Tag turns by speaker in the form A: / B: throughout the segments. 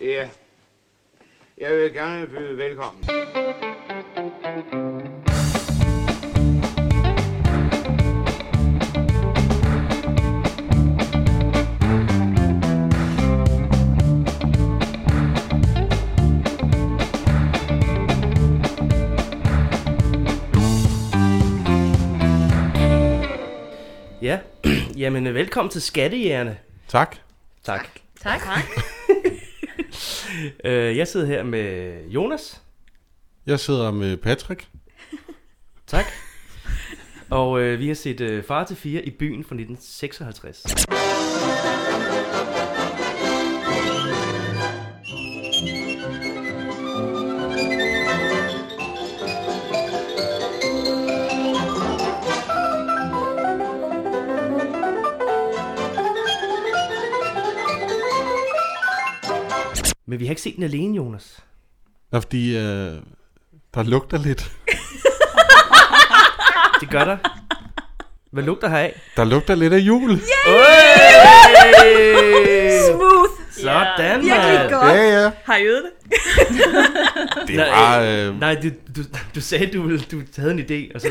A: Ja. Jeg vil gerne byde velkommen.
B: Ja, jamen øh, velkommen til Skattejægerne.
C: Tak.
B: Tak.
D: Tak. tak.
B: Øh, jeg sidder her med Jonas.
C: Jeg sidder med Patrick.
B: Tak. Og øh, vi har set øh, Far til fire i byen fra 1956. Men vi har ikke set den alene, Jonas.
C: Nå, fordi øh, der lugter lidt.
B: Det gør der. Hvad lugter her af?
C: Der lugter lidt af jul. Yeah!
B: Hey!
D: Smooth.
B: Sådan,
D: Virkelig
B: mand.
D: godt.
C: Ja, ja.
D: Har I øvet det?
C: Det
B: Nej,
C: var... Øh,
B: Nej, du, du, du sagde, du, ville, du havde en idé, og så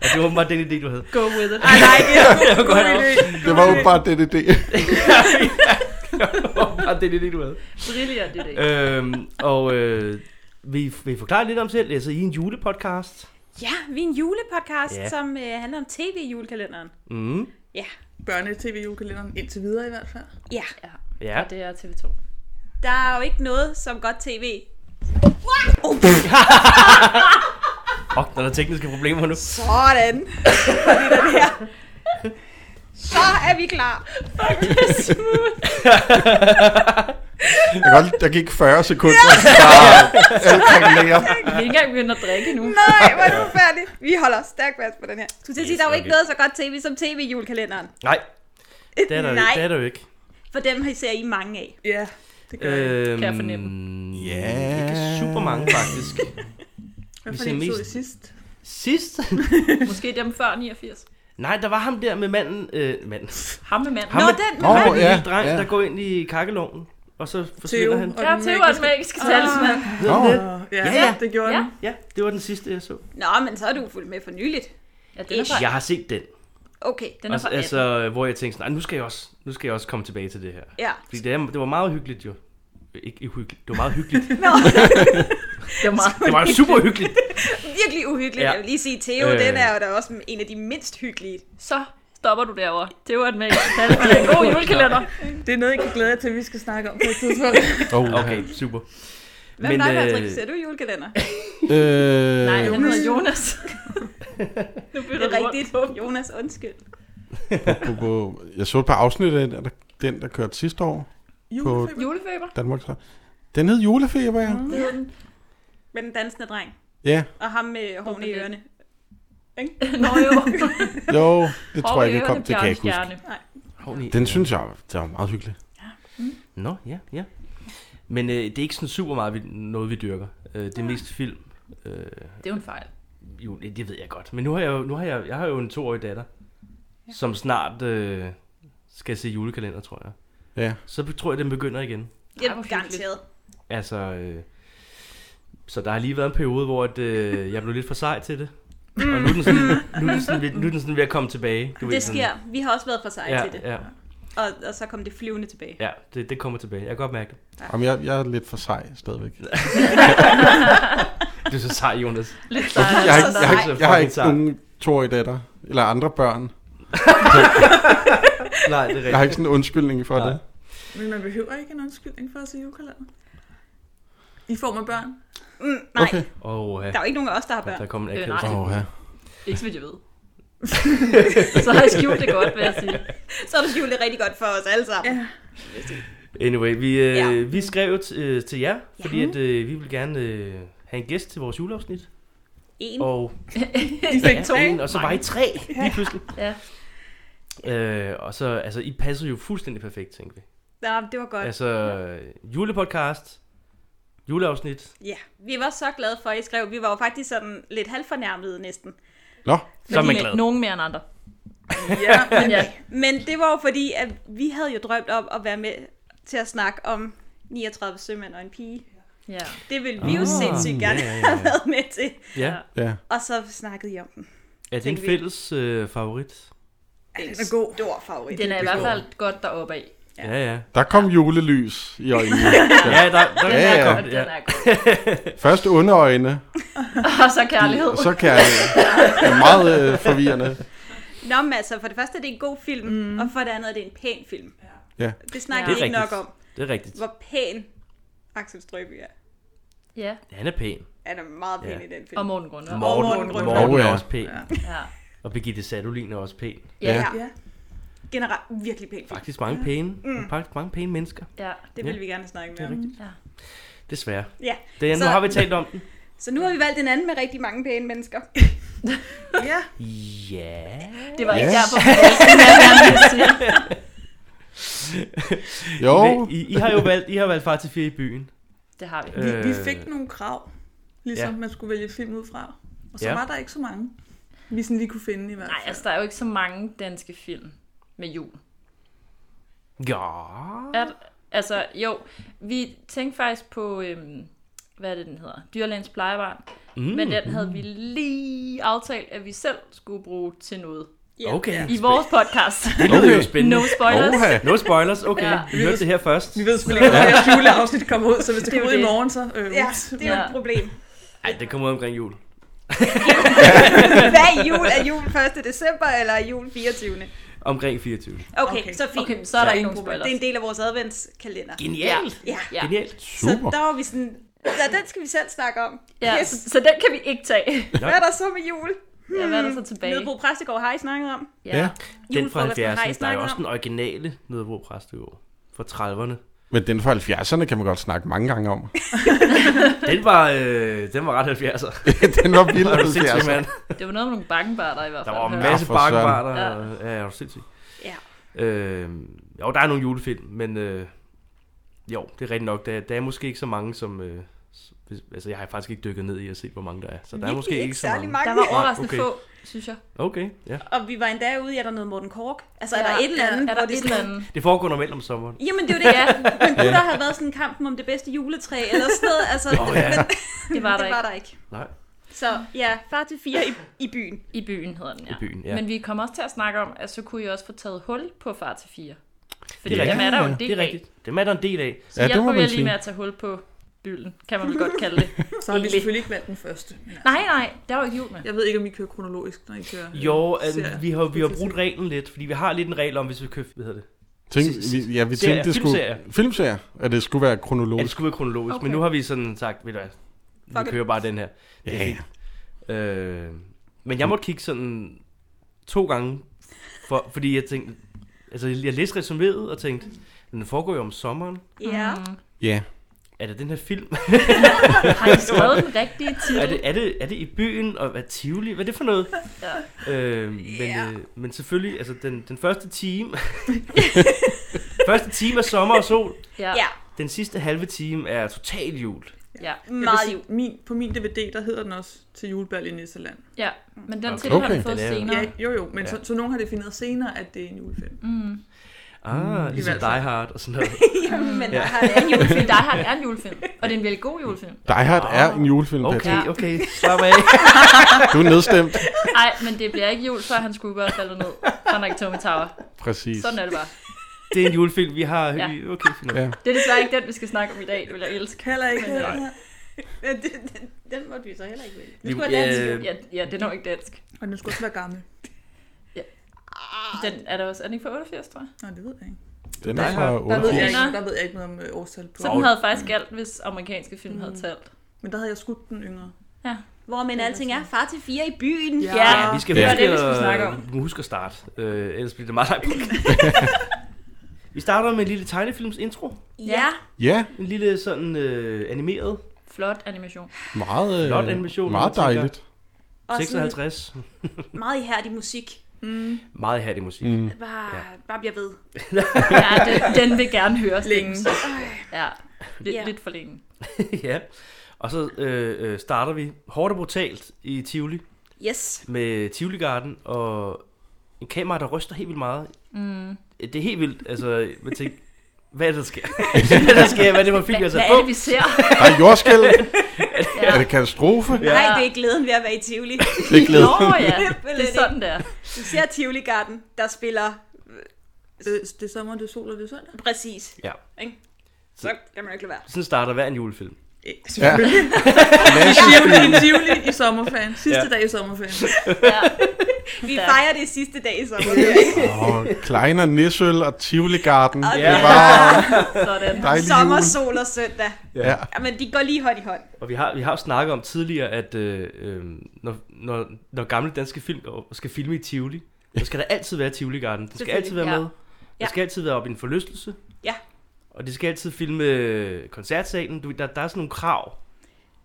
B: og det var bare den idé, du havde.
D: Go with it. Ej, nej, det er en god idé.
C: det var jo bare den idé.
B: bare den idé, du havde.
D: Brilliant idé.
B: Øhm, og øh, vil, I, vil I forklare lidt om selv? Altså, I er en julepodcast.
E: Ja, vi er en julepodcast,
B: Ja.
E: ja. som øh, handler om tv i julekalenderen.
B: Mm,
E: Ja,
D: Børne-tv-julekalenderen indtil videre i hvert fald.
E: ja.
B: ja.
C: Øh.
D: Det er TV2.
E: Der er jo ikke noget som godt tv.
B: Åh, oh, der er tekniske problemer nu.
E: Sådan. Fordi den her. Så er vi klar. Fuck, det er smooth.
C: Jeg kan godt, der gik 40 sekunder. Bare alt kringlerer.
D: Vi er ikke engang begyndt at drikke nu.
E: Nej, hvor er det forfærdeligt. Vi holder stærkt fast på den her. Du skal sige, der er jo ikke
B: okay.
E: noget så godt tv som tv i julekalenderen.
B: Nej, det er der, jo
E: Nej,
B: ikke- det er der jo ikke.
E: for dem ser I mange af.
D: Ja, det gør jeg.
B: Øhm,
D: Kan jeg fornemme.
B: Ja. Ikke super mange, faktisk.
D: Hvad
B: vi
D: for
B: ser
D: en
B: mest-
D: tid sidst?
B: Sidst?
F: Måske dem før 89.
B: Nej, der var ham der med manden. Øh, manden.
F: Ham med manden.
B: Ham
E: Nå,
B: med,
E: den
C: Nå,
E: med
B: ham med
C: ja,
B: ja, dreng,
C: ja.
B: der går ind i kakkeloven. Og så forsvinder
D: Theo
B: han.
D: og
F: Der er
D: den
F: Theo også
D: magiske-
F: magiske talisman.
B: Ved du det?
D: Ja,
B: Ja, ja.
D: det gjorde
F: Ja.
D: han.
B: Ja, det var den sidste, jeg så.
E: Nå, men så er du fuldt med for nyligt.
F: Ja, den er fra,
B: Jeg har set den.
E: Okay,
F: den er
B: Altså,
F: fra 18.
B: altså, hvor jeg tænkte sådan, "Ej, nu skal jeg også, nu skal jeg også komme tilbage til det her.
E: ja.
B: Fordi det, er, det var meget hyggeligt jo. Ikke hyggeligt. Det var meget hyggeligt.
E: Nå,
F: Det var meget.
B: Det var super hyggeligt.
E: virkelig uhyggeligt.
B: Ja.
E: Ja. Jeg vil lige sige, Theo,
B: Øh.
E: øh. den er jo da også en af de mindst hyggelige.
F: Så stopper du derovre. Det var en magisk talisman. God julekalender.
D: Det er noget, jeg kan glæde jer til, at vi skal snakke om på et tidspunkt.
C: Oh,
B: Okay, super.
E: Hvad
B: Men,
E: med dig,
B: øh,
E: Patrick? Ser du julekalender?
C: Øh,
F: Nej, han hedder Jonas. nu
E: Det
F: bytter
E: er
F: du rundt.
E: rigtigt. Jonas, undskyld.
C: på, på, jeg så et par afsnit af den, der, den, der kørte sidste år.
D: Julefeber.
F: Julefeber.
C: Danmarks Radio. Den hed Julefeber, ja.
E: Det hed den. Med den dansende dreng.
C: Ja,
E: Og ham med hårene i
F: Okay.
E: ørerne.
F: Nå jo.
C: jo, det tror jeg ikke, jeg kom til. Kan jeg ikke huske.
B: Hovni.
C: Den synes jeg, det var meget hyggeligt.
B: Nå, ja, ja. Men øh, det er ikke sådan super meget vi, noget, vi dyrker. Øh, det er mest film. Øh,
F: Det er jo en fejl.
B: jo, det det ved jeg godt. Men nu har jeg jo, nu har jeg, jeg har jo en toårig datter, ja. som snart øh, skal se julekalender, tror jeg.
C: Ja.
B: Så be- tror jeg, den begynder igen.
E: Det
F: Ej, hvor
E: er garanteret.
B: Altså, øh, så der har lige været en periode, hvor at, øh, jeg blev lidt for sej til det. Og nu er den sådan, nu er den sådan, ved- nu er den sådan ved at komme tilbage. Du ved,
E: Mm. Det
B: sådan-
E: sker. Vi har også været for sej
B: ja,
E: til det.
B: Ja,
E: Og, og så kom det flyvende tilbage.
B: ja det, det kommer tilbage. Jeg kan godt mærke det.
C: Jamen, jeg, jeg er lidt for sej stadigvæk.
B: Du er så sej, Jonas.
F: Lidt sejt.
C: Jeg har, ikke,
E: så
C: jeg, har,
B: sej.
C: ikke- jeg har
B: Fucking
C: ikke
B: sej.
C: nogen toårige datter, eller andre børn.
B: Nej, det er
C: Jeg har ikke sådan en undskyldning for
B: Nej.
C: det.
D: Men man behøver ikke en undskyldning for at se julekalender. I form af børn.
E: Mm, nej,
C: Okay.
E: okay.
B: Åh, ja.
E: der er jo ikke nogen af os, der har
B: Der, der
E: børn.
B: kom en
F: Øh,
B: akavet.
F: nej.
B: Øh,
C: Åh, ja.
F: Ikke så vidt jeg ved. så har jeg skjult det godt, vil jeg sige.
E: Så er det jul rigtig godt for os alle sammen.
D: Ja.
B: anyway, vi, øh, ja.
E: Ja.
B: vi skrev jo t- øh, til jer, fordi at, øh, vi vil gerne øh, have en gæst til vores juleafsnit.
E: En.
B: Og,
D: I fik to.
B: ja, en, og så var I tre lige pludselig.
F: Ja.
B: Øh, og så, altså, I passede jo fuldstændig perfekt, tænkte vi.
E: Nå, det var godt.
B: Altså, julepodcast, juleafsnit.
E: Ja, vi var så glade for, at I skrev. Vi var jo faktisk sådan lidt halvfornærmede næsten.
C: Nå,
B: Så er man
F: Men
B: glad.
F: Nogen mere end andre.
D: Ja,
F: Men ja,
E: Men det var jo fordi, at vi havde jo drømt om at være med til at snakke om 39 sømænd og en pige.
F: Ja.
E: Det ville vi jo
B: Ah,
E: sindssygt gerne
B: ja, ja, ja.
E: have været med til.
B: Ja.
F: Ja.
C: Ja.
E: Og så snakkede jeg om den.
B: Er det en
E: Tænker vi.
B: fælles øh, favorit?
E: Det
D: Den er god.
E: stor favorit.
F: Den er i hvert fald godt deroppe af.
B: Ja, ja.
C: Der kom julelys i øjnene.
B: Ja, der, der,
C: Ja,
B: der
C: ja.
B: kom det,
F: Den
B: ja.
F: er god.
C: Først underøjne,
F: Og så kærlighed.
C: og så kærlighed. Det er meget øh, forvirrende.
E: Nå, men altså, for det første er det en god film, mm. og for det andet er det en pæn film.
C: Ja.
E: Det snakker
F: Ja.
E: vi
B: Det er
E: ikke nok
B: rigtigt.
E: om,
B: Det er rigtigt.
E: hvor pæn Axel Strøby er.
F: Ja.
B: Han er pæn.
E: Han er meget pæn
B: Ja.
E: ja. i den film.
F: Og Morten Grunde.
B: Morten,
D: Morten Grundvald.
B: Morten er
C: Ja.
B: også pæn.
D: Ja.
F: Ja.
B: Og Birgitte Sadolin er også pæn.
F: Ja.
E: Ja.
D: Ja.
E: Generelt virkelig pæn film.
B: Faktisk mange pæne.
E: Mm.
B: Faktisk mange pæne mennesker.
F: Ja.
E: Det vil vi gerne have snakket mere om.
B: Desværre.
E: Ja.
B: Det, er- nu
E: Så-
B: har vi talt om den.
E: Så nu har vi valgt en anden med rigtig mange pæne mennesker.
D: ja.
B: Ja.
F: Det var ikke
C: Ja.
F: derfor, men jeg skulle mere gerne ville sige.
C: Jo,
B: Men I, I, har jo valgt, I har valgt Far til fire i byen.
F: Det har vi.
D: Vi, vi
B: Øh.
D: fik nogle krav, ligesom
B: Ja.
D: man skulle vælge film ud fra. Og så
B: Ja.
D: var der ikke så mange, vi sådan lige kunne finde i hvert
F: Nej,
D: fald.
F: altså der er jo ikke så mange danske film med jul.
B: Ja.
F: At, altså jo, vi tænkte faktisk på, øhm, hvad er det den hedder, Dyrlægens plejebarn. Mm. Men den havde vi lige aftalt, at vi selv skulle bruge til noget.
B: Okay.
F: I vores podcast.
B: Det lyder jo
C: Okay.
B: spændende.
F: No spoilers.
C: Oha.
B: No spoilers, okay.
F: Ja.
B: Vi hørte det her først.
D: Vi ved selvfølgelig ikke, når jeres juleafsnit kommer ud, så hvis det,
F: Det er
D: kommer
F: jo
D: ud i
F: det.
D: morgen, så øh,
E: Ja,
D: ups.
E: det er jo
F: Ja.
E: et problem.
B: Ej, det kommer ud omkring jul.
E: Hvad er jul? Er jul 1. december, eller er jul 24. Okay,
B: Omkring 24.
E: okay.
D: Okay.
E: så fint.
F: Okay, så er der
E: Ja.
F: ikke nogen spoilers.
E: Det er en del af vores adventskalender.
B: Genialt.
E: Ja.
F: Ja.
B: Genialt.
E: Så
C: super.
E: der var vi sådan, ja, den skal vi selv snakke om.
F: Ja,
E: Yes.
F: så, så den kan vi ikke tage.
E: Hvad er der så med jul?
F: Ja, hvad er der så tilbage?
E: Nødbro Præstegård har I snakket om.
C: Ja.
B: Den fra
E: Julefrokosten har I
B: 70'erne. Der er
E: snakket
B: jo også
E: om.
B: den originale Nødebro Præstegård fra 30'erne.
C: Men den fra 70'erne kan man godt snakke mange gange om.
B: Den var, øh, den var ret 70'er.
C: den var vild.
B: Er du sindssyg,
C: 70'erne.
B: mand?
F: Det var noget med nogle bakkenbarter i hvert
B: Der
F: fald.
B: var en
C: Ja,
B: masse
C: for
B: bakkebarter.
F: søren.
B: Ja, er du sindssyg?
E: Ja.
B: Øh, jo, der er nogle julefilm, men øh, jo, det er rigtigt nok. Der, der er måske ikke så mange, som... Øh, s- hvis- altså, jeg har faktisk ikke dykket ned i at se, hvor mange der er. Så der er
E: Virkelig
B: måske ikke, så
E: særlig
B: mange.
E: mange.
F: Der var overraskende
B: Okay.
F: okay. få, synes jeg.
B: Okay, ja.
E: Og vi var endda ude, er der noget Morten Kork? Altså, er
F: Ja,
E: der et eller
F: ja,
E: andet?
F: Er
E: hvor
F: der
E: det
F: et
E: sådan-
F: eller andet?
B: Det foregår normalt om sommeren.
E: Jamen, det er jo det, ja. Men kunne der have været sådan en kampen om det bedste juletræ eller sådan noget? Altså,
B: Nå, ja.
E: men,
F: Det var der
E: det
F: ikke.
E: var der ikke.
B: Nej.
E: Så ja, far til fire i, i byen.
F: I byen hedder den, ja.
B: I byen, ja.
F: Men vi kommer også til at snakke om, at så kunne I også få taget hul på far til fire. Fordi
B: Det er
F: dem er der jo en
B: Det
F: del
B: er
F: af.
B: rigtigt. Dem er der en del af.
F: Så
C: Ja,
F: ja,
C: det må
F: hjælper
C: man
F: vi lige
C: sige.
F: med at tage hul på bylden, kan man vel godt kalde det.
D: Så har vi
F: Egentlig.
D: selvfølgelig ikke valgt den første. Men altså,
F: Nej, nej, der er jo ikke jul med.
D: Jeg ved ikke, om I kører kronologisk, når I kører. øh,
B: Jo,
D: serier.
B: altså, vi har, vi har
D: Det er
B: brudt reglen lidt, fordi vi har lidt en regel om, hvis vi køber, hvad hedder det?
C: Tænk,
B: S- s-
C: vi, ja, vi
B: serier,
C: tænkte, det skulle...
B: filmserier.
C: Filmserier. At det skulle være
B: Ja, det
C: kronologisk.
B: skulle være kronologisk, okay. men
F: Okay.
B: nu har vi sådan sagt, ved du hvad,
E: Fuck
B: vi
E: it.
B: kører bare den her. Det er
C: Ja,
B: fint. Øh, men jeg måtte kigge sådan to gange, for, fordi jeg tænkte, altså jeg læste resuméet og tænkte, den foregår jo om sommeren.
E: Ja.
F: Mm.
C: Ja.
B: Er det den her film?
F: Har I skrevet den rigtige titel?
B: er, det, er, det, er det i byen? Og hvad Tivoli? Hvad er det for noget?
F: Ja.
B: Øh, men, øh, men selvfølgelig, altså den, den første time, første time er sommer og sol,
F: Ja.
E: Ja,
B: den sidste halve time er total jul.
F: ja.
D: Jeg vil
E: meget
D: sige,
E: jul.
D: min, på min DVD, der hedder den også til julebal i Nisseland.
F: ja. Men den
B: Okay.
F: titel har
C: Okay.
F: du fået
B: Den er jo-
F: senere.
D: Ja, jo jo, men
B: Ja.
D: ja. så, så nogen har defineret senere, at det er en julefilm.
F: Mm.
B: Ah, ligesom
D: hvert fald.
B: Die Hard og sådan noget.
E: Men
B: Ja.
E: der har det en jul.
F: Julefilm, der har en julefilm. Og det er en virkelig god julefilm.
C: Die Hard er en julefilm, Patrick.
B: Okay, okay, slap af.
C: Du er nedstemt.
F: Nej, men det bliver ikke jul, før han skulle godt falde ned. Fra Nick Tommy Tower.
C: Præcis.
F: Sådan er det bare.
B: Det er en julefilm, vi har.
F: Ja.
B: Ja. Okay, fint. nok.
C: Ja.
F: Det er desværre ikke den, vi skal snakke om i dag. Det vil jeg elske.
D: Heller ikke.
F: Men, øh,
D: heller.
E: Ja, den, den, den måtte vi så heller ikke vælge.
B: Vi-
E: Vi skulle have dansk.
B: øh,
F: Ja, ja den er jo ikke dansk.
D: Og den skulle også være gammel.
F: Den er der også. Er den ikke fra 88, tror jeg?
D: Nå, det ved jeg ikke.
C: Den
B: Die
C: er fra
B: Hard.
D: Der ved, jeg
C: 88.
D: ikke, der ved jeg ikke noget om øh, årstal på.
F: Så den havde faktisk alt, hvis amerikanske film havde talt.
D: Men der havde jeg skudt den yngre.
E: Hvor men alting er far til fire i byen.
D: Ja.
F: Ja.
B: Vi skal
C: Det var
B: huske,
F: det, vi skulle snakke om.
B: at, huske at starte. Øh, ellers bliver det meget langt. vi starter med en lille tegnefilms intro.
E: ja.
C: Ja,
B: En lille sådan øh, animeret.
F: Flot animation.
C: meget, øh,
B: Flot animation,
C: meget
B: tænker jeg.
C: dejligt.
E: Og sådan
B: 56.
E: meget ihærdig musik.
B: Meget hattig musik.
C: Mm.
E: Bare, bare bliver ved.
F: Ja, den, den vil gerne høre
D: Længe.
F: Ja, lidt,
E: Ja.
F: lidt for længe.
B: ja. Og så øh, øh, starter vi hårdt og brutalt i Tivoli
E: Yes.
B: med Tivoli Garden og en kamera, der ryster helt vildt meget.
F: Mm.
B: Det er helt vildt. Altså, man tænker, Hvad er det, der sker? hvad er det, der sker? Hvad er det for en film, jeg har
F: Hvad
B: sat
F: er det,
B: på?
F: vi ser?
C: Der er jordskæld. Er altså det katastrofe?
E: Ja. Nej, det er glæden ved at være i Tivoli.
C: Det er glæde.
F: Nå ja,
E: Simpelthen
F: det er sådan der.
E: Du ser Tivoli Garden, der spiller
D: Det, det er sommer, det er sol og det er søndag.
E: præcis.
B: Ja.
E: Ikke? Så kan man ikke lade være.
B: Sådan starter hver en julefilm.
D: Ja,
C: Ja.
D: selvfølgelig. Tivoli, Tivoli i sommerferien. Sidste dag i sommerferien.
F: Ja.
E: Vi
F: Der.
E: fejrer det sidste dag i sommerferien.
C: Og Kleiner, Nissøl og Tivoli Garden.
E: Og
C: Det
B: Ja.
C: var
F: Sådan.
C: dejlig
E: Sommer,
C: jul.
E: sol og søndag.
C: Ja.
E: Jamen, de går lige hånd i hånd.
B: Og vi har, vi har jo snakket om tidligere, at øh, øh, når, når, når gamle danske film og- skal filme i Tivoli, så skal der altid være Tivoli Garden. Det skal altid være
F: Selvfølgelig,
B: med.
F: ja.
B: Der
E: Ja.
B: skal altid være op i en forlystelse.
E: Ja.
B: Og det skal altid filme øh, koncertsalen. Du, der, der er sådan nogle krav.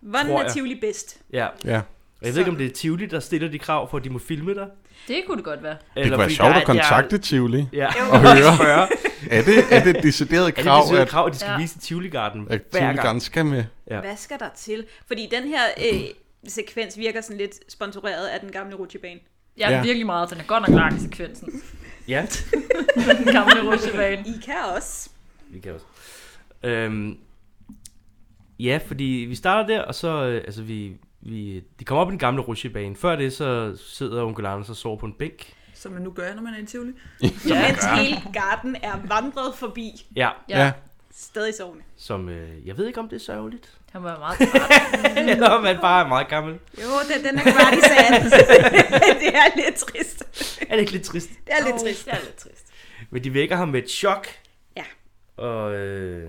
E: Hvordan
B: Tror
E: er
B: jeg.
E: Tivoli bedst?
B: Ja.
C: ja.
B: Og jeg ved ikke, om det er Tivoli, der stiller de krav for, at de må filme dig.
F: Det kunne det godt være.
C: Det kunne være sjovt at kontakte Tivoli
B: Ja.
C: og høre. Er det, er det et decideret
B: Er det
C: krav,
B: krav,
C: at,
B: krav, at de skal
F: Ja.
B: vise Tivoli Garden
C: at
B: hver
C: Tivoli
B: gang?
C: Garden skal med?
B: Ja.
E: Hvad skal der til? Fordi den her øh, sekvens virker sådan lidt sponsoreret af den gamle rutsjebane.
F: Jeg er
C: Ja.
F: ja. virkelig meget. Den er godt nok lang, sekvensen.
B: Ja.
F: Den gamle rutsjebane.
E: I kan også.
B: Vi kan også. Øhm, ja, fordi vi starter der, og så, øh, altså vi, vi, de kommer op i den gamle rutsjebane. Før det, så sidder onkel Anders og sover på en bænk.
D: Som man nu gør, når man er i Tivoli.
E: Ja. Mens hele garden er vandret forbi.
B: Ja,
F: Ja.
C: Ja.
F: ja.
E: Stadig sovende.
B: som, øh, jeg ved ikke, om det er sørgeligt.
F: Han var meget træt.
B: Eller om han bare er meget gammel.
E: Jo, den, den er kvart i sand. det er lidt trist.
B: Er det ikke lidt trist?
E: Det er lidt trist.
F: Det er lidt trist.
B: Men de vækker ham med et chok.
E: Ja.
B: Og øh,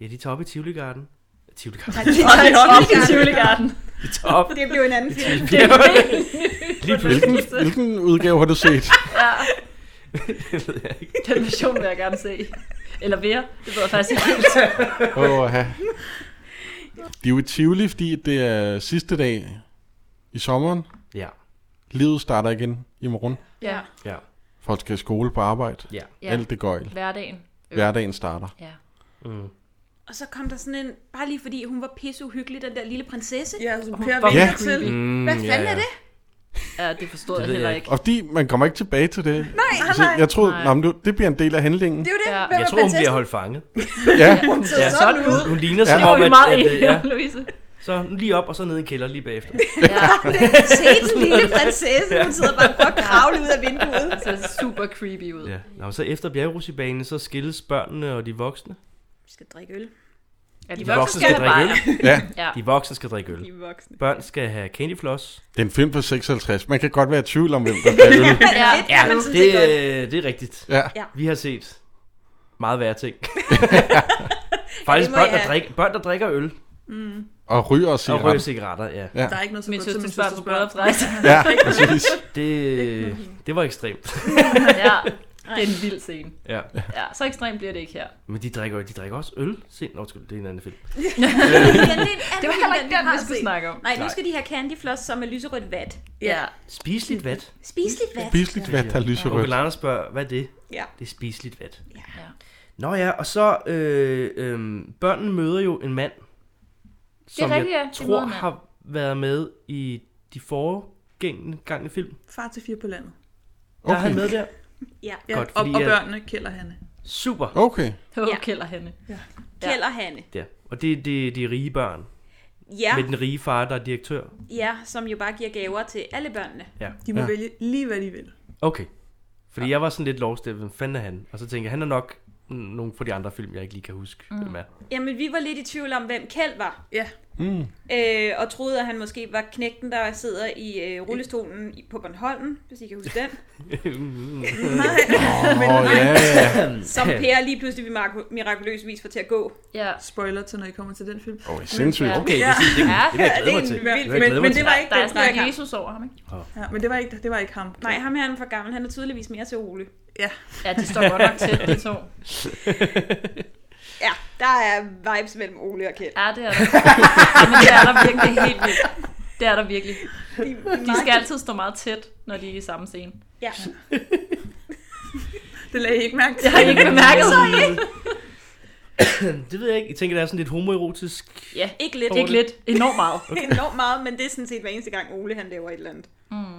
B: ja, de tager op i Tivoli Garden. Tivoli Garden.
E: Og det
F: Og det er
E: er
F: også i
E: også
F: Tivoli Garden.
B: De tager op.
E: Det blev en anden film.
F: Det er helt
B: Lige pludselig.
C: Hvilken, hvilken udgave har du set?
F: Ja.
B: Det ved jeg ikke.
F: Den version vil jeg gerne se. Eller mere. Det ved jeg faktisk ikke helt.
C: Oh, ja. De er jo i Tivoli, fordi det er sidste dag i sommeren.
B: Ja,
C: Livet starter igen i morgen.
F: Ja.
B: ja,
C: Folk skal i skole på arbejde.
B: ja.
F: ja.
C: Alt det gøjl.
F: Hverdagen.
C: Hverdagen starter.
F: Ja.
B: Mm.
E: Og så kom der sådan en, bare lige fordi hun var pisseuhyggelig, den der lille prinsesse.
D: Ja, som Per
F: var
D: vinker
F: creepy.
D: til.
B: Mm,
E: Hvad fanden er det?
F: Ja, det forstod
B: Det
F: jeg
B: ved
F: heller
B: jeg
F: ikke.
C: Og fordi man kommer ikke tilbage til det.
E: Nej,
C: Så jeg troede, nej. men det- det bliver en del af handlingen.
E: Det er jo det.
F: Ja.
E: Hvem
B: Jeg
E: er
B: tror, hun
E: prinsessen?
B: bliver holdt fanget.
C: Ja,
F: Hun ser
B: Mm. Ja.
F: sådan ud.
B: Hun ligner
F: Det
B: som
F: var
B: om,
F: vi
B: at,
F: meget
B: at, øh,
F: enige
B: ja.
F: om, Louise.
B: Så lige op, og så ned i kælder lige bagefter.
F: Ja.
E: Se den lille prinsesse, hun sidder bare og prøver at kravle ud af vinduet.
F: Det ser altså, super creepy ud.
B: Ja. Nå, så efter bjergrusjebanen, så skilles børnene og de voksne.
E: Vi skal drikke øl.
F: Ja,
B: De voksne skal drikke øl.
C: ja.
F: Ja.
B: De voksne skal drikke øl.
E: er voksne.
B: Børn skal have candy floss.
C: Det er en film fra 56. Man kan godt være i tvivl om, hvem der skal øl.
E: Ja,
F: Ja.
E: lidt kan man sådan
B: det,
E: set godt.
B: øh, det er rigtigt.
C: Ja.
B: Vi har set meget værre ting. Faktisk
E: Det må
B: børn der,
E: jeg-
B: drikker, børn, der drikker øl
C: Og ryger og
B: og røger
C: cigaret.
B: cigaretter. Ja.
C: Ja.
D: Der er ikke noget så
F: Min
D: godt som min
F: søsters børn på
D: søsters børn.
F: bryllupsrejse.
C: Ja, præcis.
B: Det, øh, det var ekstremt.
F: ja, det er en vild scene.
B: Ja.
F: Ja, så ekstremt bliver det ikke her.
B: Men de drikker, jo- de drikker også øl. Se, nå, undskyld, det er en anden film.
E: Den er en anden
F: Det var heller ikke
E: film,
F: den,
E: har
F: vi skulle
E: set.
F: snakke om.
E: Nej, nu skal de have candy floss, som er lyserødt vat.
F: Ja,
B: Spis lidt vat.
E: Spis lidt vat.
C: Spiseligt vand, der er lyserødt.
B: Onkel Anders spørger, hvad er det?
E: Ja.
B: Det er spiseligt vat.
F: Ja.
B: Nå ja, og så øh, øh, børnene møder jo en mand, som
F: rigtigt, ja.
B: jeg
F: De møder
B: tror
F: en mand.
B: har været med i de foregængende gange film.
D: Far til fire på landet.
B: Der okay. er han
C: Okay.
B: med der.
E: Ja.
B: Godt,
D: Ja, Godt, og,
B: fordi
D: og
B: at-
D: børnene kælder Hanne.
B: Super.
C: Okay.
F: Håb
E: Ja.
F: ja. kælder hende.
E: Kjeld og Hanne.
B: Ja. Og det er de, de rige børn.
E: Ja,
B: Ja. Med den rige far, der er direktør.
E: ja, som jo bare giver gaver til alle børnene.
D: De må
C: Ja.
D: ja. vælge lige, hvad de vil.
B: Okay. Fordi ja. jeg var sådan lidt lost, hvem fanden er han? Og så tænkte jeg, han er nok mm, nogen fra de andre film, jeg ikke lige kan huske, mm. hvem er.
E: Jamen, vi var lidt i tvivl om, hvem Kjeld var.
D: Ja,
C: Mm.
E: Øh, og troede, at han måske var knægten, der sidder i øh, rullestolen i- på Bornholm, hvis I kan huske den.
C: Åh, ja, ja.
E: Som Per lige pludselig vil mirak- mirakuløs vis får til at gå.
F: Ja.
D: spoiler til, når I kommer til den film.
C: Åh, oh, sindssygt.
B: Okay, det, det, det,
F: Ja,
B: det, vil jeg glæde
E: det er
B: mig
E: en
B: til.
E: vild-
B: Det vil jeg
D: men-
B: glæde mig
D: men
B: til.
D: det var ikke
F: Der er
D: den, der
F: snart
D: kom.
F: Jesus over ham, ikke?
D: Ja, men det var ikke, det var ikke ham.
E: Nej, ham her han er for gammel. Han er tydeligvis mere til Ole.
F: Ja, de står godt nok tæt, de to.
E: Ja, der er vibes mellem Ole og Kjeld.
F: Ja, det er der. Ja, men det er der virkelig helt vildt. Det er der virkelig. De skal altid stå meget tæt, når de er i samme scene.
E: Ja.
D: Det lagde I ikke mærke til.
F: Jeg har ikke bemærket sig.
B: Det ved jeg ikke. Jeg tænker, der er sådan lidt homoerotisk.
F: Ja,
E: Ikke lidt.
F: ikke lidt. Enormt meget.
E: Okay. Enormt meget, men det er sådan set hver eneste gang, Ole han laver et eller andet. Mm.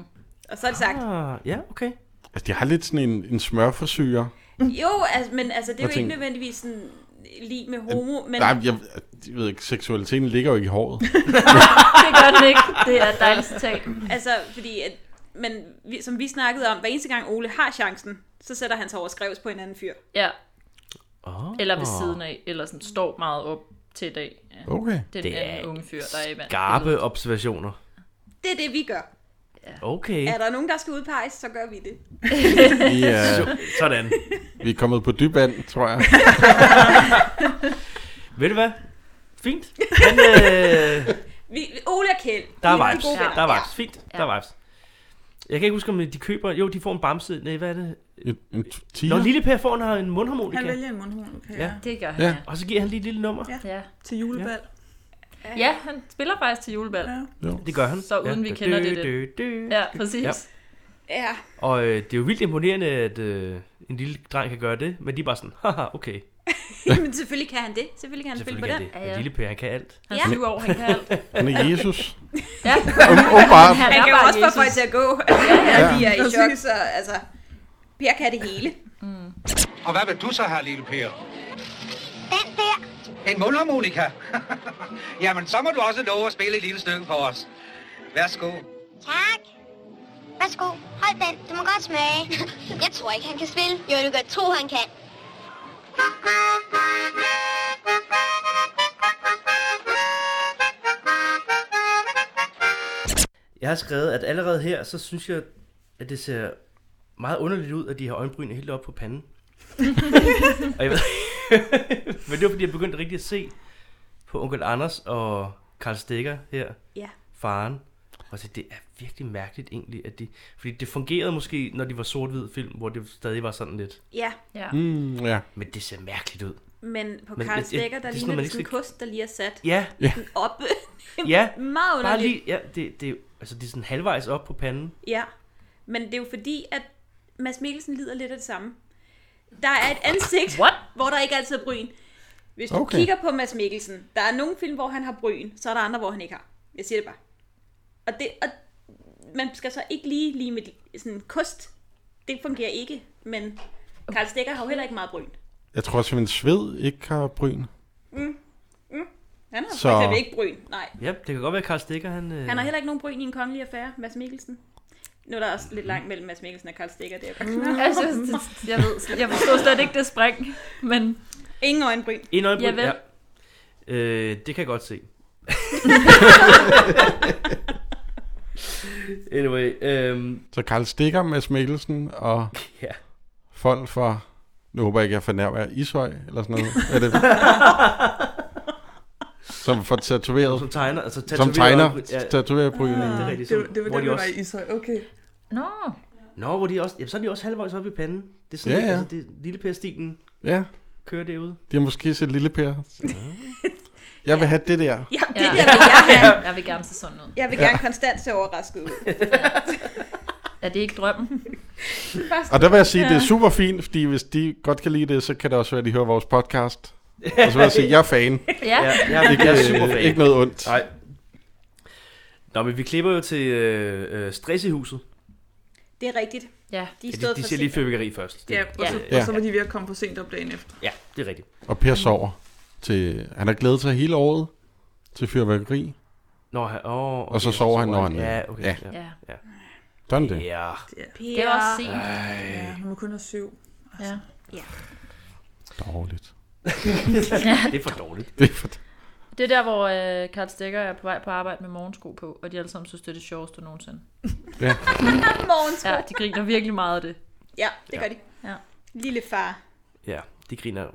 E: Og så er det sagt.
B: Ah, ja, okay.
C: Altså, de har lidt sådan en, en smørforsyre.
E: Jo, altså, men altså,
C: Hvad
E: det er jo ikke
C: tænker-
E: nødvendigvis sådan lige med homo, men
C: Nej, jeg, jeg ved ikke, seksualiteten ligger jo ikke i håret.
F: Det gør den ikke. Det er et dejligt citat.
E: altså, fordi at, men vi, som vi snakkede om, hver eneste gang Ole har chancen, så sætter han sig over og skrevs på en anden fyr.
F: Ja,
B: Oh.
F: eller ved siden af, eller sådan står meget op til i dag. Ja.
C: Okay.
F: Den
B: Det
F: det
B: er
F: anden unge fyr, der er i vand.
B: Skarpe observationer.
E: Det er det, vi gør.
B: Okay,
E: Er der nogen, der skal udpeges, så gør vi det.
C: Vi er,
B: sådan.
C: vi er kommet på dyb vand, tror jeg.
B: Ved du hvad? Fint. Men, øh,
E: Vi, Ole og Kjeld.
B: der
E: vi
B: er
E: de
B: vibes.
E: gode venner.
B: Der er vibes. Fint.
F: Ja.
B: Der er vibes. Jeg kan ikke huske, om de køber... Jo, de får en bamse. Nej, hvad er det?
C: En, en t- tiger?
B: Når Lille Per får en- har en
D: Han
B: mundharmonika.
D: vælger en mundharmonika
B: Ja.
D: ja.
F: Det gør han,
C: Ja.
F: ja.
B: Og så giver han lige et lille nummer.
D: Ja.
F: Ja.
D: til julebal.
F: ja, han spiller faktisk til julebal.
D: Ja.
B: Det gør han.
F: Så uden
B: ja.
F: vi kender det, det.
B: Dø, dø, dø.
F: Ja, præcis.
B: Ja.
F: Ja.
E: Ja. ja.
B: Og øh, det er jo vildt imponerende, at øh, en lille dreng kan gøre det. Men de er bare sådan, haha, okay.
E: men selvfølgelig kan han det. Selvfølgelig kan han spille
B: Selvfølgelig
E: på
B: kan
E: den.
B: det.
F: Ja, ja.
B: Men Lille Per, han kan alt.
F: Han
E: Ja.
F: flyver over, han kan alt.
C: Han er Jesus.
F: Ja.
C: Åbenbart.
F: Han
E: Han
F: er
E: kan jo
F: bare
E: også få folk
F: Jesus.
E: til at gå. ja, ja, de er i
D: Præcis.
E: chok, så altså... Per kan det hele.
G: Og hvad vil du så have, lille Per?
H: Den der.
G: En mundharmonika? Jamen, så må du også love at spille et lille stykke for os. Værsgo.
H: Tak. Værsgo. Hold den. Du må godt smage. Jeg tror ikke, han kan spille. Jo, du kan godt tro, han kan.
B: Jeg har skrevet, at allerede her, så synes jeg, at det ser meget underligt ud, at de har øjenbrynene helt op på panden. og jeg ved, men det var, fordi jeg begyndte rigtig at se på onkel Anders og Karl Stikker her,
E: Ja.
B: faren. Og så det er virkelig mærkeligt egentlig, at de... Fordi det fungerede måske, når de var sort-hvid film, hvor det stadig var sådan lidt...
E: Ja,
F: Ja.
C: Mm, ja.
B: Men det ser mærkeligt ud.
E: men på
B: Men-
E: Karl
B: men-
E: Stegger,
B: det er
E: der
B: sådan
E: ligner
B: noget, man
E: det sådan en
B: ikke skal-
E: kost, der lige er sat
B: Ja,
E: op.
B: ja.
E: Meget
B: Bare
E: underligt.
B: lige... Ja, det, det, altså, det er sådan halvvejs op på panden.
E: Ja, men det er jo fordi, at Mads Mikkelsen lider lidt af det samme. Der er et ansigt,
F: What?
E: hvor der ikke altid er bryn. Hvis du
C: Okay.
E: okay. kigger på Mads Mikkelsen, der er nogle film, hvor han har bryn, så er der andre, hvor han ikke har. Jeg siger det bare. Og, det, og man skal så ikke lige lige med sådan kost. Det fungerer ikke, men Karl Stikker har jo heller ikke meget bryn.
C: Jeg tror simpelthen, sved ikke har bryn.
E: Han har
C: Så-
E: så... for eksempel ikke bryn, nej.
B: Ja, det kan godt være, at Karl Stikker, han... Øh...
E: Han har heller ikke nogen bryn i en kongelig affære, Mads Mikkelsen. Nu er der også lidt langt mellem Mads Mikkelsen og Karl Stikker. Det er jo
F: Altså, det- jeg, ved, jeg forstår slet ikke det spring, men
E: ingen øjenbryn.
B: En øjenbryn,
F: Javel.
B: ja. Øh, det kan jeg godt se. anyway, øhm,
C: Så Karl Stikker, Mads Mikkelsen og
B: ja.
C: folk fra... Nu håber jeg ikke, jeg fornærmer jer. Ishøj eller sådan noget. Er det? Som får
B: som
C: tatoveret...
B: tegner. Altså,
C: Som
B: tatoveret
C: tegner
B: øjenbryn, Ja.
C: tatoveret bryn.
B: Det er ligesom
D: Ah,
B: rigtigt,
D: det, var-
B: sådan,
D: det var
B: hvor
D: det,
B: de
D: der
B: også-
D: var i Ishøj. Okay.
F: nå,
B: Nå, hvor de også, jamen, så er de også halvvejs oppe i panden. Det er sådan,
C: Ja,
B: ja,
C: ja.
B: ja. Altså, det, lille Per-stilen
C: Ja,
B: kører derude.
C: de har måske set Lille Per. Jeg vil have det der.
E: Ja, det
F: Ja.
E: ja. der vil jeg have.
F: jeg vil gerne se sådan ud.
E: Jeg vil gerne konstant se overrasket ud.
F: Er det ikke drømmen?
C: Og der vil jeg sige, at det er super fint, fordi hvis de godt kan lide det, så kan det også være, at de hører vores podcast. Og så vil jeg sige, at jeg er fan.
F: Ja,
B: Ja,
F: ja.
B: jeg, jeg,
C: Ikke,
B: jeg er super
C: øh,
B: fan.
C: ikke noget ondt.
B: Nej. Nå, men vi klipper jo til øh, øh, stress i huset.
E: Det er rigtigt.
F: ja.
E: De
B: Ja,
E: er
B: de,
E: stået
B: de
E: for
B: ser lige
E: sent.
B: fyrværkeri først. Det,
D: Ja, og, så,
B: ja.
D: og så var de ved at komme for sent op dagen efter.
B: ja, det er rigtigt.
C: Og Per sover. Til, han har glædet sig hele året til fyrværkeri.
B: Nå, han, åh, okay,
C: Og så sover han, når han-
B: Ja, okay.
C: ja.
B: ja.
F: ja.
C: Sådan det.
B: ja.
F: Det er også sent.
B: Ah.
D: Ja, når man kun er syv.
F: Ja.
C: Dårligt.
B: Det er for dårligt.
C: Det er for
F: Det er der, hvor øh, Karl Stikker er på vej på arbejde med morgensko på, og de alle sammen synes, det er det sjoveste nogensinde.
E: Morgens.
F: Ja, de griner virkelig meget af det.
E: Ja, det gør de.
F: Ja.
E: Lille far.
B: Ja, de griner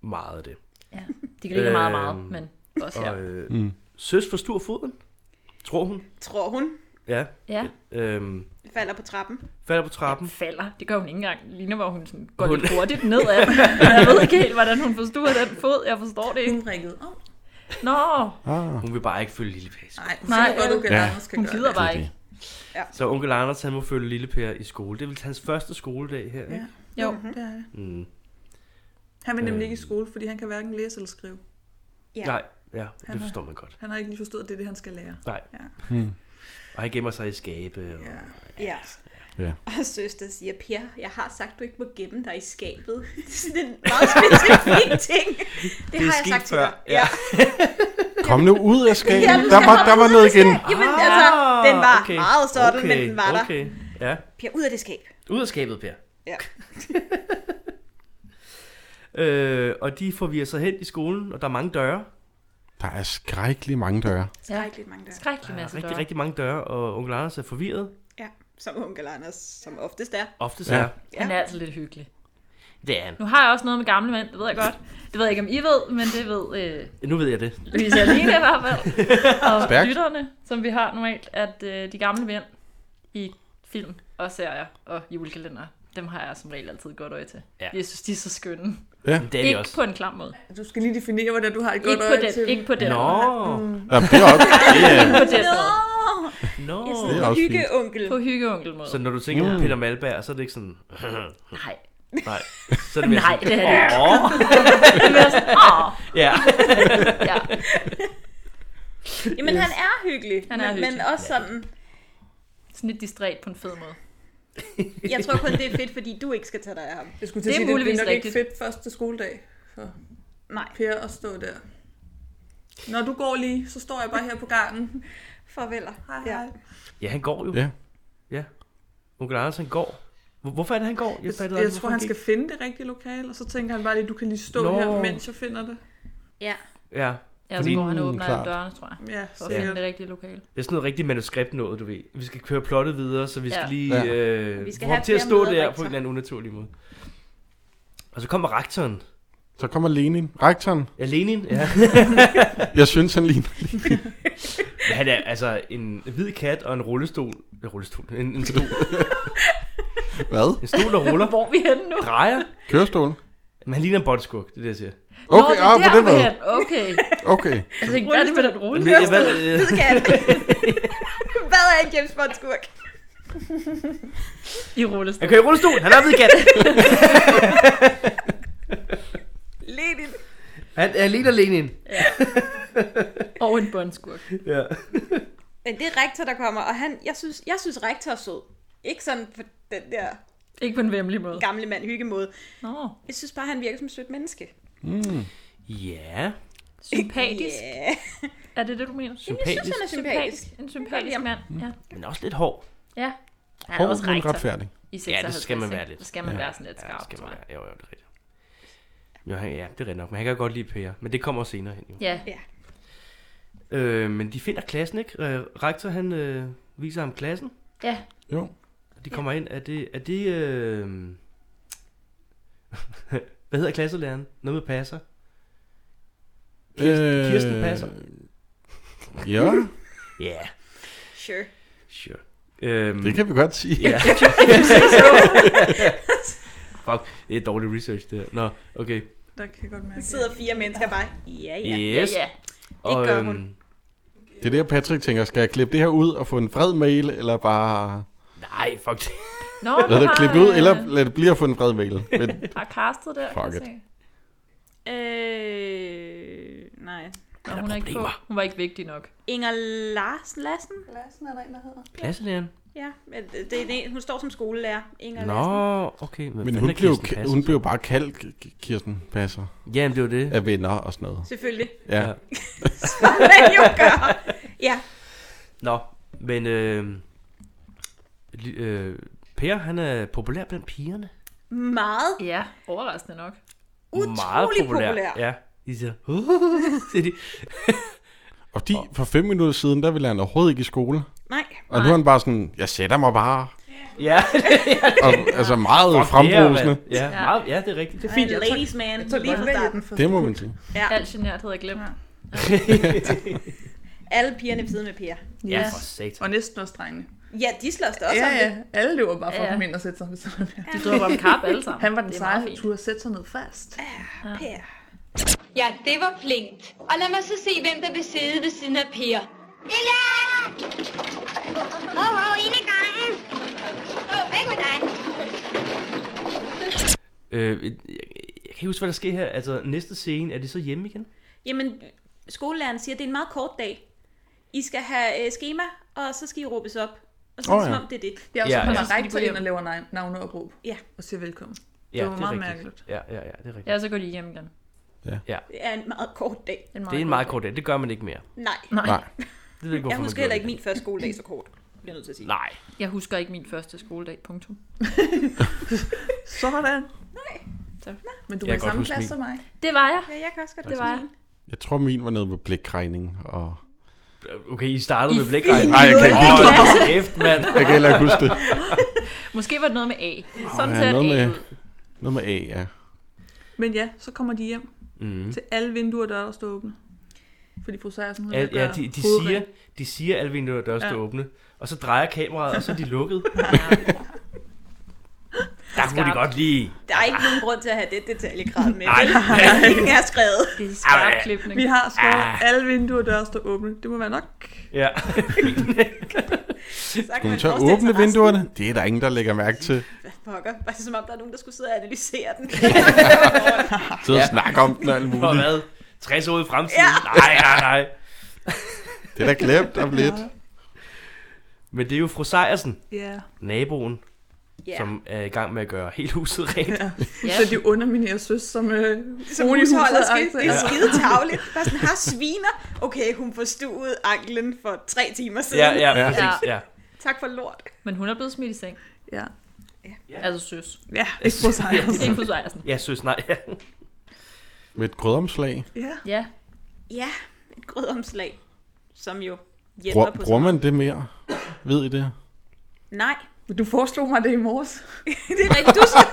B: meget af det.
F: Ja, de griner meget, meget,
B: Øhm,
F: men også her.
B: Og øh, mm. søs forstuer foden, tror hun.
E: Tror hun
B: Ja.
F: Ja,
B: Øhm,
E: falder på trappen.
B: falder på trappen.
F: falder. Det gør hun ikke engang. Det Ligner, hvor hun sådan går
B: Hun-
F: lidt hurtigt ned af den. Jeg ved ikke helt, hvordan hun forstod den fod. Jeg forstår det ikke.
D: Hun ringede om.
F: Nå,
C: Ah,
B: Hun vil bare ikke følge lille Per. i skole.
D: Nej, hun
F: Nej,
D: Nej, godt,
F: ja.
D: du kan
C: Ja.
D: ja. skal
F: hun
D: gøre
F: gider
D: det.
F: bare
C: det er
F: ikke.
E: Ah.
B: Så onkel Anders, han må følge lille Per i skole. Det er vel hans første skoledag her,
D: Ja.
B: ikke?
F: Jo,
D: Mhm. Det er det.
B: Mm.
D: Han vil nemlig
B: Øh.
D: ikke i skole, fordi han kan hverken læse eller skrive.
E: Ja.
B: Nej, ja, det
D: Han er-
B: forstår man godt.
D: Han har ikke lige
C: Mm.
D: forstået, at det er det, han skal lære.
B: Nej.
D: Ja.
B: Og han gemmer sig i skabe. Og...
D: Ja.
E: Ja.
C: Ja.
E: Og søster siger, Per, jeg har sagt, du ikke må gemme dig i skabet. Det er sådan en meget specifik ting. Det, det
B: er
E: har jeg
B: sket
E: sagt til
B: før,
E: dig. Ja.
C: Kom nu ud af skabet.
E: Jamen,
C: der,
E: jeg
C: var,
E: har
C: der var noget
E: udrusket.
C: igen.
E: Jamen, altså, den var okay. meget sådan, okay. men den var der.
B: Okay, ja.
E: Per, ud af det skab.
B: Ud af skabet, Per.
E: Ja.
B: Øh, og de får vi så hen i skolen, og der er mange døre.
C: Der er skrækkelig mange døre.
E: Der er ikke lidt mange der.
F: Skrækkelig
B: Der er
F: masse
B: rigtig,
F: døre.
B: rigtig mange døre, og onkel Anders er forvirret.
E: Ja, som onkel Anders, som oftest er.
B: Oftest
C: Ja.
B: er.
F: Han er altså lidt hyggelig.
B: Det er han.
F: Nu har jeg også noget med gamle mænd, det ved jeg godt. Det ved jeg ikke, om I ved, men det ved øh,
B: Nu ved jeg det.
F: Louise Aline i hvert fald. Og
C: Stærkt.
F: lytterne, som vi har normalt, at øh, de gamle mænd i film og serier og julekalender, dem har jeg som regel altid et godt øje til.
B: Ja.
F: Ja. Jeg synes, de er så skønne.
B: Men det er de
F: Ikke
B: også.
F: på en klam måde.
D: Du skal lige definere, hvordan du har et godt
F: ikke, på
D: øje til.
F: den, ikke på den
B: Nå,
F: måde.
C: Ja, det er også, det er,
F: Ikke på den måde.
B: nå.
E: Jeg
C: det
E: sådan
C: er
E: en
C: også fint.
E: hyggeonkel.
F: På hyggeonkel måde.
B: Så når du tænker på Peter Malberg, så er det ikke sådan...
F: Nej.
B: Nej, så er det mere
F: Nej,
B: sådan,
F: det er det ikke.
B: Åh,
F: Det er mere sådan, åh,
B: ja.
F: ja.
E: Jamen, han er hyggelig.
F: Han er
E: men, Men
F: hyggelig.
E: også sådan,
F: Sådan lidt distræt på en fed måde.
E: jeg tror kun, det er fedt, fordi du ikke skal tage dig af ham.
D: Jeg skulle til
F: Det
D: at
F: er
D: sige, det
F: muligvis
D: er nok ikke
F: rigtigt.
D: fedt første skoledag for
E: Nej,
D: Per at stå der. Når du går lige, så står jeg bare her på gangen.
E: farveler.
D: Hej,
E: Ja.
D: hej.
B: Ja, han går jo.
C: Ja.
B: ja. Onkel Anders, han går. Hvor- Hvorfor er det, han går? Jeg, fattede
D: Jeg
B: aldrig,
D: tror,
B: hvorfor
D: han skal finde det rigtige lokale, og så tænker han bare lige, du kan lige stå
B: Nå.
D: her, mens jeg finder det.
E: ja.
B: gik. Ja.
F: Ja, så går han og
C: Mm,
F: åbner
C: klart.
F: alle dørene, tror jeg.
D: Ja,
F: For
D: så
F: at
D: ja.
F: finde det rigtige lokale.
B: Det er sådan noget rigtig manuskript noget, du ved. Vi skal køre plottet videre, så vi skal
F: Ja.
B: lige
C: Ja.
B: øh,
E: Vi skal
B: få ham
E: have
B: til at
E: flere
B: stå
E: møder,
B: der
E: rektor.
B: på en eller anden unaturlig måde. Og så kommer rektoren.
C: Så kommer Lenin. Rektoren.
B: Ja, Lenin. Ja.
C: Jeg synes, han ligner.
B: Han er altså en hvid kat og en rullestol. En rullestol. En, en, stol,
C: Hvad?
B: en stol, der ruller.
F: Hvor er vi henne nu?
B: Drejer.
C: Kørestol?
B: Men han ligner en botskug, det er det, jeg siger.
C: Okay,
F: Nå,
C: ah, på den
F: vi er
C: måde.
F: henne. Okay.
C: Okay.
F: Jeg tænkte, hvad er det med den rulle?
B: Men jeg, hvad, øh,
E: Kat. Hvad er en James Bond-skurk?
F: I rullestol.
B: han kører i rullestol. Han er hvid kat.
E: Lenin.
B: Han er ligner Lenin.
F: Og en båndskurk.
B: Ja.
E: Men det er rektor, der kommer, og han, jeg synes, jeg synes rektor er sød. Ikke sådan på den der
F: Ikke på en vemmelig måde.
E: gamle mand hyggemåde.
F: Nå,
E: Jeg synes bare, han virker som et sødt menneske.
B: Ja.
F: sympatisk. Yeah.
E: Ja.
F: Er det det, du mener?
E: Jeg synes,
B: Sympatisk.
E: han er sympatisk.
F: En sympatisk mand. Ja.
B: Men også lidt hård.
F: ja. Han er
C: Hård,
F: også
C: men
F: rektor
C: retfærdig.
F: i 56.
B: Ja, det skal man
F: ikke?
B: være lidt.
F: Så skal man
C: Ja.
F: være sådan lidt skarp,
B: det skal
F: tror
B: man
F: jeg.
B: være. Jo, jo, det er rigtigt. Jo, han, ja, det er rigtigt nok. Men han kan godt lide Per. Men det kommer også senere hen. Jo.
F: Ja,
B: Øh, men de finder klassen, ikke? Øh, rektor, han øh, viser ham klassen.
F: ja.
C: Jo.
B: Og de kommer ind. Er det... Er det øh... Hvad hedder klasselæreren? Noget med passer. Kirsten- Kirsten passer.
C: Øh, Ja,
B: Ja, yeah,
E: Sure.
B: sure. Øhm,
C: det kan vi godt sige.
B: Ja. Fuck, det er dårlig research, det her. Nå, okay.
D: Der kan jeg godt mærke.
E: Der sidder fire mennesker bare. Ja, ja.
B: Yes.
F: Ja, ja.
B: Og,
E: gør hun.
B: øhm,
C: Det er der, Patrick tænker, skal jeg klippe det her ud og få en vred mail, eller bare
B: nej, fuck det.
F: Nå,
C: lade
F: du
C: det
F: har,
C: klippe ud,
F: øh,
C: eller lade det blive at få en vred mail. Men
F: Har castet der,
C: Fuck
F: kan jeg
C: it.
F: se.
E: Øh, nej.
F: Nå,
B: Er der
F: hun er ikke på.
B: problemer?
F: Hun var ikke vigtig nok.
E: Inger Larsen Lassen?
D: Lassen er der en, der hedder.
B: Klasselæreren?
E: Ja, men det, det, er det, hun står som skolelærer. Inger
B: Nå,
E: Larsen.
B: okay.
C: men hun blev, jo- hun blev bare kaldt K- K- Kirsten Passer
B: Jamen, det var det.
C: af venner og sådan noget.
E: Selvfølgelig.
C: Ja.
B: Ja.
E: Hvad jo gør. Ja.
B: Nå, men øh, li- øh, Per, han er populær blandt pigerne.
E: Meget
F: Ja, overraskende nok.
E: utrolig
B: Meget populær.
E: populær.
B: Ja, de siger, siger de.
C: Og de, for fem minutter siden, der ville han overhovedet ikke i skole.
E: Nej.
C: Og nu er han bare sådan, jeg sætter mig bare.
B: Ja,
C: Og, altså meget frembrusende.
B: Ja, ja. Meget, ja, det er rigtigt.
D: Det er
E: Fint,
D: fint, jeg tager,
E: ladies man.
D: jeg tager
E: Lige
D: godt
E: fra
D: vælge
E: starten.
D: den første.
C: Det må man sige.
E: Ja.
F: Alt genert havde jeg glemt.
D: Ja.
E: Alle pigerne ved siden af Per.
B: Ja,
F: Ja.
B: for satan.
D: Og næsten også drengene.
E: Ja, de slås da også
D: ja,
E: om det.
D: ja. Alle løber bare for
F: Ja,
D: ja.
F: ja.
D: ham ind og sætter sig ved siden af Per.
F: De drøber om kap alle sammen.
D: Han var den
F: Det er meget
D: seje, han
F: fint.
D: turde sætte sig ned fast.
E: Per.
H: Ja, det var flinkt. Og lad mig så se, hvem der vil sidde ved siden af Per. Lilla! Hov, hov, ind i gangen. Hov, væk med dig.
B: Øh, jeg, jeg kan ikke huske, hvad der sker her. Altså, næste scene, er det så hjemme igen?
E: Jamen, skolelæreren siger, at det er en meget kort dag. I skal have øh, schema, og så skal I råbes op. Og så er det
C: Åh, ja.
E: som om, det er det.
D: Det er også,
B: Ja,
D: at man
B: ja.
D: har rækt
F: Så de går hjem.
D: ind og laver nav- navneopråb.
E: Ja.
D: Og siger velkommen.
B: Ja,
D: det var meget
B: rigtigt.
D: mærkeligt.
B: Ja, ja, ja, det er rigtigt.
F: Ja, så går de hjem igen.
E: Det er en meget kort dag.
F: Det er en meget,
B: Det er en meget kort dag. Det gør man ikke mere.
E: Nej,
F: Nej.
C: Nej.
B: Det ved ikke,
E: jeg
B: hvorfor
E: husker
B: man
E: heller
B: gjorde
E: ikke min første skoledag så kort. Det er nødt til at sige.
B: Nej.
F: Jeg husker ikke min første skoledag, punktum.
D: Sådan.
F: Tak.
D: Nej. Men du
B: Jeg
D: var
B: kan
D: i
B: godt
D: samme
B: huske
D: klasse
B: min.
D: som mig.
F: Det var jeg.
E: Ja, jeg kan også godt
F: Det var jeg.
C: Jeg tror, min var nede ved blikregning, og
B: Okay, I startede
F: I
B: med blikregn.
C: Nej, jeg kan ikke huske det.
B: Hold kæft, mand.
C: Jeg kan heller ikke huske det.
F: Måske var det noget med A. Sådan
C: ja,
F: ser
C: noget
F: et A
C: med-
F: ud.
C: Noget med A, ja.
D: Men ja, så kommer de hjem
B: Mm.
D: til alle vinduer og døre, der står åbne. Fordi fru Sejersen
B: Al, ja, de, de, siger, de siger, at alle vinduer og døre står
D: Ja.
B: åbne. Og så drejer kameraet, og så er de lukket. Der kunne de
F: Skarpt.
B: godt lige...
E: Der er ikke nogen grund til at have det detaljegrad med.
B: Nej,
E: Ej. Ingen er skrevet.
F: Det er
B: Au,
F: skarp
B: ja.
F: klipning.
D: Vi har skåret
B: Ah.
D: alle vinduer og døre står åbne. Det må være nok.
B: ja.
E: Så kan
C: Kunne man
E: man
C: så
E: forestille sig
C: åbne
E: resten.
C: vinduerne? Det er der ingen, der lægger mærke til.
E: Hvad Pokker. Var det som om, der er nogen, der skulle sidde og analysere den?
C: Sidde og
B: Ja.
C: snakke om den og alt
B: For
C: muligt.
B: hvad? 60 år i fremtiden? Nej, nej, nej.
C: Det er da glemt om lidt.
B: Men det er jo fru Sejersen,
D: Ja.
B: naboen,
E: Ja.
B: som er i gang med at gøre hele huset rent.
F: Ja.
D: Så de underminerer søs som øh,
E: Som
D: hun
E: hun
D: i
E: holder
D: huset.
E: skidt. Det er
D: altså.
E: skide tavligt. Bare sådan, har sviner. Okay, hun forstuede anklen for tre timer
B: Ja,
E: siden.
B: ja,
C: Ja.
B: præcis. Ja.
E: Tak for lort.
F: Men hun er blevet smidt i seng.
D: Ja.
F: Altså søs.
D: Ja, ikke fru Sejersen.
F: Ikke fru Sejersen.
B: Ja, søs, nej. Ja.
C: Med et krydderomslag.
D: Ja.
F: Ja.
E: Ja, et grødomslag, som jo hjælper
C: Bruger,
E: på...
C: bruger man det mere? Ved I det?
E: Nej,
D: Men Du foreslog mig det i morges.
E: det er rigtigt. Du, så-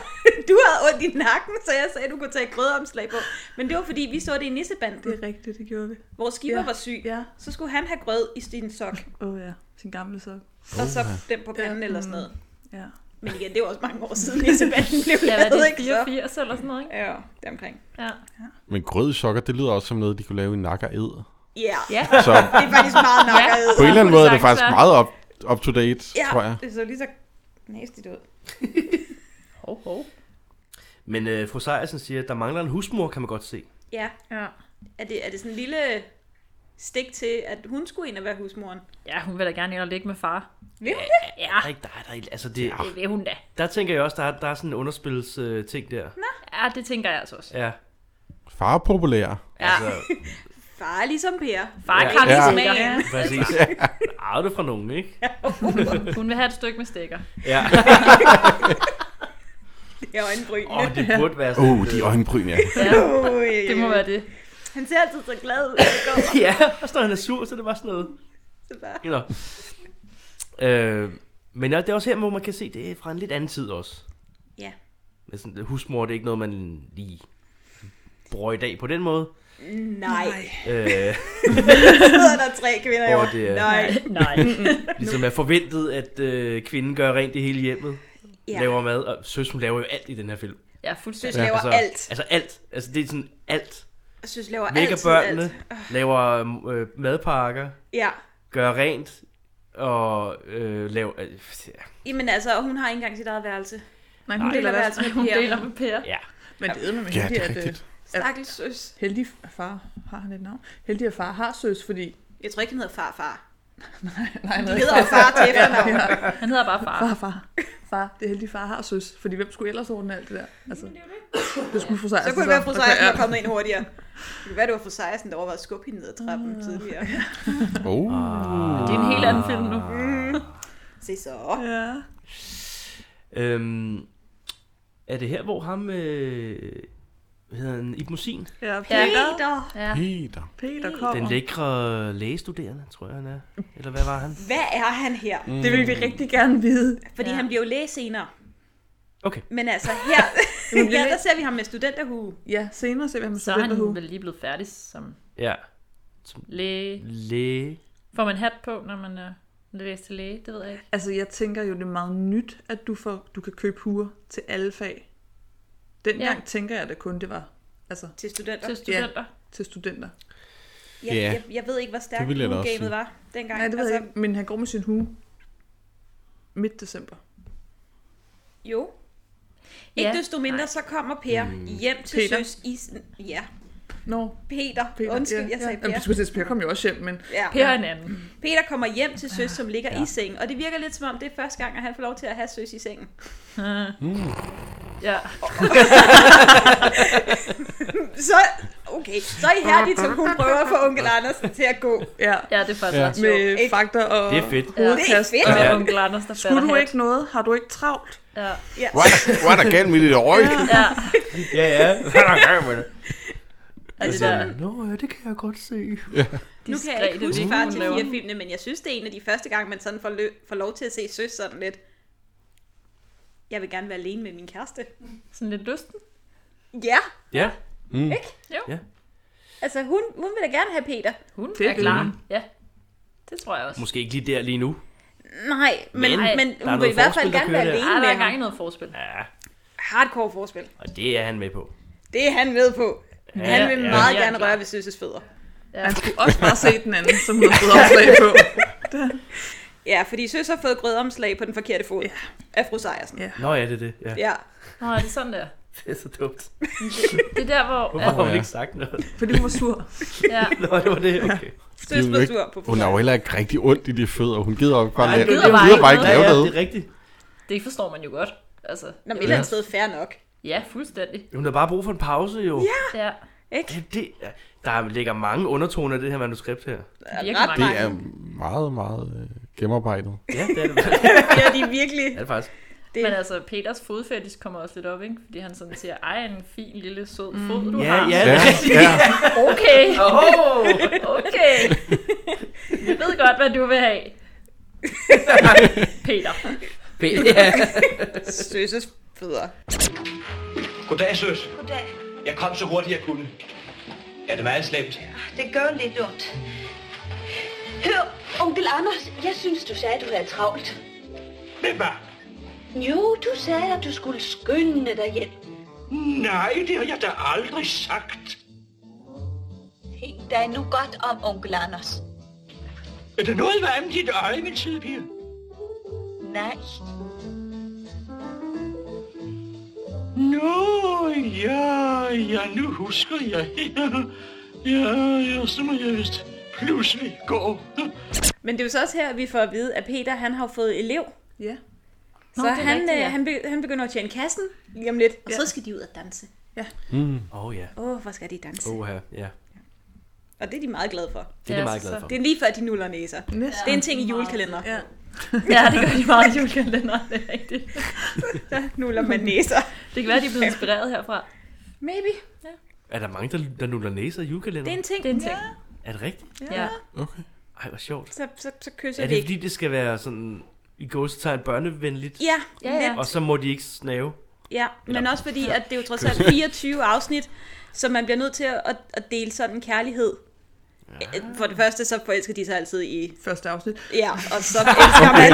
E: du havde ondt i nakken, så jeg sagde, at du kunne tage et grødomslag på. Men det var, fordi vi så det i
D: Det
E: Nissebanden.
D: er rigtigt, det gjorde vi.
E: Hvor Skipper
D: Ja.
E: var syg.
D: Ja.
E: Så skulle han have grød i sin sok,
D: Åh oh, ja, sin gamle sok.
E: og så den på panden eller sådan noget.
D: Ja.
E: Men igen, det var også mange år siden, Nissebanden blev
F: Ja, hvad er
E: lavet,
F: det?
E: ikke? Så-
F: 84 eller sådan noget, ikke?
E: Ja, det er omkring.
F: Ja.
C: Men grød i sokker, det lyder også som noget, de kunne lave i nakker ed.
E: Ja,
F: Ja.
C: Så
E: det er faktisk meget nok.
F: Ja.
C: på en eller anden måde er det faktisk
F: Sagtens.
C: meget up, up to date, tror jeg.
E: det så lige så næstigt ud.
F: Hov, hov.
B: Men øh, fru Sejersen siger, at der mangler en husmor, kan man godt se.
E: Ja,
F: Ja.
E: er det, er det sådan en lille stik til, at hun skulle ind og være husmoren?
F: Ja, hun vil da gerne ind og ligge med far.
E: Vil hun det?
F: Ja,
B: Der er ikke, der er, der er, ikke- altså det,
F: det vil hun da.
B: der tænker jeg også, der er, der er sådan en underspils øh, ting der.
F: Ja, det tænker jeg altså også.
B: Ja,
C: Far er populær.
F: Ja,
B: altså,
E: Far er ligesom Per.
F: far
B: Ja.
F: kan
C: Ja.
F: ligesom
E: Ja.
F: ja.
B: præcis. Arve det fra nogen, ikke?
F: Hun vil have et stykke med stikker.
B: Ja.
E: Det er øjenbrynene.
B: Åh, oh, det burde være sådan. øh,
C: Åh, oh, de øjenbryn, ja.
F: Ja,
E: Oh, ja, ja,
F: det må
E: ja.
F: være det.
E: Han ser altid så glad ud. når han går.
B: Ja, og så når han er sur, så er det bare sådan noget.
E: Så bare-
B: Nå. Øh, men ja, det er også her, hvor man kan se, det er fra en lidt anden tid også.
E: Ja.
B: Men sådan, husmor, det er ikke noget, man lige bruger i dag på den måde.
E: Nej,
B: Øh,
E: så sidder der tre kvinder i
B: Hvor
E: år.
B: det er-
E: Nej.
F: Nej.
B: ligesom er forventet, at øh, kvinden gør rent i hele hjemmet.
E: Ja.
B: Ja. Laver mad, og søs, hun laver jo alt i den her film.
F: Ja,
E: Søs
F: fuldstændig.
E: laver
B: altså,
E: alt.
B: Altså alt. Altså det er sådan alt.
E: Søs laver
B: Vækker
E: altid
B: børnene,
E: alt.
B: laver øh, madpakker,
E: Ja.
B: gør rent og øh, laver... Øh, ja.
E: Jamen altså, hun har ikke engang sit eget værelse.
D: Nej, hun
B: Nej.
D: deler
E: Deler
D: værelse.
E: værelse med
F: Hun
E: Per.
F: deler med Per.
B: ja.
D: Men det er med
C: Ja, det
D: heldig,
C: er
D: at øh,
C: rigtigt.
E: Stakkels søs.
D: heldig f- far, har han et navn? Heldig at far har søs, fordi...
E: Jeg tror ikke, han hedder farfar.
D: Nej, han
E: Han hedder jo far til efternavn.
F: Han hedder bare far.
D: Far, far. Far, det er heldig far har søs. Fordi hvem skulle ellers ordne alt det der? Altså, det skulle fru Sejersen.
E: Så kunne det være, at fru Sejersen var kommet ind hurtigere. Det kunne være, det var fru Sejersen, der overvejede at skubbe hende ned ad trappen tidligere.
C: Oh.
F: Det er en helt anden film nu.
E: Se så.
D: Ja.
B: Øhm, er det her, hvor ham... Øh, hvad hedder han? Ibn Musin?
D: Ja, Peter.
E: Peter.
F: Ja.
C: Peter.
D: Peter kommer.
B: Den lækre lægestuderende, tror jeg, han er. Eller hvad var han?
E: Hvad er han her?
D: Det vil vi rigtig gerne vide.
E: Fordi
F: Ja.
E: han bliver jo læge senere.
B: Okay.
E: Men altså her,
D: Jamen, det
E: her
D: er-
E: der ser vi ham med studenterhue.
D: Ja, senere ser vi ham med
F: Så er han
D: studenterhue.
F: vel lige blevet færdig som
B: Ja.
F: læge.
B: Læge.
F: Får man hat på, når man er læst til læge? Det ved jeg ikke.
D: Altså, jeg tænker jo, det er meget nyt, at du, får, du kan købe huer til alle fag. Dengang
F: Ja.
D: ja. tænker jeg da kun, det var altså,
E: Til studenter.
F: Til studenter.
D: til studenter.
E: Jeg,
C: Ja.
E: jeg, jeg ved ikke, hvor stærkt
C: Det ville jeg da også
E: gamet
C: sige.
E: var dengang. Altså,
D: Nej, det ved jeg ikke. Altså, Men han går med sin hue midt december.
E: Jo. Ikke
F: Ja.
E: desto mindre, så kommer Per mm. hjem til
D: Peter.
E: Søs i... Ja.
D: Nå,
E: Peter. Peter Undskyld, jeg sagde
D: Per. Jamen, du
E: Per.
D: skulle sige, Per kom jo også hjem, men...
E: Ja.
F: Per er en anden.
E: Peter kommer hjem til Søs, som ligger ja. i sengen. Og det virker lidt som om, det er første gang, at han får lov til at have Søs i sengen.
F: Ja.
E: Så, okay, så er I herligt, som hun prøver at få onkel Andersen til at gå.
D: Ja,
F: ja, det er faktisk
C: Ja.
F: ja. ret
D: med
F: sjovt.
E: ikke?
D: fakter og
B: Det er fedt.
D: hovedkast.
E: Det er fedt.
F: Og
B: Ja.
F: onkel Anders, der
D: Skulle
F: fatter
D: du
F: hat.
D: ikke noget? Har du ikke travlt?
F: Ja.
E: Ja.
C: What, what er galt med dit øje?
F: ja.
B: Ja, ja. Hvad er der gang med det?
F: Og det der,
B: Altså, Nå, ja, det kan jeg godt se.
E: Nu kan jeg
F: diskrete
E: ikke huske
F: vink,
E: far
F: hun
E: til
F: laver.
E: fire filmene, men jeg synes, det er en af de første gange, man sådan får, lø- får lov til at se Søs sådan lidt. Jeg vil gerne være alene med min kæreste.
F: Sådan lidt lysten.
E: Ja,
B: Ja.
E: altså hun, hun vil da gerne have Peter.
F: Hun
D: Det
F: er
D: vil
F: klar.
B: hun.
F: Ja. Det tror jeg også.
B: Måske ikke lige der lige nu.
E: Nej, men,
B: Men
E: men, men
B: der er
E: hun
B: noget
E: vil i hvert fald
B: forspil, der
E: gerne være
B: kører der.
E: alene
F: Ej, der
E: med
F: er gang i
E: ham.
F: noget forspil.
B: Ja,
E: Hardcore forspil.
B: og det er han med på.
E: Det er han med på.
B: Ja,
E: Han vil
B: ja.
E: meget
F: Ja,
E: gerne
F: klar.
E: røre ved Søs' fødder.
F: Ja.
D: Han skulle også bare se den anden, som hun har fået opslag på.
E: Ja, fordi Søs har fået grødomslag på den forkerte fod ja. af fru Sejersen.
D: Ja.
B: Nå ja, det er det. Ja.
E: Ja.
F: Nå, er det sådan der?
B: Det er så dumt.
F: Det er der, hvor...
B: Hvorfor har
C: Åh,
B: hun
C: ja.
B: ikke sagt noget?
D: Fordi hun var sur.
F: ja.
B: Nå, det var det. Okay.
E: Søs
C: jo
E: blev
C: ikke-
E: sur på fru
C: Hun har jo
E: Sejersen.
C: heller ikke rigtig ondt i de fødder. Hun gider jo bare,
B: Nej,
C: lave-
B: hun
F: gider
C: hun
F: bare
C: gider bare
F: ikke
C: ikke
B: Ja,
C: lave
B: ja,
C: noget.
B: det er rigtigt.
F: Det forstår man jo godt. Altså,
E: Nå, men
F: jeg
E: et eller
F: ved-
E: andet sted fair nok.
F: ja, fuldstændig.
B: Hun har bare brug for en pause, jo. Ja.
F: Ja,
E: Ikke?
B: Det, det, der ligger mange undertoner i det her manuskript her.
F: virkelig
E: ret
C: Det
F: mange.
C: er meget, meget øh, gennemarbejdet.
B: Ja, det er det.
E: Ja, de er virkelig...
B: det er det faktisk.
E: Det,
F: Men altså, Peters fodfetish kommer også lidt op, ikke? Fordi han sådan siger, ej, en fin lille sød
E: Mm.
F: fod, du
B: Ja,
F: har.
B: ja,
C: Ja,
B: det er rigtigt.
C: ja.
F: Okay,
B: Åh!
F: okay. Jeg ved godt, hvad du vil have. Peter.
B: Ja.
E: Søses fødder.
G: Goddag, søs.
I: Goddag.
G: Jeg kom så hurtigt, jeg kunne. Er det meget slemt?
I: Det gør lidt ondt.
H: Hør, onkel Anders, jeg synes, du sagde, du havde travlt.
G: Hvem er?
H: Jo, du sagde, at du skulle skynde dig hjem.
G: Nej, det har jeg da aldrig sagt.
H: Tænk dig nu godt om, onkel Anders.
G: Er der noget varmt i dit øje, min søde pige?
H: Nej,
G: Nå, ja, ja, nu husker jeg. Ja, ja, så må jeg vist pludselig gå.
E: Men det er jo så også her, vi får at vide, at Peter han har jo fået elev.
D: Ja.
E: Så
F: det er
E: han,
F: rigtigt,
E: øh,
F: ja.
E: han, be, han begynder at tjene kassen lige om lidt. Og så skal de ud og danse.
B: Åh ja.
E: Åh, oh, hvor skal de danse?
B: Åh ja. Ja.
E: Og det er de meget glade for.
B: Det er jeg meget glad for.
E: Det er lige før, de nuller næser.
D: Næsten.
E: Det er en ting i julekalender.
D: Ja.
F: Ja, det gør de meget i julekalenderen, det er rigtigt.
E: Der nuller man næser.
F: Det kan være, de er blevet inspireret herfra.
E: Maybe.
B: Er der mange, der, der nuller næser i
E: Det er
B: julekalenderen?
E: en ting.
F: Det er en ting.
B: Er det rigtigt?
F: Ja.
C: Okay.
B: Ej, hvor sjovt.
E: Så, så, så kysser
B: Er
E: vi
B: det
E: ikke.
B: fordi, det skal være sådan i gåsetegn børnevenligt?
E: Ja,
F: Ja, ja.
E: lidt.
B: Og så må de ikke snave?
E: Ja, men også fordi, at det er jo trods alt 24 afsnit, så man bliver nødt til at, at dele sådan en kærlighed. Ja. For det første, så forelsker de sig altid i...
D: Første afsnit.
E: Ja, og så elsker man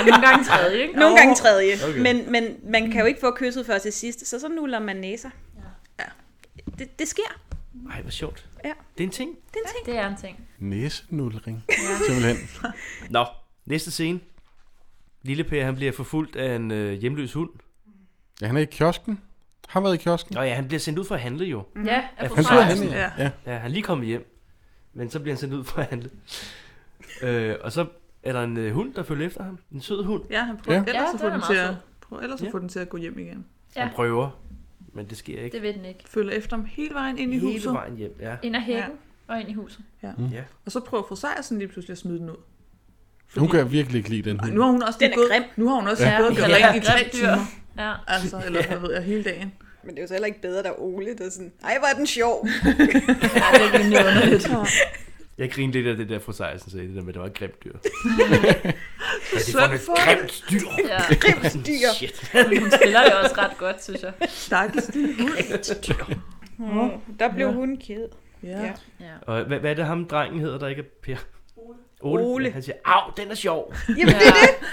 F: Ah, nogle gange tredje, ikke?
E: nogle gange tredje. Okay.
B: Okay.
E: Men, men man kan jo ikke få kysset før til sidst, så så nuller man næser. Ja. Det, det sker.
B: Ej, hvor sjovt.
E: Ja.
B: Det er en ting.
E: Det er en ting.
F: Det er en ting.
C: Næsenulring. Simpelthen.
B: Nå, næste scene. Lille Per, han bliver forfulgt af en øh, hjemløs hund.
C: Ja, han er i kiosken. Har været i kiosken.
B: Nå ja, han bliver sendt ud for at handle jo.
F: Ja, er
B: Ja,
F: på
B: han
C: Så er
F: Frederiksen.
C: han i-
D: Ja.
C: ja.
B: Ja, han er lige kommet hjem. Men så bliver han sendt ud for at handle. øh, og så er der en øh, hund, der følger efter ham. En sød hund.
D: Ja, han prøver
C: Ja.
D: ellers
F: Ja,
D: at
F: den
D: få
F: er
D: den
F: meget
D: til at...
F: sød.
D: Prøver ellers at
B: Ja.
D: få den til at gå hjem igen.
F: Ja.
B: Han prøver, men det sker ikke.
F: Det ved den ikke.
D: Følger efter ham hele vejen ind i
B: Hele
D: huset.
B: vejen hjem, ja.
F: Ind ad hækken og ind i huset.
D: Og så prøver fru Sejersen lige pludselig at smide den ud.
C: Hun kan jeg virkelig ikke lide den
D: Ej,
C: hund.
D: nu har hun også
E: Den
D: lige
E: er
D: gået,
E: grim.
D: nu har hun også
F: Ja.
D: ja. gået og gjort
F: Ja.
D: rent i tre
F: Grimt dyr.
D: timer.
F: Ja.
D: Altså, eller hvad ved jeg, hele dagen.
E: Men det er jo så heller ikke bedre, der er Ole, der er sådan, ej, hvor er den sjov.
F: Ja, det er virkelig underligt.
B: Jeg griner lidt af det der, fru Sejersen sagde, det der med, at det var et grimt dyr.
D: Det er for
B: grimt dyr!
F: Ja.
E: Grimt dyr.
B: Shit.
F: Hun spiller jo også ret godt, synes jeg.
D: Stakkels lille hund.
E: Mm. Der blev hun ked.
D: Ja.
E: Ja.
B: Og hvad, hvad er det ham, drengen hedder, der ikke er Per? Ole.
E: Ole.
B: Ja, han siger, au, den er sjov.
E: Jamen,
F: Ja.
E: det er det.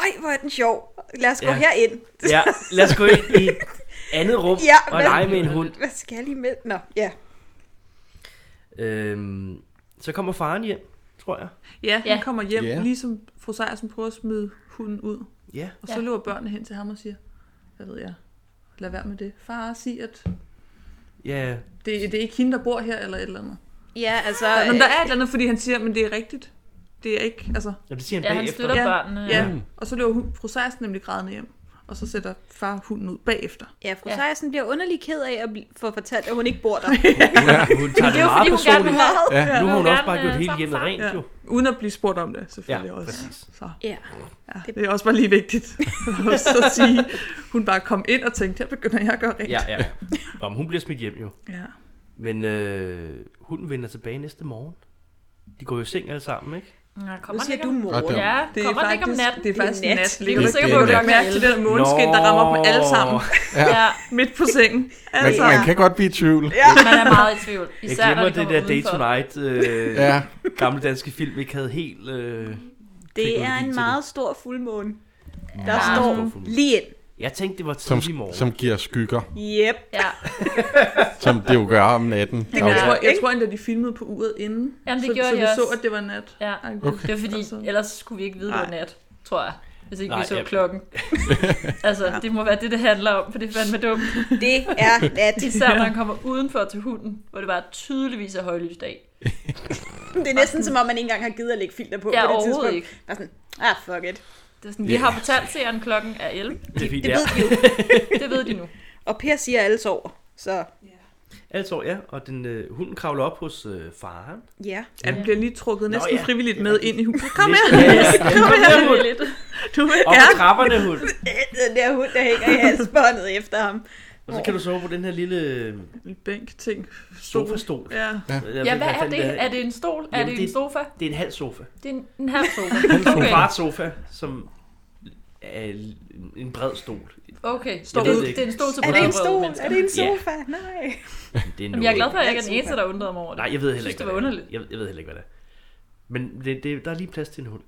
E: Ej, hvor er den sjov. Lad os gå
B: Ja.
E: herind.
B: Ja, lad os gå ind i et andet rum
E: Ja,
B: og
E: hvad-
B: lege med en hund.
E: Hvad skal I med? Nå, ja.
B: Øhm, så kommer faren hjem, tror jeg.
D: ja, han
F: Ja.
D: kommer hjem,
C: Ja.
D: ligesom fru Sejersen prøver at smide hunden ud.
B: Ja.
D: Og så
F: Ja.
D: løber børnene hen til ham og siger, hvad ved jeg, lad være med det. Far, sig at
B: Ja, ja.
D: Det, det er ikke hende, der bor her, eller et eller andet.
E: Ja, altså...
D: Men der er et eller andet, fordi han siger, men det er rigtigt. Det er ikke, altså...
B: Nå, det siger han
F: Ja, han
B: bagefter.
F: støtter
D: Ja.
F: børnene.
D: Ja, og så løber hun, process nemlig grædende hjem. Og så sætter far hunden ud bagefter.
E: Ja, fru Sejersen bliver underlig ked af at bl- få fortalt, at hun ikke bor der.
B: Hun, hun tager
F: Det er
B: det
F: jo fordi,
B: meget
F: hun gerne vil
B: personligt.
F: have
C: Ja.
B: Nu har
F: Hun
B: hun
F: vil
B: også bare
F: gerne,
B: gjort
F: øh,
B: hele
F: sammen
B: hjemmet rent,
F: sammen.
D: Ja.
B: jo.
D: Uden at blive spurgt om det, selvfølgelig
B: Ja,
D: også.
B: præcis.
D: Så
E: Ja.
D: ja, det er også bare lige vigtigt også at sige, hun bare kom ind og tænkte, her begynder jeg at gøre rent.
B: Ja, ja. Om hun bliver smidt hjem, jo.
D: ja.
B: Men øh, hunden vender tilbage næste morgen. De går jo i seng alle sammen, ikke?
F: Ja,
E: Nu
F: kommer den
E: siger
F: ikke
E: du
F: om-
E: mor.
C: Ret der.
F: Ja,
D: Det er
F: kommer den
D: faktisk,
F: ikke om natten?
D: Det er faktisk
E: Det er
D: nat.
E: nat.
D: Det
F: Vi er
D: er
F: sikre
D: sikker
C: på,
D: på,
C: at
D: at
C: det
D: du
C: er
D: ikke mærke til det der måneskin, der rammer dem alle sammen.
F: Ja,
D: Midt på sengen.
C: Man,
D: Altså,
C: man kan godt blive i tvivl.
F: man er meget i tvivl.
B: Jeg
F: Især, når
B: glemmer
F: det
B: det
F: kommer
B: der Day Tonight,
F: udenfor.
B: øh,
C: Ja.
B: ja. gamle danske film, vi ikke havde helt... Øh...
E: Det er
B: Teknologi til
E: en
B: det.
E: meget stor fuldmåne, der
B: meget
E: står
B: stor fuldmåne.
E: lige ind.
B: Jeg tænkte, det var
C: Som,
B: tidlig morgen.
C: som giver skygger,
E: Yep.
F: Ja,
C: som det jo gør om natten.
D: jeg,
C: Okay.
D: tror, jeg tror endda, de filmede på uret inden.
F: Jamen, det
D: så,
F: gjorde
D: så
F: de
D: vi
F: også.
D: så, at det var nat.
F: ja.
D: Okay.
F: Det var fordi, ellers skulle vi ikke vide, det var
D: Nej.
F: nat, tror jeg. Hvis ikke
B: Nej,
F: vi så
B: ja.
F: klokken. altså, det må være det, det handler om, for det er fandme dumt.
E: Det er nat.
F: Især når han kommer udenfor til hunden, hvor det bare tydeligvis er højlys dag.
E: Det er næsten som om, man ikke engang har givet at lægge filter på
F: Ja,
E: på det
F: overhovedet
E: tidspunkt.
F: ikke.
E: Der er sådan, ah, fuck it.
F: Det er sådan, vi har fortalt seeren klokken er 11.
B: Det er fint,
E: Det
B: ja.
E: ved vi jo.
F: Det ved de nu.
E: Og Per siger, at alle sover. Så
B: Altså, ja, og den, øh, hunden kravler op hos øh, faren.
E: ja.
D: Ja, den bliver lige trukket næsten
B: ja.
D: frivilligt med ind i huset. Kom her,
B: Ja, ja, ja.
D: kom her,
F: Det er lidt.
D: du vil
B: Op
D: er.
B: ad trapperne, hund.
E: Den der hund, der hænger i halsbåndet efter ham.
B: Og så kan du sove på den her lille øh,
D: Bænk-ting. Stol.
B: sofastol.
D: Ja.
F: Ja, hvad er det? Er det en stol? Er
B: Jamen,
F: det
B: det-
F: en sofa?
B: Det er en halv sofa.
F: Det er en, en halv sofa.
B: En
F: Okay,
B: kvart sofa, som er en bred stol.
F: okay.
B: Jeg ved
F: Det,
B: det
F: det,
B: ikke.
F: er en stol til
E: Er det en
F: brødrede
E: stol?
F: mennesker.
E: Er det en
B: Ja.
E: sofa? Nej.
B: Det er
F: Jamen, jeg er glad for, at jeg ikke er den eneste, der undrede mig over det.
B: Nej, jeg ved heller
F: synes,
B: ikke,
F: det var
B: hvad
F: underligt.
B: er. Jeg, jeg ved heller ikke, hvad det er. Men det, det, der er lige plads til en hund.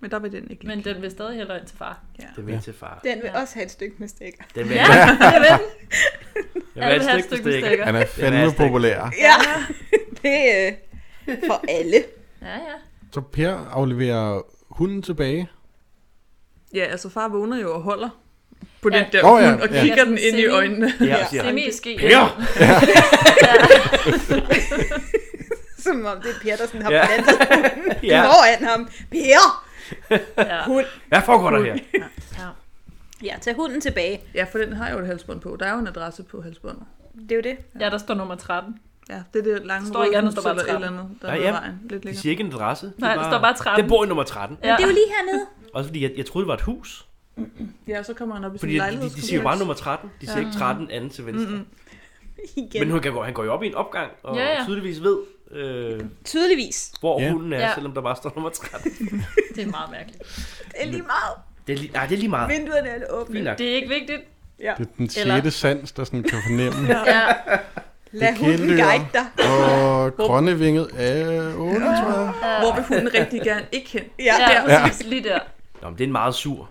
D: Men der var den ikke.
F: Men den vil stadig hellere ind til far.
B: Den vil ja. til far.
E: Den vil også have et stykke med stikker.
B: Den vil
F: Ja, det vil den.
B: den vil
F: Alle vil
B: et
F: have
B: stykke
F: et stykke
B: bestikker.
F: stikker.
C: Han er fandme Hashtag. populær.
E: Ja. Det er øh, for alle.
F: Ja, ja.
C: Så Per afleverer hunden tilbage.
D: Ja, altså far vågner jo og holder på
F: Ja.
D: den der
C: Åh, ja,
D: hund og
C: ja.
D: kigger
F: Ja,
D: den ind i
F: semi-
D: øjnene.
B: Det er,
F: Det
B: siger,
F: er mest ske.
B: Per!
E: Som om det er Per, der sådan har
B: Ja.
E: plantet
B: Ja.
E: ja. foran ham. Per!
F: Ja.
E: Hund.
B: Hvad foregår der her?
E: Ja, tag hunden tilbage.
D: Ja, for den har jo et halsbånd på. Der er jo en adresse på halsbåndet.
E: Det er jo det.
F: ja, der står nummer 13.
D: Ja, det er det lange
F: Står ikke
D: røde
F: andet,
D: hus
F: står bare
D: eller et
F: trappen.
D: eller andet, der
B: Ja,
D: er
B: ja.
D: ja, vejen. Lidt
B: De
D: længere.
B: siger ikke en adresse. Det er
F: Nej, der står bare 13.
B: Den bor i nummer 13.
E: Men det er jo lige hernede.
B: Også fordi, jeg, jeg troede, det var et hus.
D: Ja, så kommer han op i sin
B: Fordi de, de,
D: lejlighed.
B: de siger jo bare nummer 13. De siger ikke 13 anden til venstre. Mm-hmm.
E: Igen.
B: Men hun kan gå, han går jo op i en opgang, og
F: Ja,
B: ja,
F: ja.
B: ja. tydeligvis ved, øh,
E: Tydeligvis.
B: hvor
C: Ja.
B: yeah. hunden er,
F: Ja.
B: yeah. selvom der bare står nummer 13.
F: Det er meget mærkeligt.
E: Det er lige meget.
B: Det er lige, nej, det er lige meget.
E: Vinduerne er alle åbne.
B: Fint nok.
F: Det er ikke vigtigt.
C: Det er den
F: Eller-
C: sjette sans, der sådan kan fornemme.
F: Ja,
E: Lad hunden
C: kæledyr.
E: guide dig.
C: Og grønne vinget er 8, tror jeg.
D: Hvor vil hunden rigtig gerne ikke hen?
E: Ja.
F: ja,
E: ja.
F: præcis. Lige der.
B: Nå, men det er en meget sur,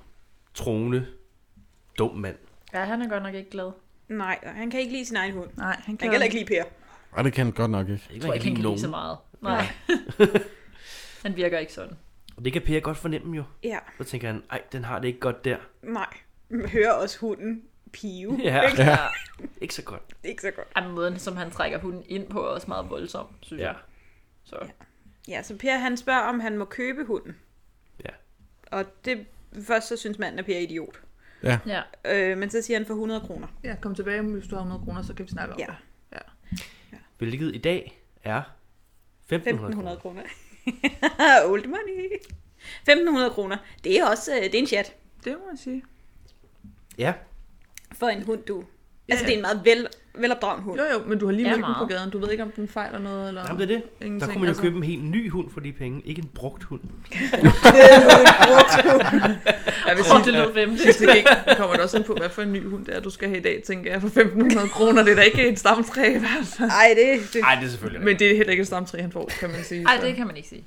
B: troende, dum mand.
F: Ja, han er godt nok ikke glad.
E: Nej, og han kan ikke lide sin egen hund.
D: Nej, han
E: Han
D: kan,
E: kan heller ikke lide Per.
C: Ej, det kan han godt nok ikke.
B: Jeg
F: Jeg tror ikke, han kan lide så meget. Nej. han virker ikke sådan.
B: Og det kan Per godt fornemme jo.
E: Ja,
B: Så tænker han, ej, den har det ikke godt der.
E: nej. Hører også hunden pive.
B: Ja,
C: Ja.
B: ikke så godt.
E: Det er ikke så godt.
F: Ej, men måden, som han trækker hunden ind på, er også meget voldsom, synes
B: Ja.
F: jeg. Så.
E: Ja, så Per han spørger, om han må købe hunden.
B: Ja.
E: Og det først så synes manden, at Per er idiot.
F: Ja.
E: Øh, men så siger han for 100 kroner.
D: Ja, kom tilbage, hvis du har 100 kroner, så kan vi snakke om
E: Ja,
D: det.
B: Hvilket i dag er 1500 kroner.
E: 1500 kroner. Old money. 1500 kroner. Det er også øh, det er en chat
D: Det må man sige.
B: Ja,
E: for en hund, du. Altså,
D: ja.
E: det er en meget vel, velopdragen hund.
D: Jo jo, men du har lige
F: Ja,
D: mødt den på
F: meget.
D: gaden. Du ved ikke, om den fejler noget. Eller...
B: jamen, det er det.
D: Ingenting,
B: der kunne man jo
D: altså.
B: købe en helt ny hund for de penge. Ikke en brugt hund.
D: Ja, hvis,
F: Åh, det lød vemmeligt.
D: hvis det ikke kommer det også ind på, hvad for en ny hund det er, du skal have i dag, tænker jeg, for 1500 kroner. Det er da ikke et stamtræ i hvert fald.
E: Nej, det, det,
B: Nej, det er selvfølgelig
D: Men det er heller ikke et stamtræ, han får, kan man sige.
F: Ej,
D: så-
F: det kan man ikke sige.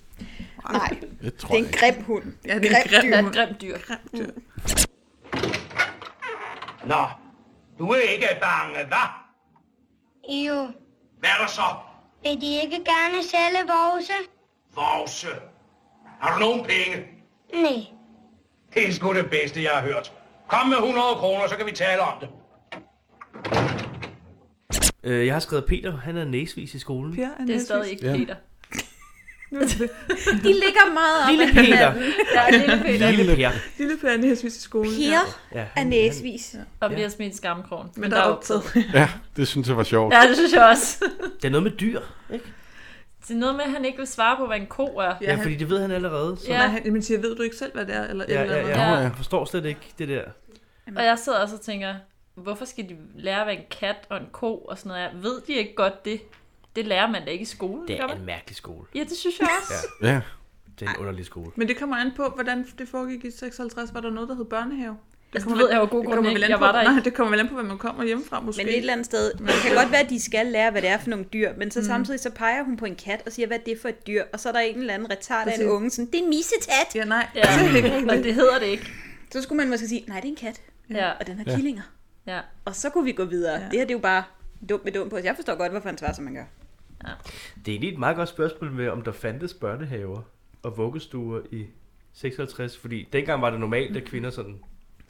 E: nej.
C: Det tror
E: det er
C: jeg
E: en
C: ikke.
E: grim hund.
D: Ja, det er en grim
F: Det er
D: hund.
F: et grimt dyr.
G: Nå, du er ikke bange, hva'?
H: Jo,
G: Hvad er der så?
H: vil de ikke gerne sælge vores?
G: Vovse. Har du nogen penge?
H: Nej.
G: Det er sgu det bedste, jeg har hørt. Kom med 100 kroner, så kan vi tale om det.
B: Øh, jeg har skrevet Peter, han er næsvis i skolen.
D: Per er
F: Det er
D: næsvis.
F: stadig ikke
C: Ja.
F: Peter.
D: Nu er det det.
E: De ligger meget op
B: Lille
E: ad
B: Peter.
E: hinanden.
F: Der er lille Peter,
B: Lille Per.
D: Lille Per er næsvis i skolen.
E: Per
B: Ja,
E: er
B: han-
E: næsvis.
F: og bliver smidt i skamkrogen.
D: Men der er optaget.
C: Ja, det synes jeg var sjovt.
F: Ja, det synes jeg også.
B: han- Det er noget med dyr.
F: Det er noget med, at han ikke vil svare på, hvad en ko er.
B: Ja, fordi det ved han allerede. Så.
D: Ja.
F: Ja.
D: Nej, han, men siger, ved du ikke selv, hvad det er? Eller,
B: Ja,
D: eller
B: ja,
D: andet?
B: ja.
F: Ja.
B: Jeg forstår slet ikke det der.
F: Og jeg sidder også og tænker, hvorfor skal de lære, hvad en kat og en ko og sådan noget er? Ved de ikke godt det? Det lærer man da ikke i skolen,
B: Det
F: gør
B: er
F: man?
B: en mærkelig skole.
F: Ja, det synes jeg også.
B: Ja.
C: Ja.
B: Det er en underlig skole.
D: Men det kommer an på, hvordan det foregik i 56. Var der noget, der hed børnehave? Det
F: Altså, det ved jeg jo af gode
D: det
F: grunde
D: kommer
F: ikke.
D: vel an
F: Jeg
D: på,
F: var der
D: nej,
F: ikke.
D: det kommer vel an på, hvad man kommer hjemmefra måske.
E: Men et eller andet sted, det kan godt være, at de skal lære, hvad det er for nogle dyr, men så samtidig så peger hun på en kat og siger, hvad det er for et dyr, og så er der en eller anden retard af en
D: Præcis.
E: unge, sådan, det er en misetat.
D: Ja, nej.
F: Ja, og det hedder det ikke.
E: Så skulle man måske sige, nej, det er en kat,
F: Ja,
E: og den har killinger.
F: ja.
E: Og så kunne vi gå videre. Ja. Det her det er jo bare dumt med dumt på. Jeg forstår godt, hvorfor han svarer, som han gør.
B: Det er egentlig et meget godt spørgsmål med, om der fandtes børnehaver og vuggestuer i 56, fordi dengang var det normalt, at kvinder sådan...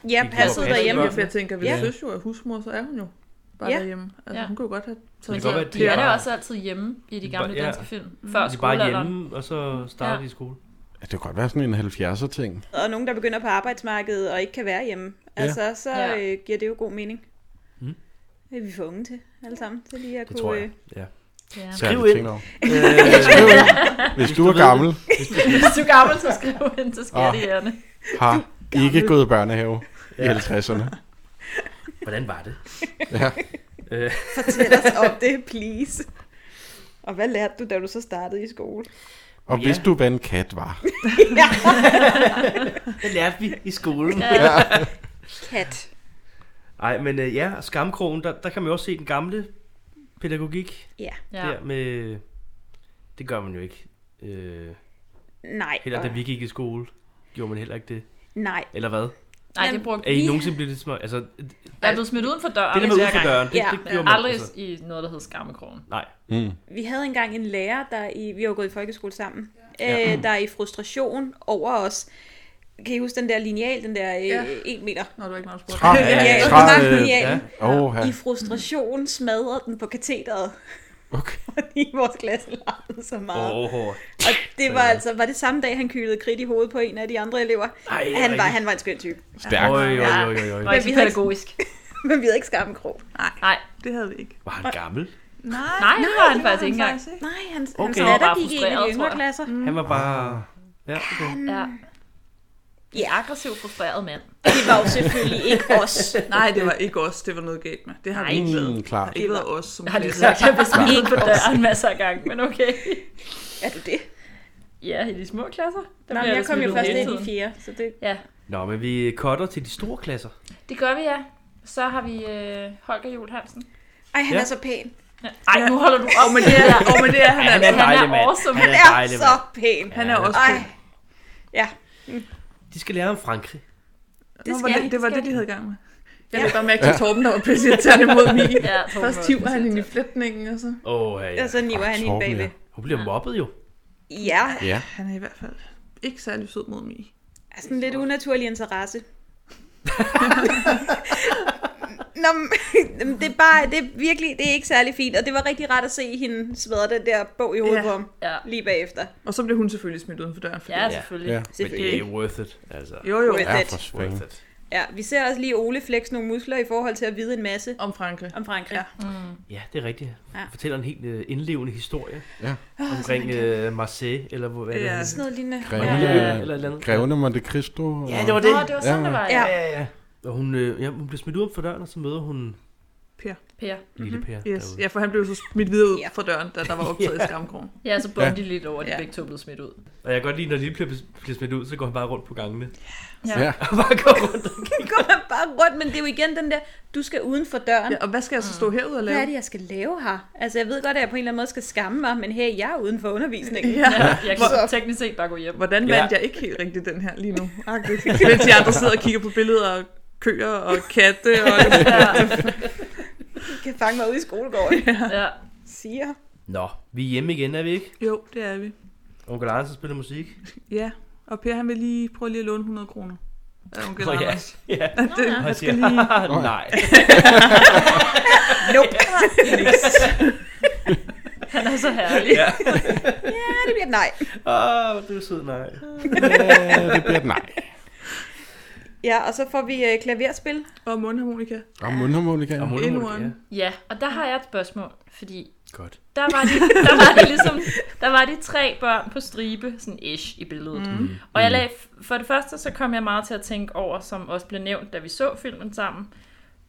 E: Ja,
B: Det gjorde
E: passet
B: passet
E: derhjemme.
D: Ja, for jeg tænker, hvis
E: Ja.
D: ja. søs jo er husmor, så er hun jo bare
E: Ja.
D: ja. derhjemme. Altså,
F: Ja.
D: hun kunne jo godt have
F: Men
D: taget
B: godt være,
F: de,
B: at
F: de
B: de
F: er
B: bare-
F: da også altid hjemme i de gamle
B: bare- ja.
F: danske film. Før
B: De bare
F: skolealderen.
B: hjemme, og så startede
F: Ja.
B: de i skole.
C: ja, det kunne godt være sådan en 70'er ting.
E: Og nogen, der begynder på arbejdsmarkedet og ikke kan være hjemme.
C: Ja.
E: Altså, så
F: Ja.
E: øh, giver det jo god mening. Mm. Det er vi for unge til, alle sammen. Til lige at
B: Det
E: kunne,
B: tror
E: øh,
B: jeg. Ja.
F: Ja.
C: Det har jeg
B: Skriv
C: lige
B: ind.
C: tænkt over.
B: Øh,
C: Skriv ind, hvis du er gammel,
F: Hvis du er gammel, så skriv ind til
B: Ah.
F: skattejerne.
C: har ikke gået i børnehave i 50'erne.
B: hvordan var det?
C: Ja.
B: Øh,
E: Fortæl os om det, please. Og hvad lærte du, da du så startede i skole?
C: Og hvis
B: Ja.
C: du, hvad en kat var.
B: det lærte vi i skolen.
E: Kat.
B: Nej, men øh, ja, skamkrogen, der, der kan man jo også se den gamle pædagogik
E: Ja.
B: ja.
F: Ja.
B: der med... Det gør man jo ikke. Øh,
E: Nej.
B: heller da
E: og-
B: vi gik i skole, gjorde man heller ikke det.
E: Nej.
B: Eller hvad?
F: Nej, det
E: Jamen,
F: brugte
B: Er I
F: vi.
B: nogensinde blevet lidt små? Altså, det
F: Der er blevet smidt uden for døren.
B: der med ud
F: hver
B: for
F: gang.
B: døren, det,
E: Ja.
B: det gjorde man.
F: Aldrig
B: Altså,
F: i noget, der hed skammekrogen.
B: nej.
C: Mm.
E: Vi havde engang en lærer, der i, vi har jo gået i folkeskole sammen, ja. øh, der i frustration over os, kan I huske den der lineal, den der øh,
D: Ja.
E: ja. en meter?
D: Nå, du er ikke meget spurgt.
C: Tra,
E: Ja, ja,
C: ja,
E: ja.
C: tra,
E: Magt
C: øh,
E: linealen.
C: Åh, ja.
E: I frustration smadrede den på katheteret,
C: okay.
E: fordi vores klasse larmede så meget. Oh.
B: Åh, oh,
E: Og det var altså, var det samme dag, han kylede kridt i hovedet på en af de andre elever.
B: Ej,
E: han, var,
B: rigtigt.
E: han var en skøn type.
C: Stærkt.
B: Oj, oj, oj, oj,
F: Det
B: oj.
F: var ikke
E: vi
F: så
E: havde ikke-
F: pædagogisk.
E: Men vi havde ikke skammen krog.
F: Nej,
D: Det havde vi ikke.
B: Var han gammel?
D: Nej,
F: nej, det var han faktisk ikke
D: han
F: engang.
D: faktisk ikke.
E: Nej, han, okay. hans
B: Okay.
E: datter
F: Bare
E: gik i en af
F: frustreret,
E: de yngre
F: tror jeg.
E: klasser. Mm.
B: Han var bare... Ja, okay.
F: Ja.
E: Ja.
F: Ja. Aggressiv, frustreret mand.
E: Det var jo selvfølgelig ikke os.
D: Nej, det var ikke os, det var noget galt med. Det har vi ikke
C: Mm, klar.
D: Det var os som
F: Jeg har lige
D: klasse.
F: sagt, at jeg blev smidt uden for døren masser af gange, men okay.
E: Er du det?
F: Ja, i de små klasser. Der bliver
E: Nej, men jeg
F: da
E: kom
F: smidt
E: jo
F: ud
E: først
F: hele
E: ind i
F: tiden.
E: fjerde, så det...
F: Ja,
B: Nå, men vi cutter til de store klasser.
F: det gør vi, ja. Så har vi øh, Holger Juhl Hansen.
E: Ej, han
B: Ja.
E: er så pæn.
F: Ej, nu holder du op med det her.
D: Åh, men det er han
B: Ej,
D: altså.
F: Han er
B: dejlig mand.
F: awesome.
B: Han
E: Han
B: er
E: er
B: dejlig
E: så
B: mand.
E: pæn.
D: Han er også
E: Ej,
D: pæn.
B: De skal lære om Frankrig.
D: Nå,
E: skal
D: var
E: de,
D: det, det var
E: skal
D: det, de
E: de.
D: havde i gang med. Jeg lagde bare mærke til Torben, der var pissirriterende mod mig.
F: Ja, Torben
D: Først
F: var
D: tiver han
F: pisseirriterende.
D: hende i flætningen, og så...
B: Åh, oh, ja, ja.
E: og så niver han hende
C: Torben,
E: bagved.
B: Hun bliver mobbet jo.
E: Ja,
C: Ja.
D: Han er i hvert fald ikke særlig sød mod mig.
E: er sådan lidt unaturlig interesse. Nå, men, det er bare, det er virkelig, det er ikke særlig fint, og det var rigtig rart at se hende svæde den der bog i hovedet
D: Ja.
E: på ham,
F: Ja,
E: lige bagefter.
D: Og så blev hun selvfølgelig smidt uden for døren. Fordi...
F: ja
D: Ja.
F: selvfølgelig.
C: Ja.
B: Men
E: Selvfølgelig.
B: det er worth it, altså.
D: Jo, jo.
E: With
C: Ja,
E: it.
C: for
B: Worth
C: sving.
B: it.
E: Ja, vi ser også lige Ole flex nogle muskler i forhold til at vide en masse
D: Om Frankrig.
E: om Frankrig. Ja.
D: Ja.
F: Mm.
B: Ja, det er rigtigt.
E: Ja.
B: Ja. Fortæller en helt øh, indlevende historie
C: Ja.
B: omkring øh, Marseille, eller hvor, hvad
D: Ja.
B: det er.
E: Sådan noget lignende.
C: Grevene,
B: Ja, ja.
C: ja,
B: Eller et eller andet.
C: Grevene Monte Cristo. og-
B: Ja, det var det.
F: Nå, det var sådan,
C: Ja.
F: det var.
E: Ja.
F: Ja.
B: Ja, ja, ja. Og hun, øh, ja, hun bliver smidt ud for døren, og så møder hun
D: Per.
F: Per.
B: lille Per
D: Mhm. Yes.
B: derude.
D: Ja, for han blev så smidt videre ud
E: Ja.
D: fra døren, da der var optaget i skamkrogen.
F: Ja, så bumte de lidt over, at de
D: Ja.
F: begge to blev smidt ud.
B: Og jeg kan godt lide, når Lille Per bliver smidt ud, så går han bare rundt på gangene.
C: Ja.
B: Og bare går rundt.
E: Det går man bare rundt, men det er jo igen den der, du skal uden for døren.
D: Ja, og hvad skal jeg så stå herude og lave?
E: Hvad er det, jeg skal lave her? Altså, jeg ved godt, at jeg på en eller anden måde skal skamme mig, men hey, jeg er uden for undervisningen.
D: Ja.
F: Ja, jeg kan teknisk set bare gå hjem.
D: Hvordan vandt
B: Ja.
D: jeg ikke helt rigtigt den her lige nu? Mens de andre sidder og kigger på billeder og køer og katte. Og...
E: Jeg kan fange mig ude i skolegården.
F: Ja.
E: Siger.
B: Nå, vi er hjemme igen, er vi ikke?
D: Jo, det er vi.
B: Onkel Anders spiller musik.
D: Ja, og Per han vil lige prøve lige at låne 100 kroner. af onkel
B: Nå, ja.
D: Anders.
B: Ja.
D: At det,
B: Og
D: han
B: jeg siger,
D: skal lige...
B: nej.
E: Nope.
F: Han er så herlig.
B: Ja.
E: ja, det bliver et nej.
B: Åh, oh, du er sød, nej.
C: Ja, det bliver et nej.
E: Ja, og så får vi øh, klaverspil.
D: Og mundharmonika.
C: Og mundharmonika.
B: Og mundharmonika,
D: Endnu en.
B: ja.
F: Ja, og der har jeg et spørgsmål, fordi
B: Godt.
F: der var de, der var de ligesom, der var de tre børn på stribe, sådan ish i billedet. Mm. Og jeg lagde, for det første, så kom jeg meget til at tænke over, som også blev nævnt, da vi så filmen sammen.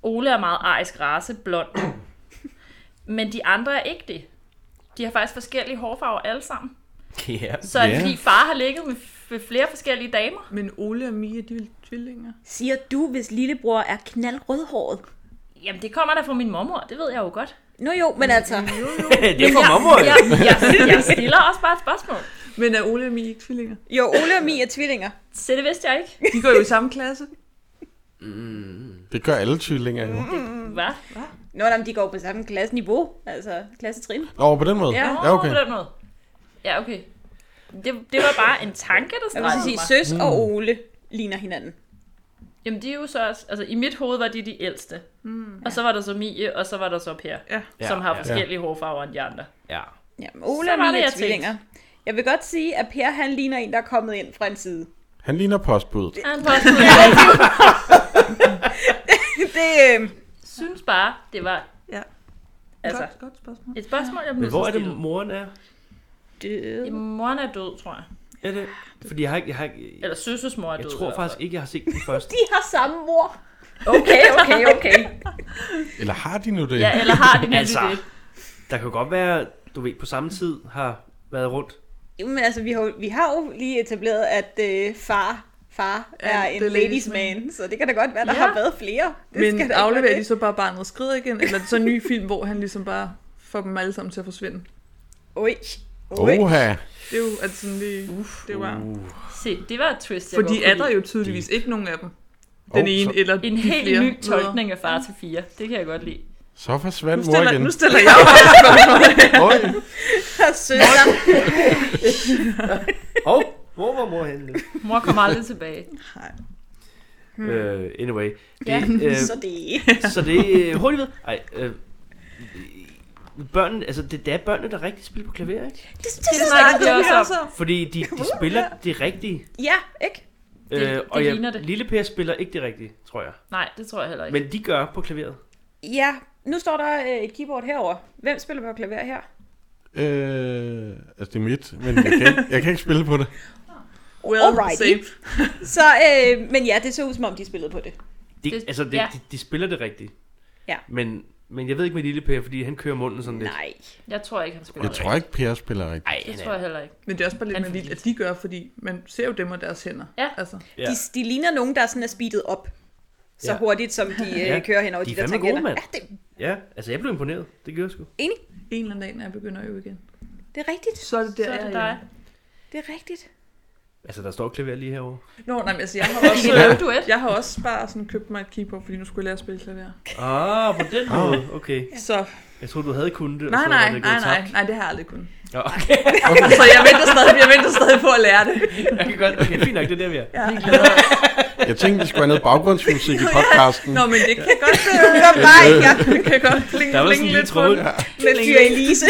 F: Ole er meget arisk race, blond. Men de andre er ikke det. De har faktisk forskellige hårfarver alle sammen.
B: Ja.
F: Så er det
C: Ja.
F: fordi far har ligget med f- flere forskellige damer.
D: Men Ole og Mia, de er tvillinger.
E: Siger du, hvis lillebror er knaldrødhåret?
F: Jamen, det kommer da fra min mormor, det ved jeg jo godt.
E: Nå jo, men altså...
B: det er for mamma.
F: jeg, jeg, jeg stiller også bare et spørgsmål.
D: Men er Ole og Mia ikke tvillinger?
E: Jo, Ole og Mia er tvillinger.
F: Så det vidste jeg ikke.
D: De går jo i samme klasse.
C: Det gør alle tvillinger jo.
F: Hvad?
E: Nå, nej, men de går på samme klasseniveau, altså klassetrin.
C: Over på den måde?
E: Ja.
C: ja okay.
F: på den måde. Ja, okay. Det, det var bare en tanke, der
E: Jeg vil så
F: strejede
E: sige,
F: mig.
E: Søs og Ole ligner hinanden.
F: Jamen, de er jo så også... Altså, i mit hoved var de de ældste. Mm, og så var der så Mie, og så var der så Per.
D: Ja.
F: Som har
B: ja.
F: forskellige hårfarver end de andre.
B: Ja.
E: Ja, men Ole
F: Så
E: og
F: var
E: Mia
F: det,
E: er
F: jeg tænkte.
E: tvillinger. Jeg vil godt sige, at Per han ligner en, der er kommet ind fra en side.
C: Han ligner postbuddet.
F: Han påstod, jeg
E: Det, øh,
F: synes bare, det var
D: Ja.
F: Altså.
D: Godt, godt spørgsmål.
F: et spørgsmål, jeg
B: Men
F: blev
B: hvor er det, moren er?
E: det,
F: Moren er død, tror jeg.
B: Er det? Fordi jeg har ikke... Jeg, har ikke,
F: Eller søsses mor er
B: jeg
F: død.
B: tror faktisk ikke, jeg har set den først.
E: de har samme mor.
F: Okay, okay, okay.
C: Eller har de nu det?
F: Ja, eller har de nemlig
B: Altså.
F: altså. det?
B: Der kan godt være, du ved, på samme tid har været rundt.
E: Jo, men altså, vi har, jo- vi har jo lige etableret, at øh, far, far er
D: the
E: en
D: ladies'
E: ladies man, så det kan da godt være, der
F: Ja.
E: har været flere. Det
D: Men
E: skal da ikke
D: afleverer
E: være
D: de
E: det.
D: så bare barnet skrider igen? Eller er det så en ny film, hvor han ligesom bare får dem alle sammen til at forsvinde?
E: Oj. Oj.
C: Oha.
D: Det er jo altså sådan lige... Uf, det var...
F: Se, det var et twist, jeg
D: For de
F: godt
D: er
F: kunne
D: der
F: lide.
D: jo tydeligvis ikke nogen af dem. Den
C: Åh,
D: ene
C: så-
D: eller
F: En
D: de
F: helt
D: flere
F: ny tolkning af far til fire. Det kan jeg godt lide.
C: Så
D: Nu
C: forsvandt mor
D: stiller,
C: igen.
D: nu stiller jeg op.
C: Oj.
E: Og søster.
B: Og hvor var mor henne?
F: Mor kommer aldrig tilbage.
B: Hmm. Uh, anyway. Det,
E: Ja,
B: øh,
E: så det.
B: så det er hurtigt ved. Ej, øh, børnene, altså det, det er børnene, der rigtig spiller på klaver, ikke?
E: Det, det, det
F: snakker vi også om.
B: Fordi de, de spiller det rigtige.
E: Ja, ikke?
F: Det-
B: øh,
F: det
B: og jeg,
F: ligner det.
B: Lille Per spiller ikke det rigtige, tror jeg.
F: Nej, det tror jeg heller ikke.
B: Men de gør på klaveret.
E: Ja, nu står der øh, et keyboard herover. Hvem spiller på klaver her?
C: Øh, altså det er mit, men jeg kan, ikke, jeg kan ikke spille på det.
D: Well,
E: Alrighty.
D: safe.
E: Så, øh, men ja, det så ud som om, de spillede på det.
B: De, det,
F: Det-
B: altså, det, ja.
F: ja.
B: de, de spiller det rigtigt.
E: Ja.
B: Men, men jeg ved ikke med Lille Per, fordi han kører munden sådan lidt.
E: Nej.
F: Jeg tror ikke, han spiller.
C: Jeg tror ikke, Per spiller rigtigt.
B: Ej,
F: Det
B: han
F: tror
B: er,
F: jeg heller ikke.
D: Men det er også bare lidt
F: Han
D: med
F: får
D: vildt,
F: lidt.
D: at de gør, fordi man ser jo dem og deres hænder.
F: Ja.
D: Altså,
B: Ja.
E: De, de ligner nogen, der sådan er speedet op. Så
B: Ja.
E: hurtigt, som de øh,
B: Ja,
E: kører hen over
B: de
E: de,
B: er
E: der
B: fandme gode,
E: tangenter.
B: mand.
E: Ja, det,
B: ja, altså jeg blev imponeret. Det gjorde jeg sgu.
E: enig.
D: en eller anden dag, når jeg begynder at øve igen.
E: Det er rigtigt.
D: Så er det der,
F: Så er det
D: jeg
F: dig.
D: er.
E: Det er rigtigt.
B: Altså, der står klaver lige herovre.
D: Nå, nej, men altså, jeg har
F: I
D: også...
F: kan lave duet.
D: Jeg har også bare sådan købt mig et keyboard, fordi nu skulle jeg lære at spille klaver.
B: Ah, på den måde. Okay.
D: Så
B: Jeg troede, du havde kunnet det. og
D: nej,
B: så
D: nej,
B: var det
D: nej,
B: gået
D: nej,
B: tabt.
D: nej, det har jeg aldrig kunnet.
B: Nå, okay.
D: Så jeg venter stadig, jeg venter stadig på at lære det.
B: Jeg kan godt. Okay, fint nok, det er der, vi er.
C: Jeg tænkte, vi skulle have noget baggrundsmusik i podcasten.
D: Nå, men det kan godt,
E: Det var bare ikke, jeg
D: det kan godt klinge,
B: Der var sådan en
D: klinge
B: lille
D: lidt på
B: tråd.
D: den.
E: med Fyre Elise.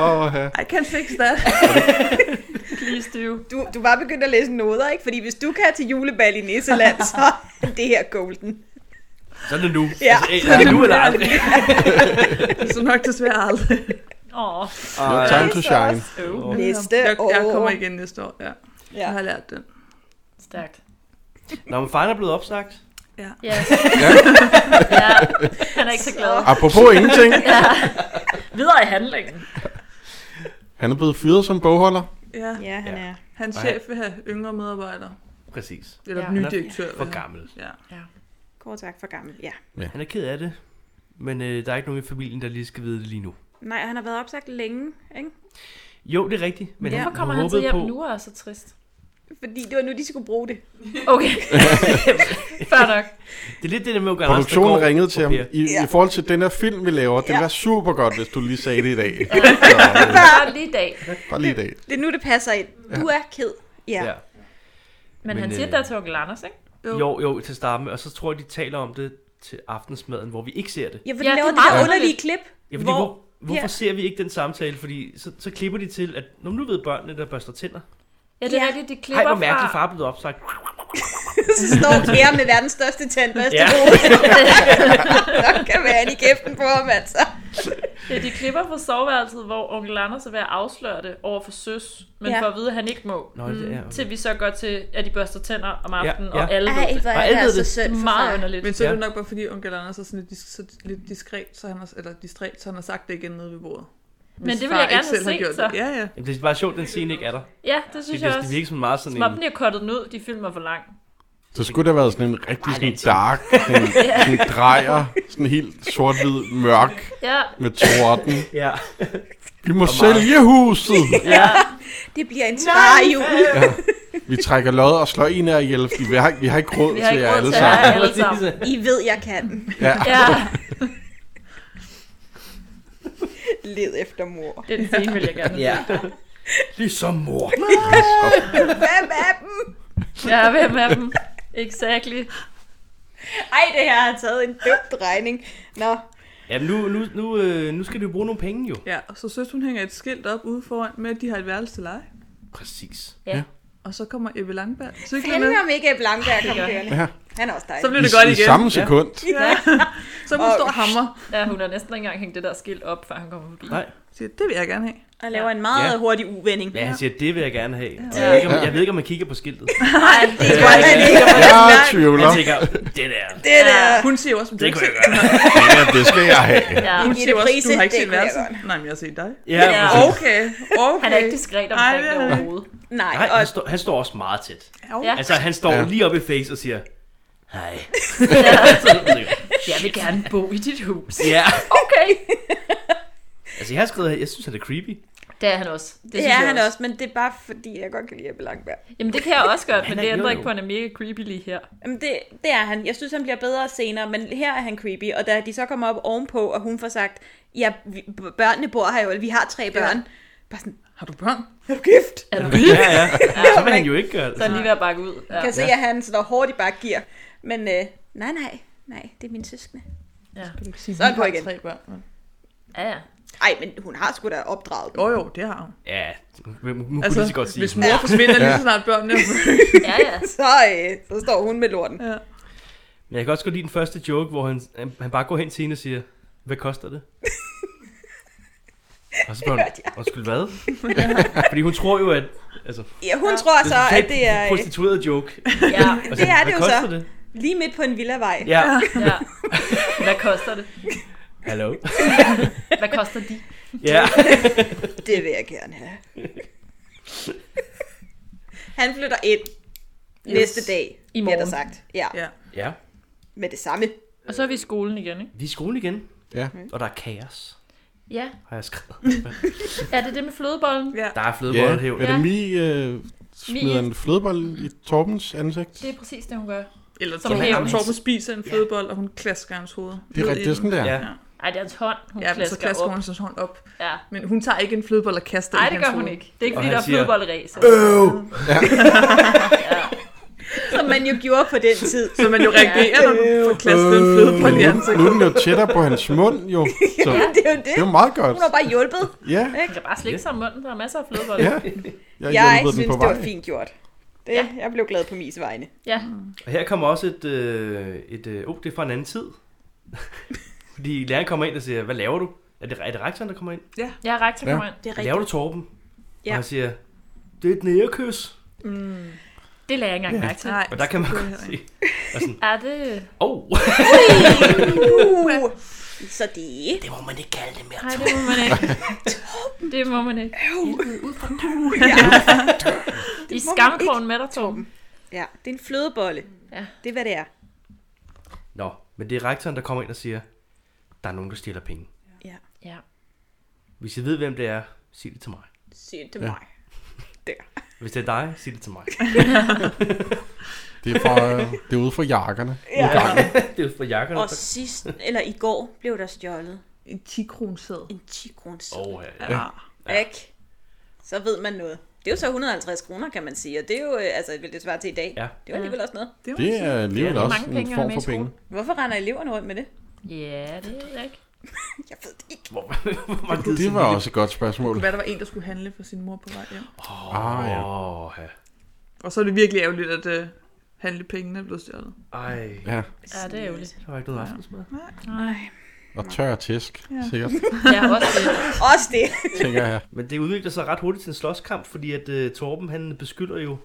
C: Åh, ja.
D: I can fix that.
F: Please do.
E: Du, du var begyndt at læse noder, ikke? Fordi hvis du kan til julebal i Nisseland, så er det her golden.
B: Så er det nu.
E: Ja.
B: Altså, eh, er det nu eller aldrig?
D: Så nok desværre aldrig.
F: Åh,
C: No
B: øh,
C: time to shine.
B: Åh.
E: Næste
D: Jeg,
E: år.
D: jeg kommer igen næste år, ja.
E: Ja.
D: Jeg har lært den.
F: stærkt.
B: Nå, men faren er blevet opsagt.
F: Ja. ja. Han er ikke så glad.
C: Apropos ingenting.
F: Videre i handlingen.
C: Han er blevet fyret som bogholder.
D: Ja,
E: Ja, han
B: Ja.
E: er.
D: hans
B: Og
D: chef vil have yngre medarbejdere.
B: Præcis.
D: Eller
F: Ja.
D: ja, ny
B: Han er
D: direktør.
B: For
D: vil have.
B: gammel.
D: Ja.
E: Kort sagt for gammel, ja.
B: Han er ked af det. Men øh, der er ikke nogen i familien, der lige skal vide det lige nu.
E: Nej, han har været opsagt længe, ikke?
B: Jo, det er rigtigt. Men
E: Ja.
B: han,
F: Hvorfor kommer han
B: håbede
F: til hjem
B: på,
F: nu og er så trist?
E: Fordi det var nu, de skulle bruge det.
F: Okay. Fair nok.
B: Det er lidt det der med Ugan
C: Produktionen ringede til ham. I, I
E: Ja.
C: forhold til den her film, vi laver, det
E: Ja.
C: var super godt, hvis du lige sagde det i dag. øh,
F: Bare lige i dag.
C: Bare lige i dag.
E: Det er nu, det passer ind. Du er ked. Ja.
B: Ja.
E: ja.
F: Men,
B: Men,
F: han siger,
B: øh,
F: øh... der er til onkel Anders, ikke?
B: Jo, jo, til at starte med. Og så tror jeg, de taler om det til aftensmaden, hvor vi ikke ser det.
E: Ja, for
F: Ja,
E: de
F: det
E: laver
F: er
E: det der
F: meget
E: underlige klip.
B: Ja, fordi hvor, hvor, hvorfor
E: ja.
B: ser vi ikke den samtale? Fordi så, så klipper de til, at "Nå, nu ved børnene, der børster tænder.
F: Ja, det er
E: Ja.
F: rigtigt, de
B: Ej,
F: klipper
B: hvor mærkeligt
F: fra...
B: far er blevet opsagt.
E: så står Per med verdens største tandbørste
B: Ja.
E: ja. Der kan være en i kæften på ham, altså.
F: Ja, de klipper fra soveværelset, hvor onkel Anders er ved at afsløre det over for søs, men ja.
E: Ja.
F: for at vide, at han ikke må.
B: Nå, det er...
F: Mm, Til vi så går til, at de børster tænder om
B: Ja,
F: aftenen,
B: ja.
F: og alle ved
E: Ej,
F: det.
E: hvor
B: Og
E: er
B: alle
E: det
B: ved
E: altså
B: det.
E: synd for
F: Meget
E: far.
F: underligt.
D: Men så er
B: Ja.
D: det nok bare, fordi onkel Anders er sådan lidt, dis- så lidt diskret, så han har, eller distræt, så han har sagt det igen nede ved bordet. Hvis
F: Men det vil
D: far
F: jeg gerne
D: ikke selv
F: have
D: har
F: set,
D: gjort
F: så.
D: det. Ja, ja.
B: Jamen, det er bare sjovt, den scene ikke er der.
F: Ja, det
B: Det,
F: synes jeg
B: det, det
F: også.
B: virker sådan meget sådan
F: Som om
B: en...
F: den er kottet den ud, de film er for lang.
C: Så skulle det have været sådan en rigtig sådan
B: lidt
C: dark, sådan, sådan drejer, sådan helt sort-hvid mørk
F: Ja,
C: med torden.
B: Ja.
C: Vi må
B: meget.
C: sælge huset!
F: ja.
E: Det bliver en sparejul.
C: Vi trækker lod og slår en af jer ihjel, fordi vi har, vi har ikke råd
F: Vi
C: til
F: har ikke
C: jer
F: råd
C: alle
F: til jer.
C: sammen.
F: alle sammen.
E: I ved, jeg kan.
C: Ja.
F: ja.
E: Led efter mor.
F: Den scene vil jeg gerne have.
B: ja. Ligesom mor.
E: Hvem er dem?
F: Ja, hvem er dem? Exactly.
E: Ej, det her har taget en dum drejning. Nå,
B: Jamen, nu, nu, nu, øh, nu skal du bruge nogle penge, jo.
D: ja. Og så søs, hun hænger et skilt op ude foran med, at de har et værelse til leje.
B: Præcis.
F: Ja.
D: Og så kommer Ebbe Langberg cyklerne.
E: fanden om ikke Blankberg kom kørende.
C: Ja.
E: Han er også
D: Så
E: dejlig.
D: bliver det
C: I,
D: godt
C: I
D: igen.
C: samme sekund.
D: Ja. Så må hun
E: Og-
D: stå og hammer.
F: Ja, hun har næsten ikke engang hængt det der skilt op, før han kommer forbi.
B: Nej.
D: Siger, det vil jeg gerne have.
E: Han laver en meget
B: Ja.
E: hurtig uvending.
B: Ja, han siger, det vil jeg gerne have. Og Jeg, ved ikke, om, jeg ved ikke, om man kigger på skiltet.
E: Nej, det gør han ikke.
C: Jeg
B: Han
C: tvivler.
B: tænker, det der,
E: Det der.
D: Hun siger jo også, at du
B: det
D: ikke
B: kunne jeg
D: selv-
B: gøre.
C: Ja, det skal jeg have.
F: Ja.
D: hun
E: Gitte
D: siger jo også, at du
E: Price,
D: har ikke
E: det
D: set
E: kunne jeg
D: værelset. Nej, men jeg har set dig.
B: Ja,
F: Ja.
B: præcis.
D: Okay, okay.
F: Han er ikke diskret omkring
D: det
F: det
D: er han ikke.
F: overhovedet.
E: Nej,
B: Nej,
E: og
B: han, står, han står også meget tæt.
F: Ja.
B: Altså, han står
C: Ja.
B: ja. lige op i face og siger, hej.
F: altså, Jeg vil gerne bo i dit hus.
B: ja.
F: Okay.
B: Altså, jeg har skrevet, her, jeg synes, han er creepy.
F: Det er han også. Det,
E: det
F: synes
E: er
F: jeg
E: han også, men det er bare fordi, jeg godt kan lide Ebbe Langberg.
F: Jamen det kan jeg også godt, men
B: er-
F: det ændrer
B: jo,
F: ikke
B: jo.
F: på, at han er mega creepy lige her.
E: Jamen det, det er han. Jeg synes, han bliver bedre senere, men her er han creepy. Og da de så kommer op ovenpå, og hun får sagt, ja, vi, børnene bor her jo, eller vi har tre børn. Ja. Bare sådan,
D: Har du børn?
E: er du gift?
F: Er du creepy?
B: Ja, ja. Så vil han jo ikke gøre det.
F: Så er han lige ved at bakke ud. Ja.
E: Ja. Kan se, at han slår hårdt i bare gear. Men øh, nej, nej, nej, det er min søskende.
D: Kan du ikke sige,
E: Så er
D: vi
E: den på
D: har
E: igen.
D: tre børn? men-
F: ja, ja.
E: Ej, men hun har sgu da opdraget dem.
D: Jo, jo, det har hun.
B: Ja, nu kunne altså,
D: Altså,
B: lige så godt sige.
D: hvis mor forsvinder lige så snart børnene er født.
F: ja, ja.
E: Så, øh, så står hun med lorten.
D: Ja.
B: Men jeg kan også godt lide den første joke, hvor han, han bare går hen til hende og siger, hvad koster det? og så spørger hun, undskyld hvad? Fordi hun tror jo, at... Altså,
E: Ja, hun tror så, at det er, øh,
B: prostitueret joke.
F: ja,
B: Og
E: Det er det
B: hvad
E: jo
B: koster
E: så."
B: det?
E: lige midt på en villavej.
B: Ja,
F: ja. Hvad koster det?
B: hallo.
F: Hvad koster de?
B: Ja,
E: Det vil jeg gerne have. han flytter ind yes. næste dag,
F: I
E: bliver der
F: morgen.
E: sagt. Ja,
D: Ja.
B: ja.
E: med det samme.
F: Og så er vi i skolen igen, ikke?
B: Vi er i skolen igen,
C: Ja.
B: og der er kaos,
F: Ja.
B: har jeg skrevet.
F: Er det det med flødebollen?
D: ja.
B: Der er
C: Ja,
B: flødebolle
C: er det Mi, øh, smider
F: Mi-
C: en flødebold i Torbens ansigt?
F: Det er præcis det, hun gør.
D: Eller
F: Som
D: Torben,
F: hævn.
D: ham Torben spiser en flødebold, og hun klasker hans hoved.
C: Det er rigtigt, det er sådan der.
B: Ja.
F: Ej, det er hans hånd, hun
D: Ja,
F: ja,
D: men så
F: klasker,
D: klasker
F: op.
D: hun hans hånd op.
F: Ja.
D: Men hun tager ikke en flødebold og kaster
F: Nej,
D: i
F: det
D: hans
F: gør
D: hoved.
F: hun ikke. Det er ikke,
B: Og
F: fordi
B: han
F: der er
B: siger-
F: flødebolleræs.
E: Som man jo gjorde på den tid.
D: Så man jo reagerer, når du
C: Øh.
D: får klasket en
C: Men
D: flødebold i
C: Øh, nu, nu
D: ansigtet.
C: er den jo tættere på hans mund, jo. Så
E: Det er jo
C: det er
E: det.
C: jo meget godt.
E: Hun har bare hjulpet.
C: Ja,
F: Man kan bare slikke sig om munden, der er masser af flødeboller.
C: ja. Jeg,
E: Jeg
C: hjælper den
E: synes,
C: på
E: det var
C: vej.
E: fint gjort. Det,
F: Ja.
E: ja. Jeg blev glad på mis vegne.
F: ja.
B: Og her kommer også et... Øh, et øh, oh, det er fra en anden tid. Fordi læreren kommer ind og siger, hvad laver du? Er det, er det rektoren, der kommer ind?
F: Ja, rektor kommer ind.
E: Det er
B: Hvad laver du, Torben? Ja.
E: Ja.
B: Og han siger, det er et nærekys.
F: Det lader jeg ikke engang mærke til.
D: Nej,
B: Og der kan man
D: det er
B: godt
D: heller
B: se,
F: Er det...
B: åh, oh,
E: Uh, så det...
B: det må man ikke kalde det mere.
F: Nej, det må man ikke. Det må man ikke. I
E: må man
F: skamkrogen med dig, Torben.
E: Ja, det er en flødebolle.
F: Ja.
E: Det er, hvad det er.
B: Nå, men det er rektoren, der kommer ind og siger, der er nogen, der stjæler penge.
F: Ja.
B: Hvis I ved, hvem det er, sig det til mig.
E: Sig det til mig. Der.
B: Hvis det er dig, sig det til mig.
C: Det er, fra, øh, det er ude for jakkerne. Ja.
B: det er for jakkerne.
E: Og sidst, eller i går, blev der stjålet
D: En 10 kroner
E: en 10 kroner oh.
B: Åh, ja, ja.
D: Ja.
E: Så ved man noget. Det er jo så 150 kroner, kan man sige, og det er jo, øh, altså, vil det svare til i dag.
B: Ja.
E: Det var alligevel også noget.
D: Det, var
C: Det er alligevel
B: Det er
C: også
F: mange
C: en
F: penge at have
C: form
F: med
C: for
F: i skole.
C: penge.
E: Hvorfor render eleverne rundt med det?
F: Ja, det ved jeg ikke.
E: Jeg ved det ikke.
B: Hvor, hvor man gider
C: Det
B: sådan
C: var
B: en
C: også et godt spørgsmål.
D: det kunne være, der var en, der skulle handle for sin mor på vej hjem.
B: lille-
C: Ah, ja.
B: Åh, ja.
D: Og så er det virkelig ærgerligt, at øh, handlepengene er blevet stjålet.
B: Ej,
C: Ja,
F: Ja, det er ærgerligt.
B: der var ikke noget aftensmad.
E: Nej.
C: og tør tæsk, sikkert,
F: Ja, også det.
E: Også det.
C: tænker jeg.
B: Men det udvikler sig ret hurtigt til en slåskamp, fordi at uh, Torben, han beskylder jo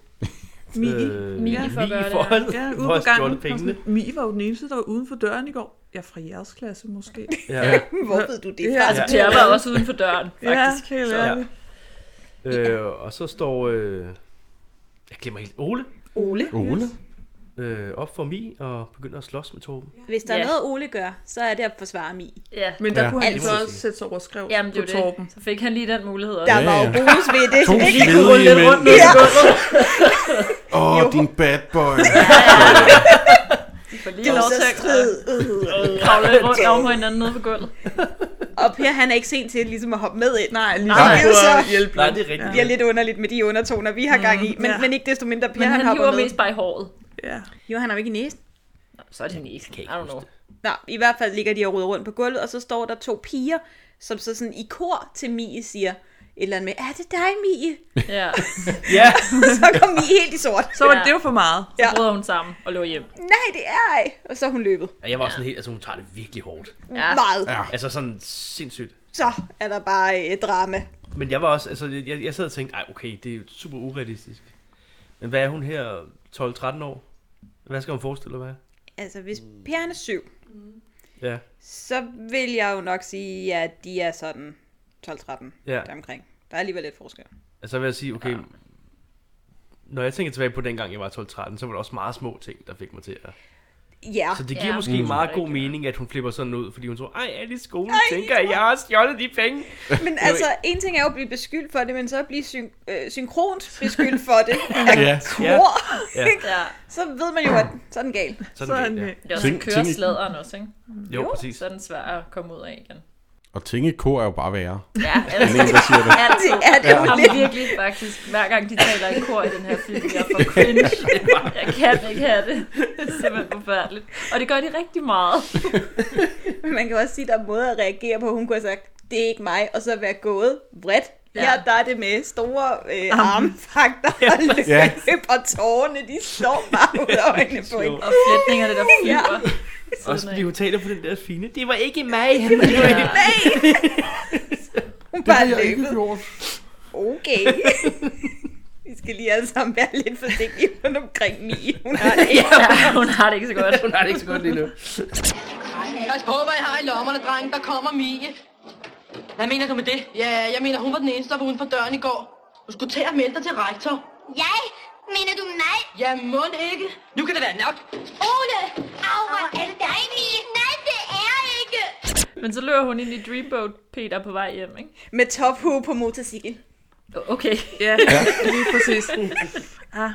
D: Migi.
F: Mie for at gøre det, ja.
B: forhold,
D: Ja, ude
B: for
D: på
B: at
D: gangen.
B: stjåle pengene.
D: Mie var jo den eneste, der var uden for døren i går. Ja, fra jeres klasse måske.
B: Ja.
E: Hvor ved du det?
D: Ja.
E: Ja.
F: Altså, Per var også uden for døren, faktisk.
D: helt
F: Så-
D: ærligt.
B: Øh, og så står... Øh, jeg glemmer helt Ole
E: Ole.
C: Ole?
B: øh, op for mig og begynder at slås med Torben.
E: Hvis der er
F: Ja.
E: noget, Ole gør, så er det at forsvare mig.
F: Ja.
D: Men der
C: Ja.
D: ja. kunne han
B: Det
D: så
B: må jeg
D: også
B: sige.
D: sætte sig over og skrive
F: Jamen, det
D: på
F: er jo
D: Torben.
F: det. Så fik han lige den mulighed også.
E: Der
C: Ja,
E: var jo
C: ja.
E: bonus ved det.
C: To
E: ikke?
C: svedige
F: Rulle
C: mænd.
F: rundt ned i gulvet.
C: Åh, oh, din bad boy.
F: De får
E: Det
F: lige
E: er
F: lov
E: så
F: til at
E: strid.
F: kravle lidt rundt over på hinanden nede på gulvet.
E: Og Per, han er ikke sent til ligesom at hoppe med ind.
D: Nej, lige
E: Nej.
D: Nej.
E: Det er jo så-
D: hjælpe.
B: Nej, det er rigtigt.
E: Det bliver lidt underligt med de undertoner, vi har gang i. Men,
D: ja.
E: men ikke desto mindre, Per,
F: Men
E: han,
F: han
E: hopper
F: hiver
E: med.
F: mest bare i håret.
D: Ja.
E: Jo, han har jo ikke i næsen.
F: Så er det mest. I don't know.
E: Nå, i hvert fald ligger de og ruder rundt på gulvet, og så står der to piger, som så sådan i kor til Mie siger et eller andet med, er det dig, Mie?
F: Ja.
B: Ja,
E: så kom Mie helt i sort.
D: Så var
F: Ja.
D: det jo for meget.
F: Så
E: Ja.
F: brød hun sammen og lå hjem.
E: Nej, det er ej. Og så er hun løbet.
B: og jeg var sådan helt... Altså, hun tager det virkelig hårdt.
F: Ja.
E: Meget.
C: Ja.
B: Altså, sådan sindssygt.
E: Så er der bare et drama.
B: Men jeg var også... Altså, jeg, jeg sad og tænkte, ej, okay, det er jo super urealistisk. Men hvad er hun her? 12-13 år? Hvad skal hun forestille hvad?
E: Altså, hvis Per han er syv,
B: Ja,
E: så vil jeg jo nok sige, at de er sådan 12-13
B: ja.
E: deromkring. Der er alligevel lidt forskel.
B: Altså, vil jeg sige, okay... Når jeg tænker tilbage på dengang, jeg var 12-13, så var det også meget små ting, der fik mig til at...
E: Ah, Ja,
B: Så det giver
F: Ja.
B: ja. måske
F: Mm.
B: meget god mening, at hun flipper sådan ud, fordi hun tror, ej, alle i skolen ej, tænker, at jeg har stjålet de penge.
E: men altså, en ting er jo at blive beskyldt for det, men så at blive syn- øh, synkront beskyldt for det. Af
C: Ja.
B: Ja.
E: mor,
F: Ja.
E: så ved man jo, at sådan er galt.
D: Så
B: Sådan,
D: han,
B: det, ja.
F: Det er også
C: Tænk-
F: kører
C: tænk i-
F: sladeren også, ikke?
B: Jo, præcis.
F: Så er den svær at komme ud af igen.
C: Og ting i kor er jo bare værre.
F: Ja, altså,
C: En, der siger det.
F: altid.
E: Det er det jo
F: Jamen,
E: lidt.
F: virkelig faktisk. Hver gang de taler i kor i den her film, jeg får cringe. Jeg kan ikke have det. Det er simpelthen forfærdeligt. Og det gør de rigtig meget.
E: Men man kan også sige, at der er måder at reagere på. Hun kunne have sagt, det er ikke mig, og så være gået vredt.
F: Ja.
E: Ja. Her der er det med store øh, armfakter og løb,
C: Ja.
E: og tårerne, de står bare ud af øjnene på hende.
F: Og flætningerne, der flyver.
B: Også
F: Sådan
B: fordi
F: af.
B: hun taler på den der fine, det var ikke mig.
F: Ja.
E: Hun
C: Det
E: bare
C: har jeg ikke
E: løbet.
C: gjort.
E: Okay. Vi skal lige alle sammen være lidt forsigtige rundt omkring Mie. Hun har det ikke.
F: Ja, hun har det ikke så godt.
B: Hun har det ikke så godt lige nu.
I: Pas på, hvad I har i lommerne, dreng. Der kommer Mie. Hvad mener du med det? Ja, jeg mener, hun var den eneste, der var uden for døren i går. Du skulle til at melde dig til rektor.
H: Jeg? Mener du mig?
I: Ja, mund ikke. Nu kan det være nok.
H: Ole! Au, hvor er det dig, Mie? Nej, det er jeg ikke!
F: Men så løber hun ind i Dreamboat Peter på vej hjem, ikke?
E: Med tophue på motorcykel.
F: Okay.
D: ja, lige præcis. Ah,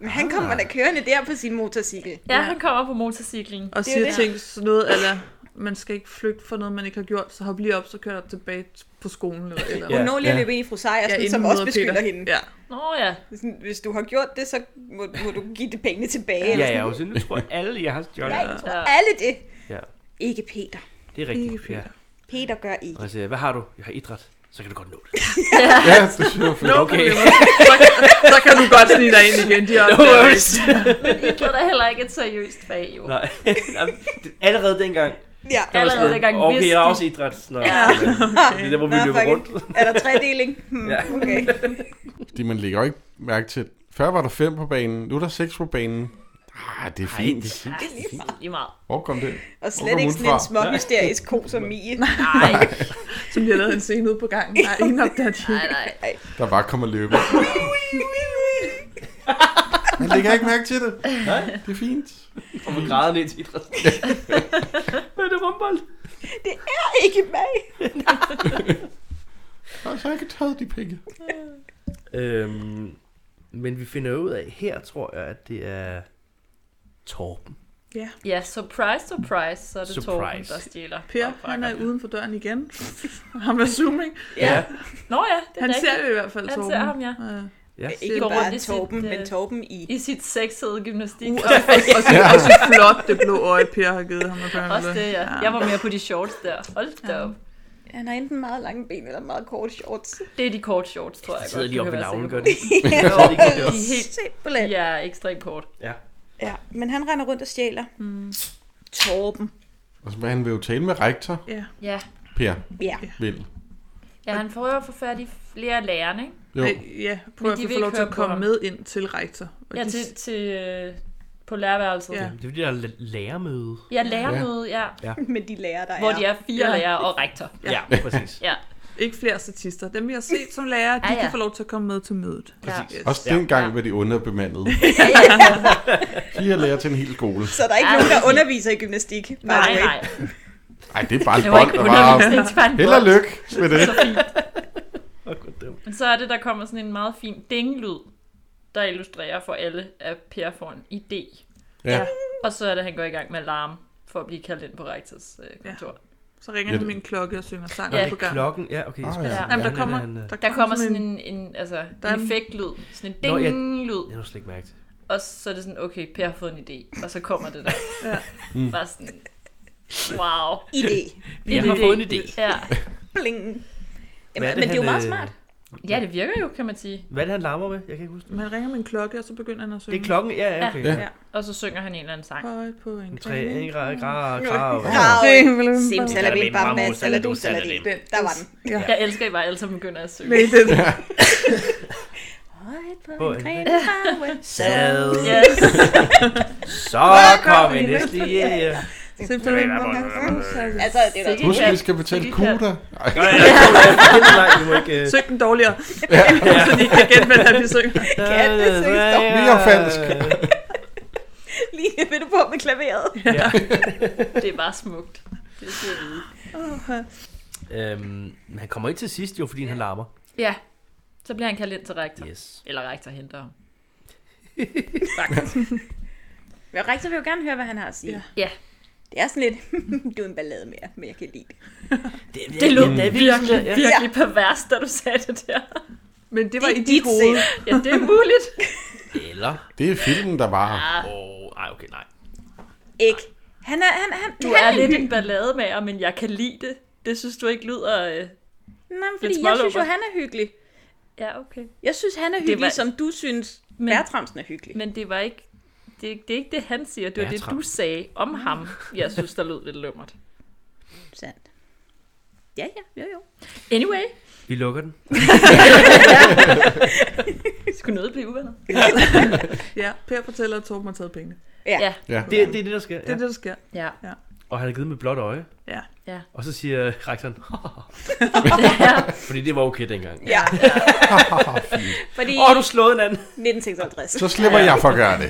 E: Men han kommer
C: Ah.
E: da kørende der på sin motorcykel.
F: Ja, han kommer på motorciklen.
D: og
E: er
D: siger
E: det.
D: ting sådan noget, eller man skal ikke flygte for noget, man ikke har gjort, så hop lige op, så kører du tilbage på skolen. Eller, eller.
E: Hun
B: Ja,
E: når lige at
C: ja.
E: løbe ind i fru Sejersen,
D: inden
E: som
D: hun
E: også
D: møder
E: beskylder
D: Peter.
E: hende.
D: Ja.
F: Nå ja.
E: Sådan, Hvis du har gjort det, så må, må du give det pengene tilbage. eller
B: Ja, ja, og så nu tror jeg alle, jeg har stjålet.
E: Nej, jeg tror
F: Ja.
E: alle det.
B: Ja.
E: Ikke Peter.
B: Det er
D: Ikke
B: rigtigt.
D: fedt.
B: Ja.
E: Peter gør ikke.
B: Og jeg siger, hvad har du? Jeg har idræt. Så kan du godt nå det.
C: Ja, det synes jeg er fedt.
B: Okay.
D: Så kan du godt snige dig ind igen. De er også
B: No
D: der.
B: worries.
F: Det er da heller ikke et seriøst fag, jo.
B: Nej. Jamen, det- Allerede dengang. der
E: Ja.
B: var
F: Allerede
B: sådan,
F: dengang
B: Okay,
F: vidste
B: jeg har
F: de.
B: også idræt. Nå,
F: Ja.
B: Det er der, hvor vi
E: Nå,
B: løber
E: fuck it.
B: rundt.
E: Er der tredeling? Hmm,
B: Ja.
E: okay.
C: Fordi man lægger jo ikke mærke til, før var der fem på banen, nu er der seks på banen. Ah, det er fint. det er fint.
F: Ej, lige meget.
C: Hvor kom det?
E: Og
C: Hvor
E: slet
C: kom
E: ikke
C: hun
E: sådan en
C: fra?
E: små hysterisk ko som Mie.
F: Nej,
D: Som de har lavet en scene ude på gangen. Der er ingen opdager de.
F: nej, nej.
C: Der bare kommer løbe. Man lægger ikke mærke til det. Nej, det er fint.
B: Og vi græder ned til idræt. Hvad er det rumbold?
E: Det er ikke mig.
C: Og så har jeg ikke taget de penge.
B: Øhm, men vi finder ud af her, tror jeg, at det er Torben.
D: Ja.
F: Ja, surprise, surprise, så er det
B: Surprise.
F: Torben, der stjæler.
D: Per, han er uden for døren igen. han var zooming.
B: Ja.
F: Nå ja, det er
D: Han
F: rigtigt.
D: ser jo i hvert fald
F: Han
D: Torben.
F: ser ham, ja.
D: ja.
B: ja.
D: Det
E: Ikke
D: er
E: bare
F: bare
E: Torben,
F: sit,
E: men
F: øh,
E: Torben i.
F: I sit sexede gymnastik.
D: Uh, og, og, så, og så flot det blå øje, Per har givet ham. apparently.
F: Også det, ja. Jeg var mere på de shorts der. Hold da op.
E: Han har enten meget lange ben eller meget korte shorts.
F: Det er de korte shorts, tror jeg
B: Jeg
F: godt.
B: sidder
F: du
B: lige oppe
F: kan
B: i
F: være
B: navlen,
F: sikker
B: gør
F: på.
B: det ikke?
F: Jo,
B: det gør
F: de er helt...
E: Simpelthen.
F: Ja, ekstremt kort.
B: Ja.
E: Ja, men han render rundt og stjæler. Mm. Torben.
C: Og så han vil jo tale med rektor,
D: Ja.
F: Ja.
C: Per
E: Ja.
C: Vind.
F: Ja, han prøver at få fat i flere af lærerne, ikke?
C: Jo,
D: Øh, ja, prøv
F: Men
D: at
F: de
D: få
F: vil
D: lov
F: ikke
D: til
F: høre
D: at
F: på
D: komme
F: ham.
D: med ind til rektor. Og
F: Ja,
D: de-
F: til, til øh, på lærerværelset.
D: Ja.
F: Ja,
B: Det er fordi, der er la- lærermøde.
F: ja lærermøde, ja.
E: Men de lærer, der
F: Hvor de er fire
D: Ja.
F: lærere og rektor.
B: Ja, ja præcis.
F: Ja,
D: Ikke flere statister. Dem, vi har set som lærer, de
F: Ja, ja.
D: kan få lov til at komme med til mødet.
F: ja.
D: Yes.
C: også dengang
F: Ja.
C: var de underbemandede. Fire lærer til en hel skole.
E: Så der er ikke
F: Ej,
E: nogen, der
F: præcis.
E: underviser i gymnastik. by the
F: Nej,
E: way.
F: nej.
C: Nej, det er bare
F: Det
C: en
F: var
C: bånd,
F: ikke
C: der bare...
F: undervisning, det var en
C: Held og
F: bold.
C: lykke med det.
F: Så fint.
B: Åh, goddammit.
F: Men så er det, der kommer sådan en meget fin dinglyd, der illustrerer for alle, at Per får en idé.
C: Ja.
F: Og så er det, at han går i gang med alarm for at blive kaldt ind på rektors øh, kontor.
D: Så ringer
C: Ja,
D: han
C: det-
D: min klokke og synger sang
F: Ja.
D: på gang.
B: Klokken, ja, okay.
C: Ah,
B: Ah,
C: ja.
B: ja.
D: Jamen, der kommer,
B: Der...
F: Der kommer sådan en, en altså,
D: Der er
F: en
D: en-
F: effektlyd, sådan en
B: Nå, ja.
F: ding-lyd,
B: Jeg har slet ikke mærket. det.
F: og så er det sådan, okay, Per har fået en idé, og så kommer det der.
D: Ja.
F: Mm. Bare sådan, wow.
E: Idé.
B: Jeg har fået en idé.
F: Ja.
E: Bling. Jamen,
B: Hvad er det,
E: men det er jo
B: han,
E: meget
B: øh,
E: smart.
F: ja, det virker jo, kan man sige.
B: Hvad er det, han larmer med? Jeg kan ikke huske det.
D: Man ringer min klokke, og så begynder han at synge.
B: Det er klokken, ja, ja, okay.
C: Ja.
F: Og så synger han en eller anden sang.
D: Højt på en
B: En Tre, en grad, grad, grad.
E: Grav.
B: Salabim,
E: Simsalabim, bam,
B: bam,
E: bam, saladum,
B: saladim.
E: saladim. Der var den.
D: Ja.
F: Jeg elsker, at I bare alle sammen begynder at synge.
D: Med det.
B: På en
E: Sad.
B: Sad.
F: Yes.
B: Så kom en næste yeah.
D: Simpelthen. hvor-
E: Altså, det er da
C: Husk,
F: Ja.
C: vi skal betale
F: Det kan-
C: kvoter. Ej,
B: øh,
D: Søg den dårligere, så de kan gætte, hvad det er, de synger.
B: Mere
C: falsk.
E: lige ved du på med klaveret.
F: Det er bare smukt. Det skal jeg vide.
B: Øhm, men han kommer ikke til sidst jo, fordi han larmer.
F: Ja, så bliver han kaldt ind til rektor.
B: Yes.
F: Eller rektor henter ham.
E: Men rektor vil jo gerne høre, hvad han har at sige.
D: Ja.
F: Ja.
E: Det er sådan lidt, du er en ballade mere, men jeg kan lide det.
B: Det,
F: Det lød
B: det,
F: virkelig, virkelig pervers, da du sagde det der.
D: Men det var
E: Det er
D: i dit
E: dit
D: hoved.
F: Ja, det er muligt.
B: Eller...
C: Det er filmen, der var.
B: Åh, oh, okay, nej.
E: Ikke. Han er, han, han,
F: Du
E: han
F: er lidt en ballademager, men jeg kan lide det. Det synes du ikke lyder... Øh...
E: Nej, men fordi jeg
F: smålopper.
E: synes jo, han er hyggelig.
F: Ja, okay.
E: Jeg synes, han er hyggelig,
F: var-
E: var... som du synes,
F: Men-
E: men... Bertramsen er hyggelig. Men...
F: Men det var ikke... Det, det er ikke det, han siger. Det var
B: Ja,
F: det,
B: Tram.
F: du sagde om ham. Jeg synes, der lød lidt lummert.
E: Sandt. Ja, ja, jo, jo.
F: Anyway,
B: Vi lukker den.
F: skulle noget blive uvenner?
D: Ja, Per fortæller, at Torben har taget pengene.
E: Ja.
F: Ja.
E: ja.
C: Ja.
B: Det, det er det, der sker.
D: Det
B: Ja.
D: er det, der sker.
F: Ja.
B: Og han har givet med blåt øje.
D: Ja.
F: Ja.
B: Og så siger rektoren,
F: ja.
B: fordi det var okay dengang.
E: ja. fordi
B: Åh, oh, du slået en anden.
E: 1956.
C: Så slipper jeg for at gøre det.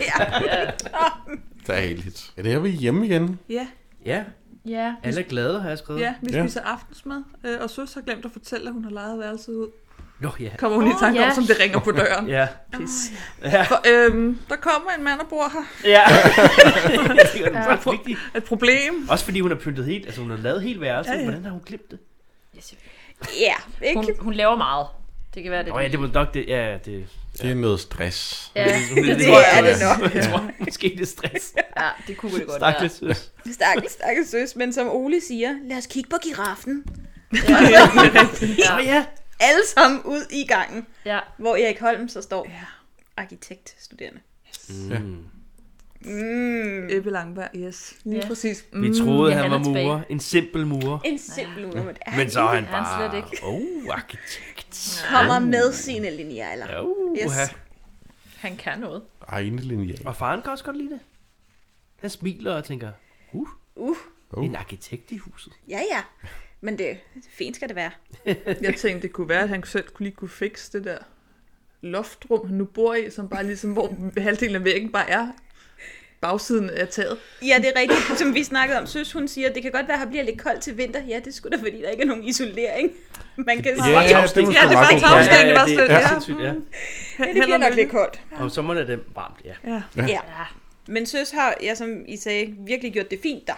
C: Det er heldigt. Ja, det er vi hjemme igen.
D: Ja,
B: Ja,
F: ja.
B: alle er glade, har jeg skrevet.
D: ja vi
C: Ja.
D: spiser aftensmad, øh, og Søs har glemt at fortælle, at hun har lejet værelset ud.
B: Nå, ja.
D: Kommer hun i
F: Åh,
D: tanke om,
F: ja.
D: som det ringer på døren.
B: Ja.
D: Pis.
B: Ja.
D: For, øhm, der kommer en mand og bor her.
B: Ja. det er faktisk vigtigt.
D: Et problem.
B: Også fordi hun har pyntet helt, altså hun har lavet helt værelset.
D: Ja,
B: Ja, ja.
D: ja.
B: Hvordan har hun glemt det?
E: Ja, ikke?
F: Hun, hun laver meget. Det kan være det.
B: Nå ja, det var nok det. Ja, det,
C: Det er noget stress.
F: Ja,
B: hun er
E: Det er det nok.
B: Jeg tror, måske det er stress.
F: ja, det kunne det godt
B: Stakkels søs.
E: Stakkels, stakkels søs. Men som Ole siger, lad os kigge på giraffen.
B: Nå ja.
E: Alle sammen ud i gangen,
F: være. Ja.
E: hvor Erik Holm så står. Ja. Arkitektstuderende.
C: Mm.
E: Mm.
D: Ebbe Langberg, yes. Lige
F: Ja.
D: præcis. Mm.
B: Vi troede,
F: Ja,
B: han
F: han
B: var
F: er tilbage.
B: murer. En simpel murer.
E: En simpel ja. nummer.
B: Men så er han
F: er han
B: bare...
F: slet ikke.
B: Oh, arkitekt.
E: kommer med sine linealer.
B: Ja,
E: Ja.
B: uh,
E: Yes.
B: yes.
F: Han kan noget.
C: Egne linjer.
B: Og faren kan også godt lide det. Han smiler og tænker, uh,
E: Uh,
C: Uh.
B: en arkitekt i huset.
E: ja, ja. Men det, fint skal det være.
D: Jeg tænkte, det kunne være, at han selv kunne lige kunne fikse det der loftrum, han nu bor i, som bare ligesom, hvor halvdelen af væggen bare er bagsiden af taget.
E: Ja, det er rigtigt, som vi snakkede om. Søs, hun siger, det kan godt være, at her bliver lidt koldt til vinter. Ja, det skulle da, fordi der ikke er nogen isolering. Man kan sige,
C: det er måske
D: Ja, det er
C: meget
D: faktisk
C: godt.
D: afstand, det var
B: det,
D: sådan,
B: det er
D: ja.
B: sindssygt, ja.
E: ja, det bliver nok lidt koldt.
B: Om sommeren er det varmt, ja.
D: Ja.
E: Ja. Men søs har, ja, som I sagde, virkelig gjort det fint der.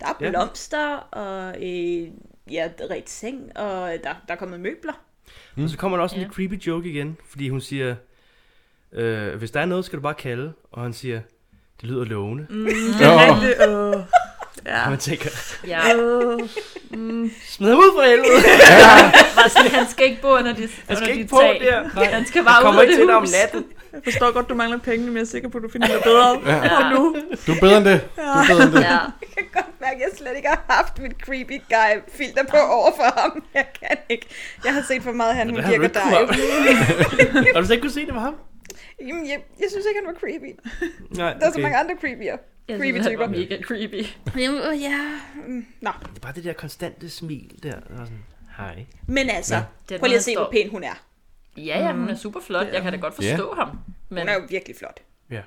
E: Der
B: Ja.
E: er blomster, og øh, ja, ret seng, og der, der er kommet møbler.
B: Mm. Og så kommer der også en lidt creepy joke igen, fordi hun siger, øh, hvis der er noget, skal du bare kalde. Og han siger, det lyder lovende. Mm.
C: Nå,
D: Det, øh, ja.
B: Og man tænker,
F: Ja.
D: Øh,
B: smid ham ud for helvede.
F: Bare sådan, han skal ikke bo under de,
B: Han
F: under
B: skal
F: de
B: ikke på
F: tag.
B: der. Nej.
F: Han skal bare ud
B: Kommer
F: af
B: ikke
F: det
B: til dig om
F: hus.
B: natten.
D: jeg forstår godt, du mangler penge, men jeg er sikker på, at du finder noget bedre.
C: ja.
D: Og nu,
C: Du er bedre end det. Du er bedre end det.
F: Ja.
E: Jeg kan godt mærke, at jeg slet ikke har haft mit creepy guy filter på over for ham. Jeg kan ikke. Jeg har set for meget, han hun
B: Det har du
E: virker
B: ikke kunnet
E: dig.
B: have. Har du så ikke kunne se, det var ham?
E: Jamen, jeg, jeg synes ikke, han var creepy.
B: Nej,
E: Der er så mange andre creepier.
F: Jeg synes,
E: Creepy
F: han var
E: typer.
F: mega creepy.
E: Jamen, øh, ja. Mm, Nå,
B: Det er bare det der konstante smil der. der var sådan, Hej.
E: men altså,
F: Den
E: prøv lige at
F: måde,
E: se,
F: han
E: hvor
F: står.
E: pæn hun er.
F: Ja, ja, hun er super flot. Jeg kan da godt forstå ham. Men,
E: Hun er jo virkelig flot.
B: Ja.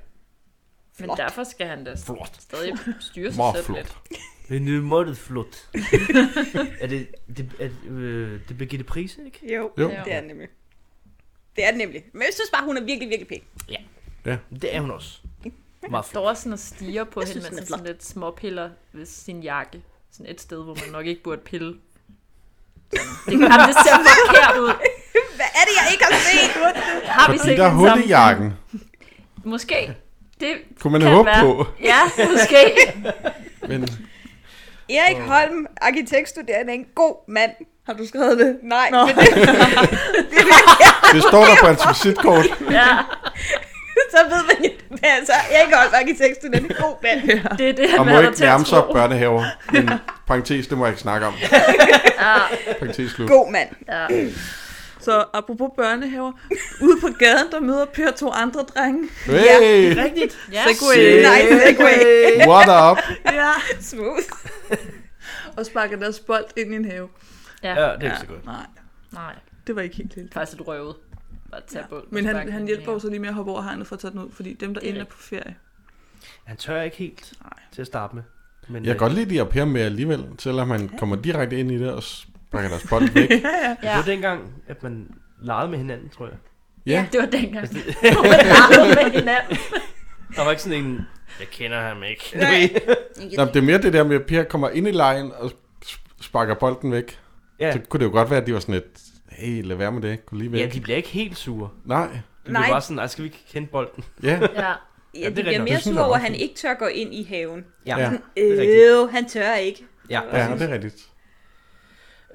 F: men
E: flot.
F: derfor skal han da
C: Flot.
F: stadig styre sig
C: Meget
F: selv
C: flot.
F: lidt.
B: En øh, måttet flot. er det, det, er, øh, det er Birgitte Prise, ikke?
E: Jo,
C: Jo.
E: det er den nemlig. Det er den nemlig. Men jeg synes bare, hun er virkelig, virkelig pæn.
B: Det er hun også. Meget flot.
F: Står sådan og stiger på hende, mens
E: synes, den er
F: han sådan lidt småpiller ved sin jakke. Sådan et sted, hvor man nok ikke burde pille. Det, jamen, det ser forkert ud.
E: Hvad er det, jeg ikke har set?
F: Har vi
C: Fordi
F: set
C: der er
F: den
C: hul
F: samme
C: i
F: film?
C: jakken.
F: Måske. Det
C: Kunne man
F: kan
C: håbe
F: være.
C: på.
F: Ja, måske.
C: Men
E: Erik Holm, arkitektstuderende, en god mand. Har du skrevet det? Nej, Nå. men
C: det står der på hans visitkort.
F: Ja,
E: så ved man jo, men altså, Erik Holm, arkitektstuderende, en god mand.
F: det er det, han
C: Og må
F: lader
C: ikke
F: til at
C: nærme sig
F: tro.
C: børnehaver. Men parentes, det må jeg ikke snakke om. Parentes slut.
E: God mand.
F: Ja.
D: så apropos børnehaver, ude på gaden, der møder Per to andre drenge.
C: Hey,
B: Rigtigt.
F: Ja.
D: Segway.
E: Nej, segway.
C: what up?
D: Ja.
E: Smooth.
D: Og sparker deres bold ind i en have.
B: Ja,
F: ja.
B: det er ikke så godt.
D: Nej,
F: Nej,
D: det var ikke helt lille.
F: faktisk et røvet. Bare tage på.
D: Men han, han hjælper jo så lige med at hoppe over hegnet for at tage den ud, fordi dem, der
F: Det er
D: inde er
F: rigtigt.
D: på ferie.
B: Han tør ikke helt til at starte med. Men, øh,
C: Jeg kan godt lide, de har Per med alligevel, selvom han kommer direkte ind i det og sparker deres bold væk.
B: Ja. Det var dengang, at man legede med hinanden, tror jeg.
C: Ja,
F: Det var dengang. Hvor man legede med hinanden.
B: Der var ikke sådan en, jeg kender ham ikke.
C: Nå, men det er mere det der med, at Per kommer ind i lejen og sp- sparker bolden væk.
B: ja.
C: Så kunne det jo godt være, at de var sådan lidt, hey, lad være med det, gå lige væk.
B: ja, de bliver ikke helt sure.
C: Nej,
B: Det bliver
E: Nej.
B: bare sådan, nej, skal vi ikke kende bolden?
C: ja.
F: Ja.
E: Ja,
B: det
E: de
B: er
E: bliver
B: rigtigt.
E: mere
C: Det synes
E: sure
C: jeg
E: over,
C: er
E: at han
C: fint.
E: ikke tør gå ind i haven.
C: Ja.
B: Det er rigtigt.
E: Øh, han tør ikke.
B: Ja.
C: ja, det er rigtigt.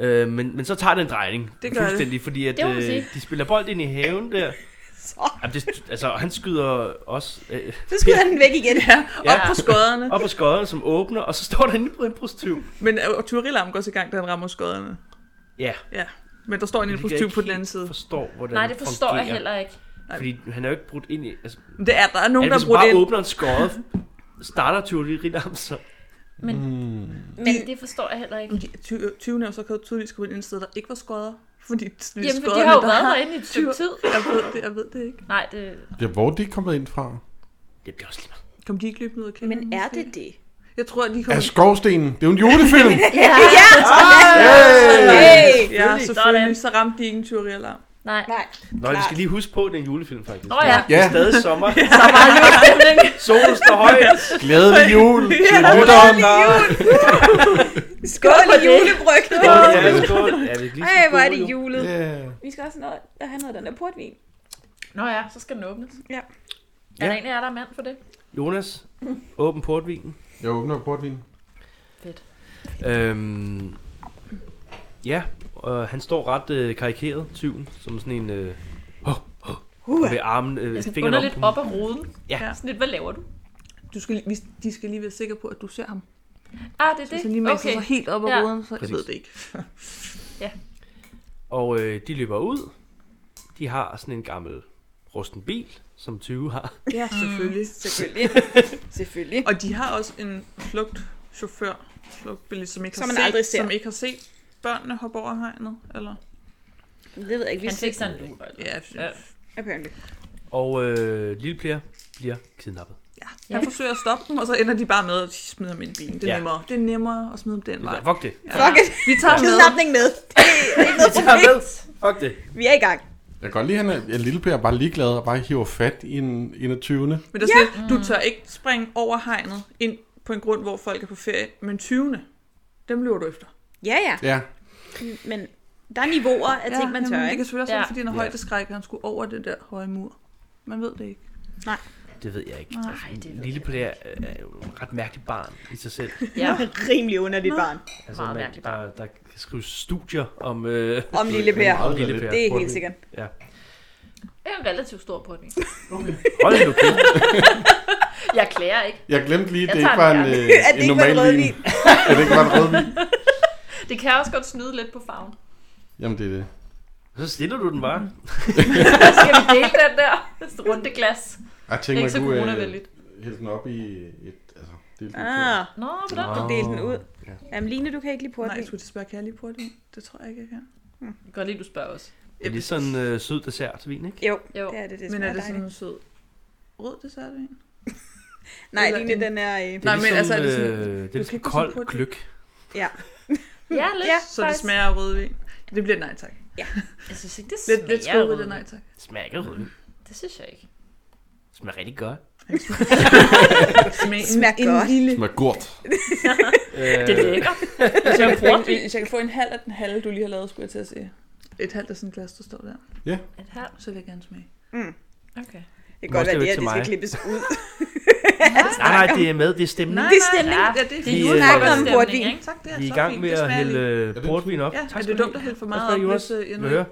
B: Øh, men, men så tager det en drejning.
D: Det gør det.
B: fuldstændig, fordi at,
F: Det må man
B: øh,
F: sige.
B: de spiller bold ind i haven der.
E: Så,
B: Jamen, det, altså, han skyder også øh,
E: så skyder han den væk igen. Ja.
D: Ja. Op på skodderne.
B: op på skodderne, som åbner, og så står der inde på en prostitut.
D: Men øh, og Turilarm går så i gang, da han rammer skodderne.
B: Ja.
D: Ja. Men der står en lille
B: kan
D: positiv
B: ikke
D: på den
B: helt
D: anden side.
B: forstår, hvordan
F: Nej, det forstår
B: fungerer.
F: jeg heller ikke.
B: Fordi han er jo ikke brudt ind i... Altså,
D: Men Det er, der er nogen,
B: Nogen,
D: der
B: hvis
D: har
B: han bare
D: brugt ind.
B: åbner en skåret, starter Tyrli Ridam, så...
F: Men, mm. men det forstår jeg heller ikke.
D: Ty- øh, Tyvene og så kan jo tydeligvis komme ind et sted, der ikke var skodder. Fordi det er
F: Jamen, for de
D: skodderne,
F: har jo
D: der
F: været derinde i et stykke
D: tyr.
F: tid.
D: Jeg ved det, jeg ved det ikke.
F: Nej, det...
C: Ja, hvor er de kommet ind fra?
B: Det bliver også lige meget.
D: Kom de ikke løbende ud af kælderen?
E: Men er det det?
D: Jeg tror, de
C: Ja,
D: kommer...
C: Skovstenen. Det er jo en julefilm.
F: Ja,
E: Hey!
D: Ja, selvfølgelig. Så ramte de ikke en tyverialarm.
F: nej.
E: Nej.
B: Nå, vi skal lige huske på, at det er en julefilm, faktisk.
F: Nå ja,
B: Det
C: Ja,
B: er stadig sommer.
F: der var jo stemning.
B: Solen står højt.
C: glædelig jul til
B: Lytteren,
C: lytteren.
B: der...
E: Skål i julebryg.
B: Ja, skål. Ja, vi kan lige sige
E: Ej, hvor er
B: skål,
E: det
B: jo.
E: julet.
C: Yeah.
E: Vi skal også noget, at have noget af den der portvin.
F: Nå ja, så skal den åbnes.
E: Ja.
F: Er der egentlig er der mand for det?
B: Jonas, åbn portvinen.
C: Jeg åbner portvinen.
F: Fedt.
B: Øhm, ja, og han står ret øh, karikeret, tyven, som sådan en... Øh, oh, oh, med armen, øh,
F: Jeg er sådan
B: fingeren
F: Altså, underligt
B: på
F: op af roden.
B: Ja.
F: Sådan lidt, hvad laver du?
D: Du skal, lige- vi- de skal lige være sikre på, at du ser ham.
F: Ah, det er det.
D: Så lige mens okay.
F: Okay.
D: så helt op ad
F: Ja. Mm.
D: ruden, så jeg
B: Præcis.
D: ved det ikke.
B: Og øh, de løber ud. De har sådan en gammel rusten bil, som 20 har.
D: Ja, selvfølgelig.
E: Selvfølgelig. Selvfølgelig.
D: Og de har også en flugt chauffør, flugtbilist, som ikke
E: Som
D: har
E: man
D: set,
E: aldrig ser.
D: som ikke har set børnene hoppe over hegnet, eller?
E: Det ved jeg ikke. Vi
F: Han fik sådan en lur.
D: Ja,
F: Ja.
D: ja.
E: Apparently.
B: Og øh, lille Pierre bliver kidnappet.
D: Ja. Han forsøger at stoppe dem, og så ender de bare med at smide ham ind i bilen. Det er,
B: Ja.
D: ja. nemmere. det er nemmere at smide ham den vej.
B: Fuck det.
E: Fuck it.
D: Vi tager med.
E: Kidnapning med. Det er ikke noget problem.
B: Fuck det.
E: Vi er i gang.
C: Jeg kan godt lide, at han er, at Lille Per er bare ligeglad og bare hiver fat i en 21.
D: Men der er sådan, lidt, du tør ikke springe over hegnet ind på en grund, hvor folk er på ferie. Men 20. Dem løber du efter.
E: Ja, ja.
C: Ja,
E: Men der er niveauer af ting, man tør,
D: jamen, Det
E: ikke?
D: kan selvfølgelig også være,
F: Ja.
D: fordi han er
B: Ja.
D: højdeskræk, og han skulle over den der høje mur. Man ved det ikke.
B: Det ved jeg ikke. Nej, det ved Lille Peter er er jo et ret mærkeligt barn i sig selv.
F: Ja,
E: Rimelig underligt barn.
B: Altså,
F: Meget
B: man,
F: mærkeligt
B: der, der kan skrives studier om, øh,
E: Om lille Per.
B: om Lille Per.
E: Det er helt sikkert.
B: Ja.
F: det er en relativt stor påvirkning.
B: Hold nu kæft.
F: Jeg klager ikke.
C: jeg glemte lige, at
F: Jeg
C: det ikke
F: tager
C: var
F: den
C: en,
F: gerne.
C: øh,
E: At det
C: en
E: ikke var
C: normal
E: en rødvin.
C: vin. At det ikke var en rødvin.
F: Det kan også godt snyde lidt på farven.
C: Jamen, det er det.
B: Så stiller du den bare.
F: Skal vi dele den der runde glas?
C: Jeg
F: Det er
C: tænker,
F: ikke så
C: man kunne øh,
F: coronavenligt.
C: hælde den op i et... Altså, det er
E: Ah,
F: Nå, på den
E: du
F: måde.
E: delte den ud.
C: Ja.
E: Jamen, Line, du kan ikke lige
D: Nej,
E: portvin.
D: jeg skulle til at spørge, kan jeg lige bruge det? Det tror jeg ikke, jeg kan.
F: Godt lige, du spørger os.
B: Det er lige sådan en øh, sød dessertvin, ikke?
E: Jo,
F: Jo.
E: det er det, det
D: Men
E: smager
D: er det sådan
E: dejligt.
D: en sød rød dessertvin?
E: Nej,
D: eller
E: Line,
D: en-
E: den er... øh,
B: Det er
D: Nej, men
B: ligesom,
D: altså, er det sådan-
B: øh, det er
D: kan
B: ligesom
D: ikke gå sådan
B: kold
D: hurtigt.
B: gløk.
D: Hm.
F: Ja, lidt.
E: Ja,
F: Ja,
D: Så det smager af rødvin. Det bliver et nej tak.
F: Jeg synes ikke, det
D: Lidt,
F: smager
D: lidt skål ved det
F: rødvin.
D: nej tak.
B: Det smager ikke af rødvin.
F: Det synes jeg ikke.
B: Det smager rigtig godt.
D: Smag,
E: Smager
D: en,
E: godt.
D: En lille...
C: Det smager gurt.
F: Det er
B: Øh,
F: lækkert.
D: Hvis jeg,
F: bruger
D: kan, hvis jeg kan få en halv af den halve, du lige har lavet, skulle jeg til at sige. Et halvt af sådan et glas, der står der.
F: Et halvt.
D: Så vil jeg gerne smage.
F: Okay.
E: Det kan godt
B: Måske væk
E: være, det her,
B: til
E: det skal
B: mig.
E: klippes ud.
B: Nej, nej, det er med. Det er stemning.
E: Det er stemning.
F: Ja,
D: Ja, det er
F: det
D: fint.
F: er
B: Vi, øh,
F: julefrokost
E: om portvin.
F: ikke?
D: Tak, det er
B: Vi er
D: så
B: i gang
D: fint.
B: med
D: Det
B: at
D: smager
B: hælde
D: lige.
B: øh,
C: det-
B: portvin op.
D: Ja,
B: Tak
D: er
B: skal
D: det
B: du
D: dumt at hælde for
B: have.
D: meget
B: Tak skal
D: op,
B: du have,
D: hvis øh, jeg
B: Jonas.
D: nu
B: Vil du høre?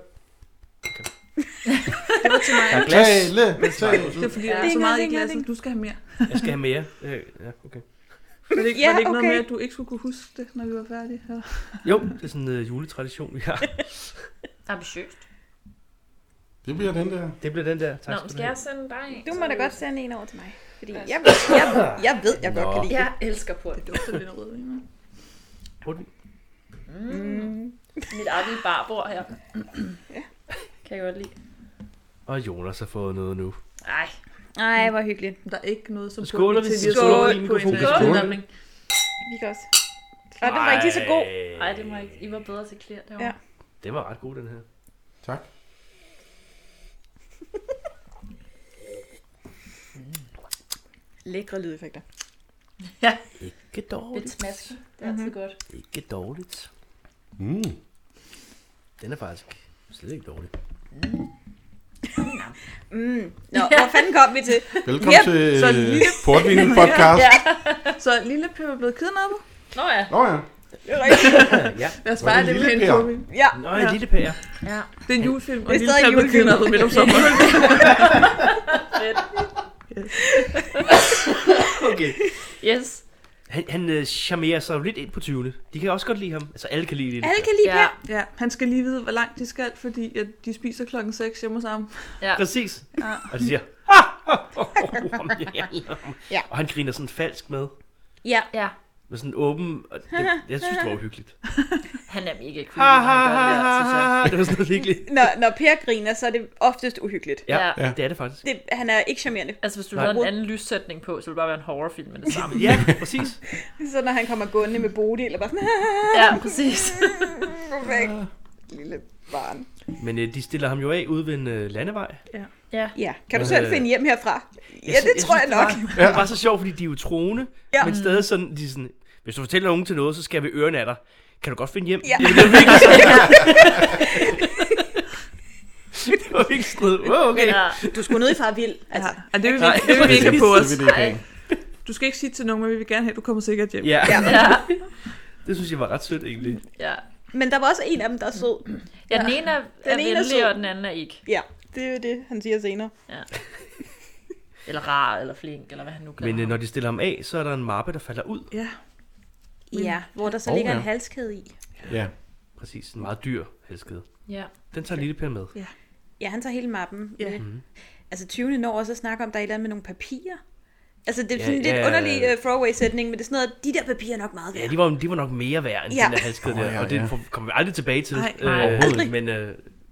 D: Det var til mig.
B: Der er glas.
C: Tale, tale.
D: Det er fordi, der er så
E: Ding,
D: meget i
E: ding,
D: glasset.
E: ding.
D: Du skal have mere.
B: Jeg skal have mere. Øh, Ja, okay.
D: Var det ikke,
E: Ja,
D: var det ikke noget
E: okay.
D: med, at du ikke skulle kunne huske det, når vi var færdige? Eller?
B: Jo, det er sådan en øh, juletradition, vi har.
F: Ambitiøst.
C: Det bliver den der.
B: Det bliver den der.
F: Nå,
B: Tak
F: men
B: skal du
F: skal
B: have.
F: jeg sende dig en?
E: Du må da godt sende en over til mig. Fordi
F: Altså.
E: jeg, ved, jeg, jeg ved, jeg godt
B: Nå.
E: kan lide
F: Jeg
E: det.
F: elsker portvin.
D: Det er lidt af rødvin, hva'?
B: Portvin.
F: Mit eget barbord her. Kan jeg godt lide.
B: Og Jonas har fået noget nu.
F: Ej,
E: Ej, hvor hyggeligt.
D: Der er ikke noget, som
B: Skåler vi.
D: til de har
E: Skål.
D: skålet
B: Skål.
D: på en
B: Skål.
D: øh,
F: kidnapning.
E: Vi kan også. Og den var ikke lige så god.
F: Ej, det må ikke. I var bedre til klær derovre.
E: Ja.
B: Det var ret god, den her.
C: Tak.
E: Lækre lydeffekter.
B: Ikke
F: Lidt
B: dårligt.
F: smask. Det er
E: Mhm.
F: altid godt.
B: Ikke dårligt.
C: Mm.
B: Den er faktisk slet ikke dårlig.
E: Mm. Nå, hvor fanden kom vi til?
C: Velkommen
E: Yep,
C: til øh,
D: så lige-
C: Portvinen podcast.
F: Ja.
D: Så lille Pip er blevet kidnappet.
F: Nå ja.
C: Nå ja.
E: Det er rigtigt.
B: ja.
D: Lad os
C: Hvor er det
D: bare det
C: lille
D: med en
C: Per?
D: rødvin.
E: Ja.
B: Nå, en lille pære.
D: Det er en julefilm, og
E: Det er
D: lille
E: stadig
D: Per er blevet
E: julefilm.
D: kidnappet midt om sommeren.
F: Fedt.
B: Okay.
F: Yes.
B: Han, han øh, charmerer sig jo lidt ind på 20'erne. De kan også godt lide ham. Altså, alle kan lide det.
E: Alle kan lide
F: Ja.
E: Per.
D: Ja, han skal lige vide, hvor langt de skal, fordi at de spiser klokken 6 hjemme hos ham.
B: Præcis.
D: Ja.
B: Og de siger... ja.
E: Ja.
B: Og han griner sådan falsk med.
E: Ja.
F: Ja.
B: Med sådan åben... Og det, jeg synes, det var uhyggeligt.
F: Han er mega creepy, når han gør det der, synes jeg.
B: det var sådan noget hyggeligt.
E: Når, når Per griner, så er det oftest uhyggeligt.
B: Ja,
F: Ja.
B: ja, det er det faktisk.
E: Det, han er ikke charmerende.
F: Altså, hvis du
B: Nej.
F: havde en anden lyssætning på, så ville det bare være en horrorfilm med det samme.
B: Ja, præcis.
E: Så når han kommer gående med Bodil, eller bare sådan,
F: ja, præcis.
E: perfekt. Lille barn.
B: Men øh, de stiller ham jo af ude ved en øh, landevej.
E: Ja, kan du
B: Øh,
E: selv finde hjem herfra? Ja, det tror jeg nok.
B: Det var, det var så sjovt, fordi de er jo troende, ja.
E: Ja.
B: men stadig sådan, de er sådan, hvis du fortæller nogen til noget, så skal vi ørerne af dig. Kan du godt finde hjem?
E: Ja.
B: Det var virkelig sådan. det var virkelig sådan noget. Wow, okay.
F: Ja.
E: Du skulle nødt fra vild. Altså,
D: Ja, og det vil vi,
B: Nej,
D: det vil vi ikke have på os.
C: Det vil det ikke have.
D: Du skal ikke sige til nogen, men vi vil gerne have, at du kommer sikkert hjem.
B: Ja. ja.
E: Ja.
F: Ja,
B: Det synes jeg var ret sødt egentlig.
F: ja.
E: men der var også en af dem, der er sød.
F: ja den ene er, er
E: Den ene er
F: venlig,
E: sød.
F: og den anden er ikke.
E: Ja, det er jo det, han siger senere.
F: Eller rar, eller flink, eller hvad han nu kalder
B: Men øh,
F: ham.
B: når de stiller ham af, så er der en mappe, der falder ud.
D: ja.
E: Ja, hvor der så
C: Åh,
E: ligger
C: ja.
E: en halskæde i.
C: Ja.
B: Præcis, en meget dyr helskede.
F: Ja.
B: Den tager lille Per med.
E: Ja, han tager hele mappen.
D: Ja.
E: Ja.
B: Mhm.
E: Mm. Altså 20. når også at snakke om, der er et eller andet med nogle papirer. Altså det er
B: Ja,
E: sådan ja, lidt
B: ja.
E: ja. underlig uh, throwaway-sætning, men det er sådan noget, de der papirer er nok meget værd.
B: Ja, de var, de var nok mere værd end ja.
E: Ja.
B: den der halskede
C: Åh,
B: der,
C: ja,
B: og det
C: ja.
B: får- kommer vi aldrig tilbage til.
D: Nej,
B: øh,
F: nej.
B: Men øh,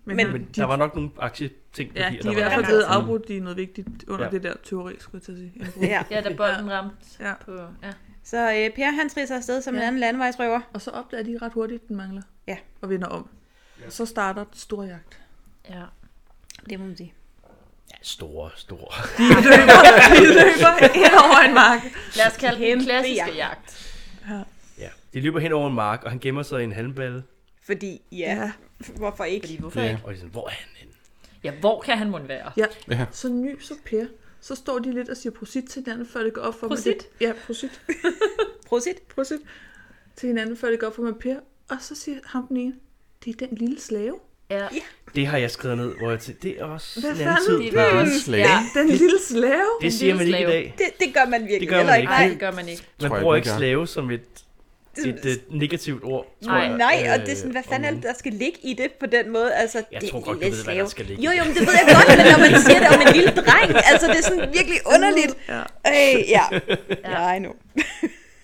D: Men,
E: Men-
D: men
B: Men de... der var nok nogle aktieting.
D: ja, de
B: der
D: er i hvert
B: var-
D: fald blevet afbrudt i noget vigtigt under
B: Ja.
D: ja. det der teori, skulle jeg til at sige. Indbrud.
E: Ja.
F: Ja, da bolden ramte
D: Ja.
F: på... Ja.
E: Så øh, Per han trisser afsted som ja. en
D: Ja.
E: anden landevejsrøver.
D: Og så opdager de ret hurtigt, at den mangler.
E: Ja.
D: Og vinder om. Ja. Så starter den store jagt.
F: ja.
E: Det må man sige.
B: Ja, store, store.
D: De løber, de løber hen over en mark.
F: Lad os kalde den
E: Kæmpe
F: den klassiske
E: jagt.
F: jagt.
B: Ja. De løber hen over en mark, og han gemmer sig i en halmballe.
E: Fordi, ja, ja.
D: Ja.
E: hvorfor ikke?
F: Fordi hvorfor
C: Ja.
F: ikke?
B: Og de er sådan, hvor er han henne?
F: Ja, hvor kan han mon være?
D: Ja.
C: Ja.
D: ja. Så nyser Per. Så står de lidt og siger prosit til hinanden, før det går op for
F: Prosit?
D: dem. at det- Ja, prosit.
E: Prosit.
D: Prosit. Til hinanden, før det går op for dem, at Per. Og så siger ham den ene, det er den lille slave.
F: Ja.
B: Det har jeg skrevet ned, hvor jeg tænkte, det er også
D: Hvad
B: en anden tid.
D: fanden?
F: Det
C: Det er
F: var
C: også slet. Ja.
F: Ja.
D: Den lille slave?
B: Det siger man ikke i
F: slave.
B: dag.
E: Det, det gør man virkelig
B: Det gør man
E: heller
B: ikke.
F: Nej, det gør man ikke.
B: Man
C: Tror jeg
B: bruger
C: ikke,
B: ikke
C: man
B: slave som et, et, et negativt ord, tror
F: Nej.
B: jeg.
E: Nej, og
B: Øh,
E: det er sådan, hvad fanden
B: om-
E: er det, der skal ligge i det på den måde? Altså,
B: Jeg
E: det
B: tror
E: er
B: godt,
E: en
B: du ved, hvad der
E: slave.
B: skal ligge i
E: Jo,
B: det.
E: jo, men det ved jeg godt, men når man siger det om en lille dreng, altså det er sådan virkelig underligt.
D: Ja.
E: Øh, ja. Nej, nu.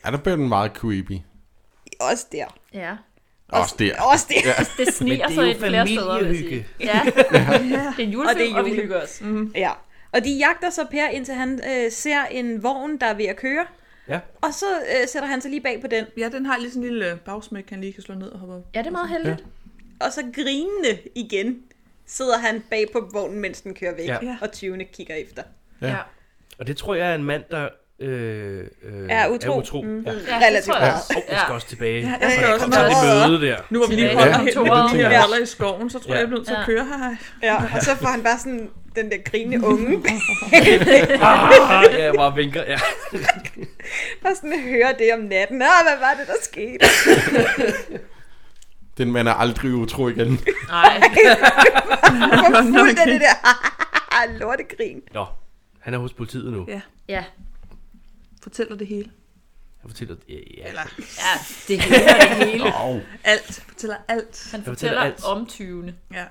C: Ja, der blev den meget creepy.
E: Også der.
F: Ja.
C: Også der.
E: Også der. Ja.
F: Det sniger
B: det er jo
F: sig ind flere steder, vil jeg sige.
B: familiehygge.
F: Ja. Det er en
E: Og det
F: julefilm,
E: er
F: og, vi
E: jule.
F: hygger os.
E: ja. Og de jagter så Per, indtil han øh, ser en vogn, der er ved at køre.
B: Ja.
E: Og så øh, sætter han sig lige bag på den.
D: Ja, den har lige sådan en lille øh, bagsmæk, han lige kan slå ned og hoppe op.
F: Ja, det er meget heldigt.
E: Og så grinende igen sidder han bag på vognen, mens den kører væk.
B: Ja.
E: Ja. Og tyvene kigger efter.
C: Ja.
F: Ja.
B: Og det tror jeg er en mand, der øh, øh,
E: Er utro.
B: Er utro. Mm. Ja.
F: Ja,
E: Relativt
F: det tror jeg
E: meget.
F: også.
B: Oh, jeg skal også tilbage. Ja,
D: jeg skal også
B: kom til det
E: meget.
B: møde der.
D: Nu hvor vi lige
F: Tilbage
D: holder
C: om
D: ja,
F: to
D: hen
F: år.
D: med de
E: Ja.
D: her holder i skoven, så tror
B: Ja.
D: jeg, jeg er nødt til
F: Ja.
D: at køre her.
E: Ja, og så får han bare sådan den der grinende unge
B: Ah, ja, jeg bare vinker. Ja.
E: Og sådan høre det om natten. Åh, hvad var det, der skete?
C: Den mand er aldrig utro igen.
F: Nej,
E: Hvor fuldt er det der? Lortegrin.
B: Nå, han er hos politiet nu.
D: Ja.
F: ja.
D: Fortæller det hele.
B: Han fortæller, ja, ja.
F: Ja, det hele er det hele.
D: Alt. Fortæller alt.
F: Han
B: fortæller
F: fortæller
B: alt.
F: om 20.
D: Ja.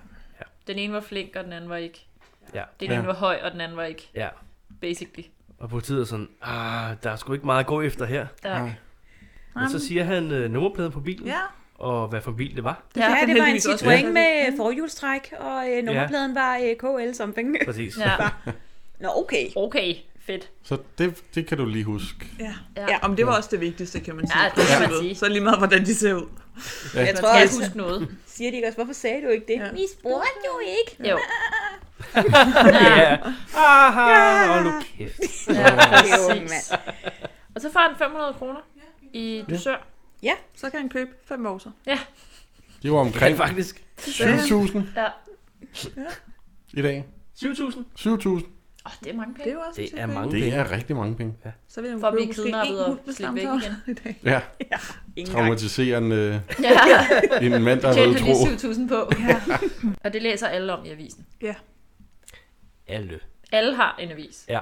F: Den ene var flink, og den anden var ikke.
B: Ja.
F: Den ene
C: Ja.
F: var høj, og den anden var ikke.
B: ja.
F: Basically.
B: Og politiet er sådan, ah, der er sgu ikke meget at gå efter her.
F: Ja.
C: Nej.
B: Men så siger han øh, nummerpladen på bilen,
D: Ja.
B: og hvad for en bil det var.
E: Ja,
D: fik
E: ja
D: han
E: det var en
D: heldigvis også
E: Citroën
D: med.
E: med forhjulstræk, og øh, nummerpladen var øh, KL something.
B: Præcis.
F: ja.
E: Nå, okay.
F: Okay, fedt.
C: Så det, det kan du lige huske.
D: Ja.
F: Ja.
D: ja. Om det var også det vigtigste, kan man sige.
F: det kan man
D: Så-
F: sige.
D: Så lige meget, hvordan de ser ud.
E: Men Jeg tror
F: Kan jeg
E: også,
F: huske noget?
E: siger de ikke også, hvorfor sagde du ikke det?
D: Ja.
E: Vi spurgte jo ikke.
F: Jo.
B: Ja. Aha, hold nu kæft.
F: Ja,
E: Jo,
F: præcis.
E: mand.
F: Og så får han 500 kroner i dusør.
D: Så kan han købe fem morser.
C: Det var
B: Ja,
C: omkring
B: faktisk.
C: 7.000
F: Ja.
C: i dag.
B: 7.000.
C: 7.000.
F: Åh, det er mange
D: Det
F: penge.
D: er jo også
B: Det
D: en
B: er
D: ting,
B: mange
C: Det
B: penge.
C: er rigtig mange penge.
D: ikke? Så vil jeg
F: For at blive
D: måske
F: kidnappet
D: en
F: og
D: hund med
F: slippe væk
D: stamtavler i dag.
C: Ja,
E: Ingen gang.
C: traumatiserende
F: Ja,
C: en mand, der havde
F: tjente
C: tro.
F: lige 7.000 på. Ja. Og det læser alle om i avisen.
B: Alle.
F: Alle har en avis.
B: Ja.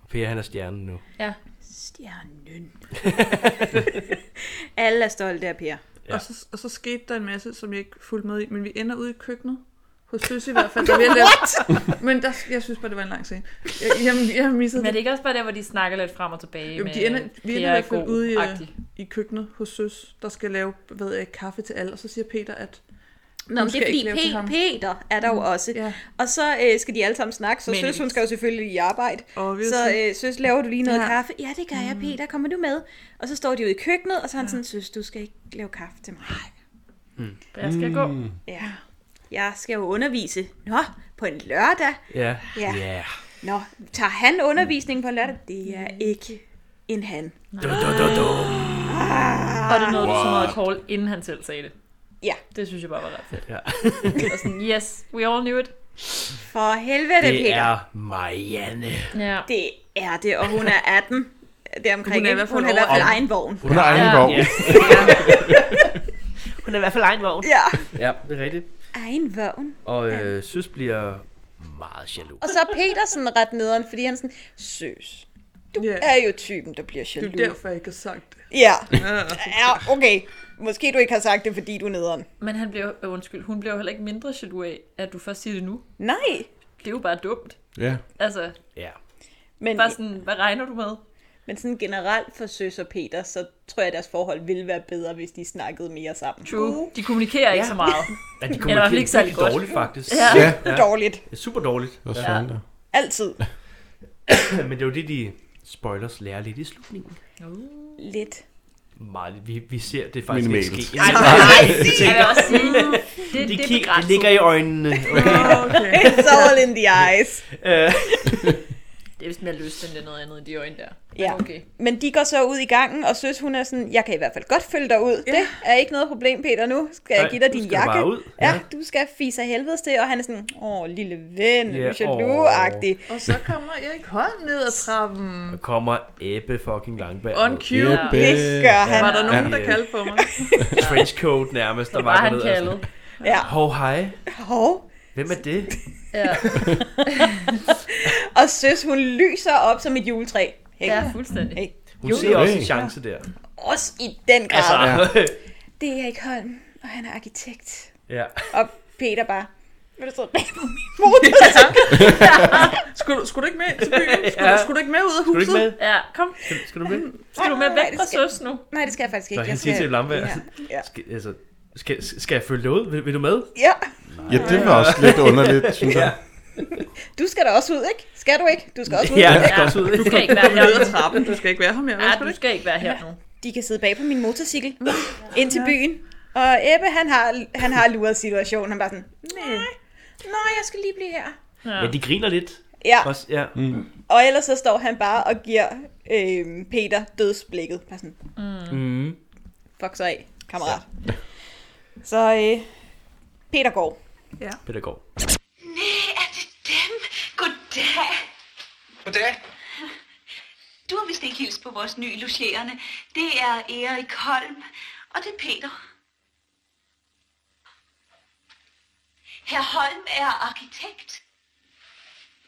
B: Og Per, han er stjernen nu.
E: Stjernen. Alle er stolte af Per.
B: Ja.
D: Og, så, og så skete der en masse, som jeg ikke fulgte med i, men vi ender ude i køkkenet. Hos Søs i hvert fald. Der What? Men der, jeg synes bare, det var en lang scene. Jeg, jeg, jeg har misset
F: Men er
D: det.
F: det ikke også bare der, hvor de snakker lidt frem og tilbage
D: Jo,
F: med,
D: de ender- vi
F: det
D: ender i
F: er
D: hvert fald
F: god
D: ude i, øh,
F: agtigt.
D: I køkkenet hos Søs, der skal lave hvad jeg, kaffe til alle, og så siger Peter, at
E: Nå, men det Mm. er
D: skal
E: fordi
D: ikke lave til ham.
E: P- Peter er der jo også.
D: ja,
E: Og så øh, skal de alle sammen snakke, så
F: Men-
E: søs, hun skal jo selvfølgelig i arbejde.
D: obviously.
E: Så øh, søs, laver du lige noget ja.
D: Ja.
E: kaffe? Ja, det gør jeg, Peter. Kommer du med? Og så står de ude i køkkenet, og så er han sådan, søs, du skal ikke lave kaffe til mig.
F: Jeg skal gå.
C: Mm.
E: Ja, jeg skal jo undervise. Nå, på en lørdag.
B: Ja.
E: Ja.
B: Ja.
E: Nå, tager han undervisning på lørdag? Det er ikke en han.
B: Du, du, du, du.
F: Var det noget, du så meget call, inden han selv sagde det?
E: Ja.
F: Det synes jeg bare var ret fedt.
B: Ja.
F: Og sådan, yes, we all knew it.
E: For helvede,
B: Det
E: Peter.
B: er Marianne.
F: Ja.
E: Det er det, og hun er 18. Det er omkring,
D: Hun er i
E: ikke?
D: hvert fald
E: hun har i hvert fald
B: over-
E: egen vogn.
C: Hun har egen
F: Ja.
C: vogn.
B: Ja. Hun er i hvert fald egen vogn.
E: Ja,
B: Ja, det er rigtigt.
E: egen vogn.
B: Og øh, Søs bliver meget jaloux.
E: Og så er Petersen ret nederen, fordi han er sådan, søs, du
D: Ja.
E: er jo typen, der bliver
D: det
E: jaloux.
D: er derfor, jeg ikke har sagt det.
E: Ja. ja, okay. Måske du ikke har sagt det, fordi du er nederen.
F: Men han blev, øh, undskyld, hun blev jo heller ikke mindre jaloux af, at du først siger det nu.
E: Nej.
F: Det er jo bare dumt.
C: Ja,
F: Altså,
B: Ja.
E: Men,
F: bare sådan, hvad regner du med?
E: Men sådan generelt for Søs og Peter, så tror jeg, at deres forhold ville være bedre, hvis de snakkede mere sammen.
F: True. De kommunikerer ikke så meget.
B: Ja, de
F: Eller i hvert fald
B: kommunikerer
F: ikke særlig
B: virkelig
F: godt.
B: dårligt, faktisk.
F: Ja.
C: Ja,
E: Ja. Dårligt.
B: Det er super dårligt.
C: hvad fanden der.
E: Altid.
B: Men det er jo det, de spoilers lærer lidt i slutningen.
E: Lidt.
B: Meget lidt. Vi, vi ser det faktisk
C: Minimalt.
B: ikke ske.
F: Nej, nej, Jeg vil også sige, det,
B: De
F: det er
B: kig, det
F: begrænset.
B: ligger i øjnene. Okay.
D: Ah, Okay.
E: It's all in the eyes.
B: Øh,
F: Det er vist mere lyst, end det er noget andet i de øjne der.
E: Ja.
F: Okay.
E: Men de går så ud i gangen, og søs hun er sådan, jeg kan i hvert fald godt følge dig ud. Ja. Det er ikke noget problem, Peter, nu skal jeg
B: Nej,
E: give dig
B: nu
E: din
B: skal du
E: jakke.
B: bare ud.
E: Ja, du skal fise af helvedes til, og han er sådan, åh, lille ven,
B: Ja,
E: yeah, du er
B: åh.
E: jaloux-agtig.
D: Og så kommer Erik Holm ned ad trappen.
B: Der kommer Ebbe fucking Langberg.
D: On cue.
C: Ja,
F: Ja.
E: Det
C: bæ-
E: gør
D: Var
E: han.
D: der nogen, der
B: Ja.
D: kaldte på mig?
B: Trenchcoat nærmest, der
F: Det var
B: var
F: han
B: ned.
F: kaldet.
B: Altså.
E: Ja.
B: Hov, hej.
E: Hov.
B: Hvem er det?
F: Ja.
E: Og søs, hun lyser op som et juletræ. Ikke?
F: ja,
E: Ja.
F: fuldstændig.
B: Hun ser også en
C: Hey.
B: chance der.
E: Også i den grad.
B: Altså,
E: Altså.
B: ja.
E: Det er Erik Holm, og han er arkitekt.
B: ja.
E: Og Peter bare, vil du sidde bag på min motor?
D: Skulle, skulle du ikke med til byen? Skulle, du, skulle du ikke med ud af
B: Skal du
D: huset?
B: ikke med?
F: Ja, kom.
B: Skal, skal du med?
F: Skal du med væk
E: Nej,
F: fra
E: det skal-
F: søs nu?
E: Nej, det skal jeg faktisk ikke.
B: Nå, han
E: Jeg
B: siger
E: skal...
B: til Lamberg,
E: Ja. Ja.
B: Skal, altså, skal, skal jeg følge dig ud? Vil, vil du med?
E: ja,
C: Ja, det var også lidt underligt, synes jeg.
E: du skal da også ud, ikke? Skal du ikke? Du skal også ud.
B: Ja, jeg
F: Ja.
B: skal også ud.
F: Du skal ikke være her
D: Ned ad
F: nu.
D: trappen. Du skal ikke være her mere.
F: Ja,
D: vel, skal du
F: du
D: ikke?
F: skal ikke være her nu.
E: de kan sidde bag på min motorcykel ind til byen. Og Ebbe, han har, han har luret situationen. Han bare sådan, nej, nej, jeg skal lige blive her.
B: Ja, de griner lidt.
E: Ja,
B: Også, ja.
E: og ellers så står han bare og giver øh, Peter dødsblikket. Bare sådan,
B: Mm.
E: fuck så af, kammerat. Så øh, Peter går.
B: Pædagog.
H: Nej, er det dem? Goddag.
G: Goddag.
H: Du har vist ikke hilst på vores nye logerende. Det er Erik Holm, og det er Peter. Herr Holm er arkitekt.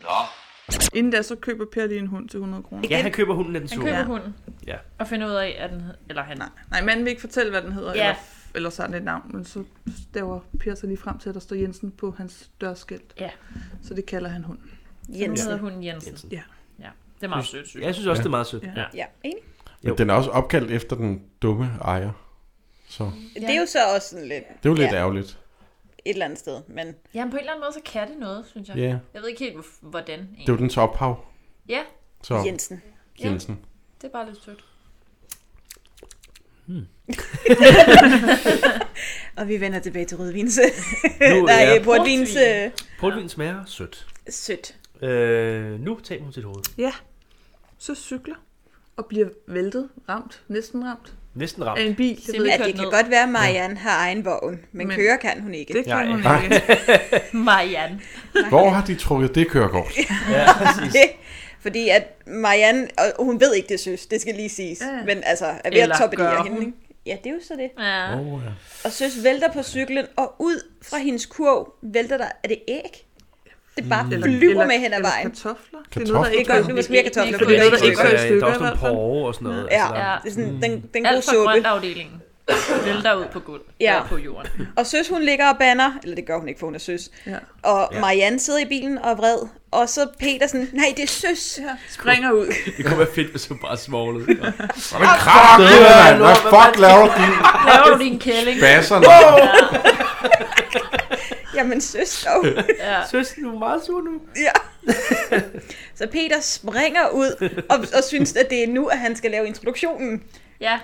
G: Nå,
D: Inden da, så køber Per lige en hund til 100 kroner.
B: Ja, han køber hunden af den
F: Han
B: sure.
F: køber hunden.
B: Ja.
F: Og finder ud af, at den hed- eller han.
D: Nej, nej, manden vil ikke fortælle, hvad den hedder,
F: Ja.
D: ja. eller, eller sådan et navn, men så staver Per sig lige frem til, at der står Jensen på hans dørskilt,
F: Ja,
D: så det kalder han hund.
F: nu
E: Jensen.
F: hedder hunden Jensen.
B: Jensen.
D: Ja.
F: Ja, det er meget sødt, synes
B: Ja,
F: jeg.
B: jeg synes også, det er meget sødt.
D: Ja.
E: Ja, enig.
B: Jo.
C: Men den er også opkaldt efter den dumme ejer. Så
E: Det er jo så også sådan lidt
C: det er jo lidt
E: Ja.
C: ærgerligt.
E: et eller andet sted, men
F: Jamen, på en eller anden måde, så kan det noget, synes jeg.
C: Ja.
F: Jeg ved ikke helt, hvor- hvordan. egentlig.
C: Det er jo dens ophav.
F: Ja,
C: Så
E: Jensen.
F: ja,
C: Jensen.
F: det er bare lidt sødt.
E: Og vi vender tilbage til rødvins.
B: Nu
E: Nej,
B: er
E: portvins. Øh,
B: portvin smager sødt.
E: sødt.
B: Øh, nu taber hun sit hoved.
D: Ja, så cykler og bliver væltet, ramt, næsten ramt
B: Næsten
D: af
B: ramt.
D: en bil. Jeg ved
E: Ja,
D: ikke,
F: kørt
E: det kan
F: ned.
E: godt være, at Marianne har egen vogn, men,
D: Men-
E: køre kan hun ikke.
D: det kan
B: Nej.
D: hun ikke.
F: Marianne.
C: Hvor har de trukket det kørekort?
E: Fordi at Marianne, og hun ved ikke, det søs, det skal lige siges,
D: Ja, ja.
E: men altså er ved
F: Eller
E: at toppe det
F: gør
E: af
F: hun?
E: hende. ikke? Ja, det er jo så det.
F: Ja.
C: Oh, ja.
E: Og søs vælter på cyklen, og ud fra hendes kurv vælter der, er det æg? Det bare flyver med hen ad
D: Mm. eller
E: vejen.
D: kartofler. Det er
C: Kartofler?
D: noget, der ikke
E: Det går-
D: går.
E: nu smager kartofler
F: Det
E: på
D: er noget,
E: det.
D: der ikke går i
B: Øh, Der
D: stykker
B: er
D: i
B: også
D: hvert
B: nogle
D: fald.
B: porre og sådan noget.
E: Ja,
B: Altså, der-
E: det er sådan,
D: Mm.
E: den, den gode
F: Alt fra
E: suppe.
F: grøntafdelingen. Vælter ud på gulv.
E: Ja.
F: Eller på jorden.
E: Og søs, hun ligger og banner, eller det gør hun ikke, for hun er søs.
D: Ja.
E: Og Marianne sidder i bilen og er vred, og så Petersen, nej, det er søs. Ja.
D: Springer ud.
B: Det kunne være fedt, hvis hun bare smoglede.
C: Hvad kraft det er, mand? Hvad fuck laver du?
F: Laver du din kælling?
C: Basser,
E: Jamen søs dog.
F: Ja.
B: Søs, du er meget sur nu.
E: Ja. Så Peter springer ud og, og synes, at det er nu, at han skal lave introduktionen.
F: ja.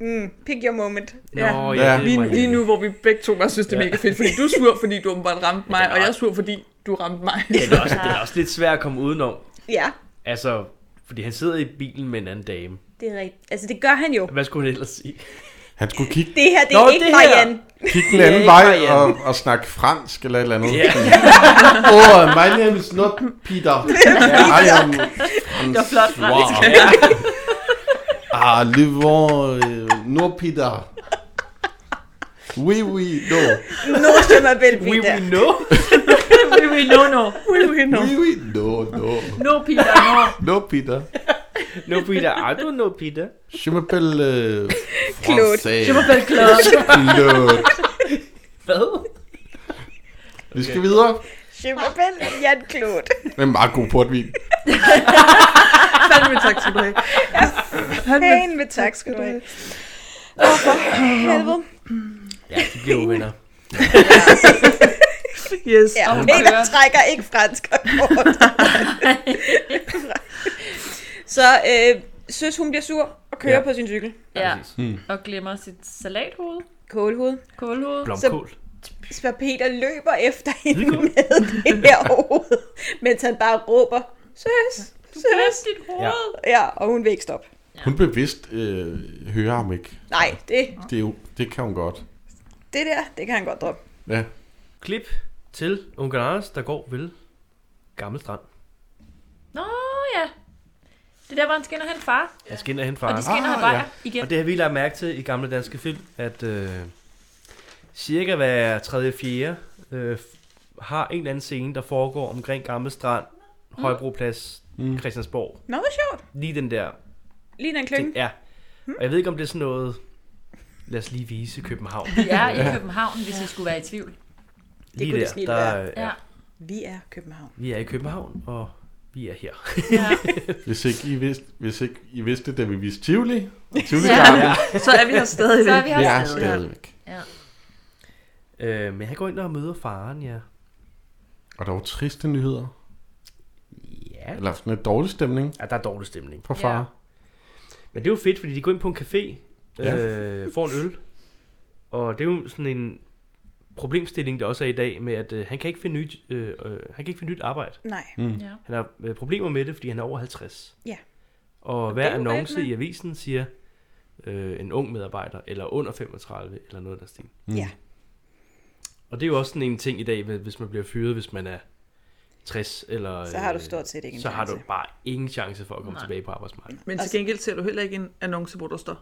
E: Mm, pick your moment.
D: Ja.
B: Nå, ja,
C: Ja.
B: det er
D: Lige,
B: Marianne.
D: lige nu, hvor vi begge to bare synes, det er mega fedt, fordi du er sur, fordi du åbenbart ramte mig, og jeg er sur, fordi du ramte mig.
B: Den er, også, den er også lidt svær at komme udenom.
E: Ja,
B: Altså, fordi han sidder i bilen med en anden dame.
E: det er rigtigt. Altså, det gør han jo.
B: Hvad skulle han ellers sige?
C: Han skulle kigge,
E: Det her, det
B: Nå,
E: er ikke
B: det her.
E: Marianne.
C: kigge den anden
B: Ja,
C: vej
B: ikke
C: og,
B: Marianne.
C: og snakke fransk eller et eller andet.
B: Ja.
C: Oh, my name is not Peter. I am
F: Det var flot fransk.
C: Ah, le vent, euh, no Peter. Oui, oui, no.
E: Nu skal man vel
B: We
E: blive der.
B: will know.
F: We will know no.
C: Oui, oui, no, no.
F: No, Peter, no.
C: No, Peter.
B: No Peter. I don't know Peter.
C: Je m'appelle euh,
E: Claude.
C: français.
F: Jeg må bare klare.
C: Claude.
B: Hvad?
C: Vi skal videre.
E: Schimmerbell, Jan Claude.
C: Det er en meget god portvin.
D: Fandme tak skal du have.
E: Pæn med tak, skal du have. Åh, for helvede.
B: Ja, de bliver uvenner.
D: Yes.
E: Ja,
F: hun
E: Peter
F: kører.
E: trækker ikke fransk og kort. Så øh, søs, hun bliver sur og kører
B: Ja.
E: ja. på sin cykel.
F: Ja,
B: præcis.
F: og glemmer sit salathoved,
E: Kålhoved.
F: kålhoved.
B: Blomkål.
E: Så Peter løber efter hende med det her hoved, mens han bare råber, søs, søs.
F: Bløs dit hoved.
E: Ja, og hun vil ikke stoppe.
C: Hun bevidst øh, hører ham ikke.
E: Nej, det,
C: Det, er jo, det kan hun godt.
E: det der, det kan han godt droppe.
C: Ja.
B: Klip til onkel Anders, der går ved Gammel Strand.
F: Nå ja. Det er der, hvor han skinner hen far.
B: Jeg skinner hen fra.
F: Og de skinner
C: Ah,
F: han bare
C: ja.
F: igen.
B: Og det har vi lagt mærke til i gamle danske film, at øh, cirka hver tredje fjerde øh, har en eller anden scene, der foregår omkring Gamle Strand, Højbroplads, mm. Christiansborg.
E: Nå, hvor sjovt.
B: Lige den der
E: Lige den klønge.
B: ting. Ja. Og jeg ved ikke, om det er sådan noget,
E: Mm.
B: lad os lige vise København.
F: Vi er i København, hvis I skulle være i tvivl.
B: Lige
E: kunne det
B: der,
E: snildt
B: der
E: være.
B: øh, ja.
F: Ja.
E: Vi er København.
B: vi er i København, og vi er her.
F: ja.
C: Hvis ikke I vidste, hvis ikke I vidste det, da vi viste Tivoli. og Tivoli
F: Ja.
C: ja.
B: Ja.
D: Så er vi her stadig.
F: Så er vi her
C: Det er
F: stadig.
C: stadigvæk.
B: øh, men han går ind og møder faren, ja.
C: Og der var triste nyheder.
B: Ja.
C: Eller sådan en dårlig stemning
B: ja, der er dårlig stemning.
C: fra far.
F: Ja.
B: Men det er jo fedt, fordi de går ind på en café,
C: Ja.
B: øh, får en øl, og det er jo sådan en problemstilling, der også er i dag, med at øh, han kan ikke finde nyt, øh, øh, han kan ikke finde nyt arbejde.
E: Nej.
B: Han har øh, problemer med det, fordi han er over 50.
E: Ja.
B: Og hver
E: det er jo
B: annonce
E: reelt,
B: i avisen siger, øh, en ung medarbejder, eller under 35, eller noget af den stil.
E: Mm. Ja.
B: Og det er jo også sådan en ting i dag, med, hvis man bliver fyret, hvis man er 60, eller...
E: Så har du
B: øh,
E: stort set ikke en
B: Så har du
E: chance.
B: bare ingen chance for at komme Nej. tilbage på arbejdsmarkedet.
D: Men til gengæld ser du heller ikke en annonce, hvor der står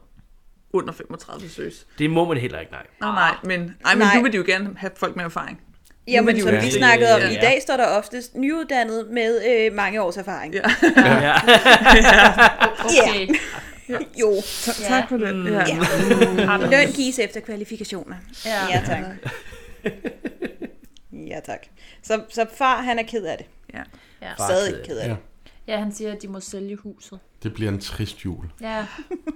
D: under 35 søs.
B: Det må man heller ikke, nej.
D: Nå,
F: Ah.
D: nej, men, ej, men
E: Nej.
D: nu vil de jo gerne have folk med erfaring.
E: Jamen, som vi
B: Ja.
E: snakkede om,
B: Ja.
E: i dag står der oftest nyuddannet med øh, mange års erfaring.
D: Ja.
B: Ja.
F: Okay.
E: Jo,
F: Ja.
D: Tak for den. Ja.
E: Ja.
F: Har du-
E: løn gives efter kvalifikationer.
F: Ja.
E: Ja, tak. Ja, tak. Så, så far, han er ked af det.
F: Ja.
E: Stadig ked af det.
F: ja, han siger, at de må sælge huset.
C: Det bliver en trist jul.
F: Ja,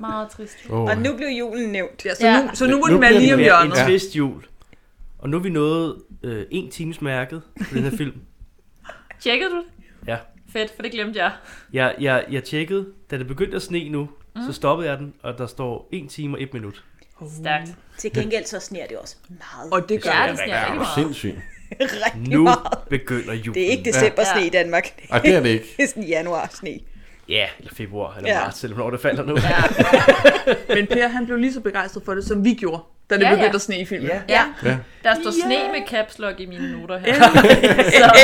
F: meget trist.
C: Oh.
E: Og nu blev julen nævnt.
D: Ja, så,
F: Ja.
D: Nu, så nu må
C: Nu
D: den være
C: bliver
D: lige
B: Det
D: om
B: er
D: hjørnet.
B: en trist jul. Og nu er vi nået øh, en times mærket på den her film.
F: Tjekkede du det?
B: Ja.
F: Fedt, for det glemte jeg.
B: Jeg, jeg, jeg tjekkede, da det begyndte at sne nu, mm. så stoppede jeg den, og der står 1 time og 1 minut.
F: Stærkt.
E: Til gengæld så sner det også meget.
D: Og det gør
F: Ja,
D: Uh. ja.
F: det sniger
C: Det
F: rigtig
C: var
F: meget.
C: sindssygt.
E: rigtig
B: Nu
E: meget.
B: begynder julen.
E: Det er ikke december sne i Danmark.
C: Ej, det er det ikke.
E: Det er sådan januar sne.
B: Ja, eller februar, eller ja.
E: Ja.
B: marts, eller hvornår det falder nu.
F: Ja.
D: Men Per, han blev lige så begejstret for det, som vi gjorde, da det
F: Ja, ja.
D: begyndte at sne i filmen.
B: Ja.
F: Ja.
C: Ja.
F: Der står sne med caps lock i mine noter her.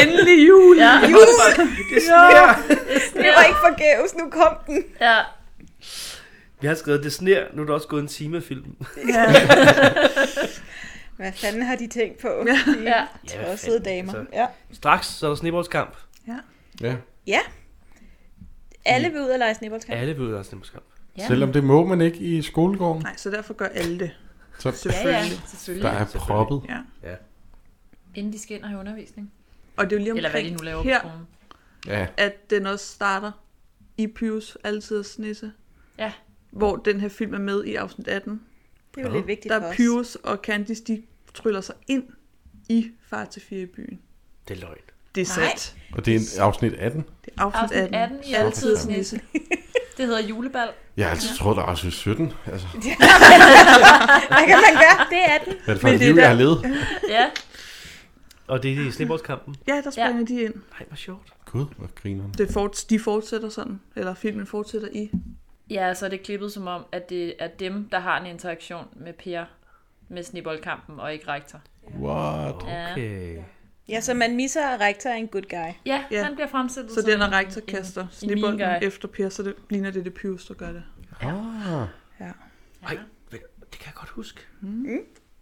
D: Endelig jul!
F: Ja,
E: Jul!
F: det
E: Det var ikke forgæves, nu kom den.
F: Ja,
B: Vi har skrevet, det sner, nu er der også gået en time af filmen.
E: Hvad fanden har de tænkt på?
F: ja.
E: De tossede damer.
B: altså.
E: Ja.
B: Straks, så er der snebollskamp.
C: Ja.
E: Alle vil ud og lege snibboldskamp.
B: Alle ved, der er snebollskamp.
F: Ja.
C: Selvom det må man ikke i skolegården.
D: Nej, så derfor gør alle det.
C: Så
F: Ja, ja,
D: Selvfølgelig.
C: der
F: selvfølgelig.
C: er proppet.
D: Ja.
F: Inden de skal ind og have undervisning.
D: Og det er jo lige
F: Eller hvad de
D: omkring
F: nu laver på
D: her,
F: skolen.
C: Ja.
D: at den også starter i Pius altid at snisse.
F: Ja.
D: Hvor den her film er med i afsnit 18.
E: Det er jo lidt vigtigt
D: Der
E: for
D: er
E: os.
D: Pius og Candice, de tryller sig ind i Far til 4 i byen.
B: Det er løgn.
D: Det er
E: Nej.
D: sandt.
C: Og det er en afsnit 18.
D: Det er afsnit,
F: Afsnit
D: 18.
F: 18 i
D: altid
F: Altid
D: at snisse.
F: Det hedder julebal.
C: Jeg har altid troet, der var afsnit 17. Altså,
E: Hvad kan man gøre? Det er den.
C: hvad er det for
D: Men
C: et
D: det er
C: liv, jeg
D: der-
C: har levet?
F: Ja.
B: Og det er i snebollskampen.
D: Ja, der springer ja. de ind.
B: Nej, hvor sjovt.
C: Gud, hvor griner
D: Det fort, de fortsætter sådan. Eller filmen fortsætter i.
F: Ja, så er det klippet som om, at det er dem, der har en interaktion med Per med snibboldkampen og ikke rektor.
C: What?
B: Okay.
E: Ja, så man misser, at rektor er en good guy.
F: Ja,
D: Ja.
F: ja. han bliver fremstillet
D: Så
F: som
D: den og
F: en-
D: rektor
F: en-
D: kaster
F: en mean
D: snibolden
F: guy.
D: efter Per, så det ligner det, det er Pius, der gør det.
C: Ah,
B: Ej, det kan jeg godt huske.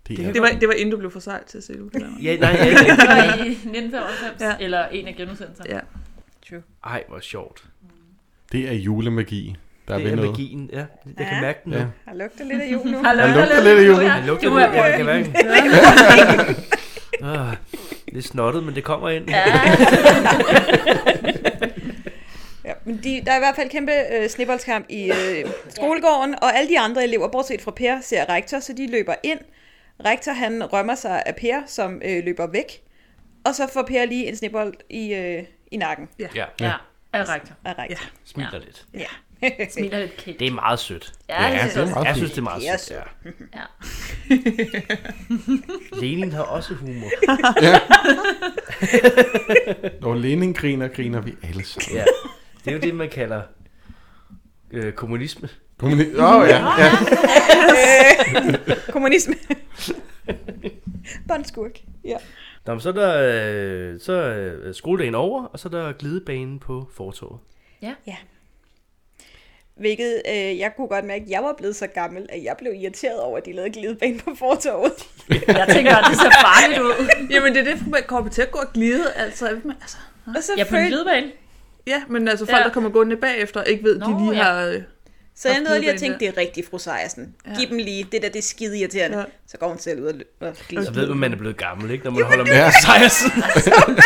C: det er
D: Det var, det var inden du blev for sej til at se det.
B: Ja, nej, ja, ja.
F: Det var i 1995,
D: Ja.
F: ja. eller en af genudsendelserne.
D: Ja.
B: Ej, hvor sjovt.
C: Det er julemagi. Der er
B: Det
C: ved
B: er
C: noget.
B: magien, ja. Jeg kan
E: Ja.
B: mærke den nu.
C: Ja.
E: Har lugter lidt af jul nu.
F: Hallo,
C: Der lugter lidt af jul.
B: Jeg lugter
F: Du
B: nu,
F: er
B: jeg kan mærke den. Ah, det er snottet, men det kommer ind.
F: Ja.
E: de, der er i hvert fald kæmpe øh, snibboldskamp i øh, skolegården, og alle de andre elever, bortset fra Per, ser rektor, så de løber ind. Rektor han rømmer sig af Per, som øh, løber væk, og så får Per lige en snibbold i, øh, i nakken
B: Ja,
F: Ja, er rigtig.
E: af rektor.
B: smiler lidt.
E: Ja.
F: Smiler lidt kægt.
B: Det er meget sødt.
F: Ja,
C: Ja,
F: det synes
C: det er
F: jeg også.
C: meget
B: Jeg
C: fint.
B: synes, det er meget
E: Det er
B: sødt. Ja.
F: Ja.
B: Lenin har også humor.
C: Når Lenin griner, griner vi alle sammen.
B: Ja. Det er jo det, man kalder øh, kommunisme.
C: Kommuni- Åh oh, ja, ja.
E: Øh, Kommunisme. Båndskurk. Ja.
B: Nå, men så er der øh, så er skoledagen over, og så er der glidebanen på fortovet.
E: Hvilket øh, jeg kunne godt mærke, at jeg var blevet så gammel, at jeg blev irriteret over, at de lavede glidebane på fortorvet.
F: Jeg tænker, at det ser farligt ud.
D: Jamen, det er det, man kommer til at gå og glide. Altså, altså,
E: Og så
F: Jeg er på en
E: følte-
F: glidebane.
D: ja, men altså folk,
F: Ja.
D: der kommer gående bagefter, ikke ved, Nå, de
F: Nå,
D: lige
F: ja.
D: har... øh,
E: Så jeg nåede lige at
D: glidebane
E: tænke, det er rigtigt, fru Sejersen. Ja. Giv dem lige, det der, det er skide irriterende.
D: Ja.
E: Ja. Så går hun selv ud og lø- og glider.
B: Så ved man, man er blevet gammel, ikke? Når man holder med
C: Ja.
B: Sejersen.
E: Og sådan,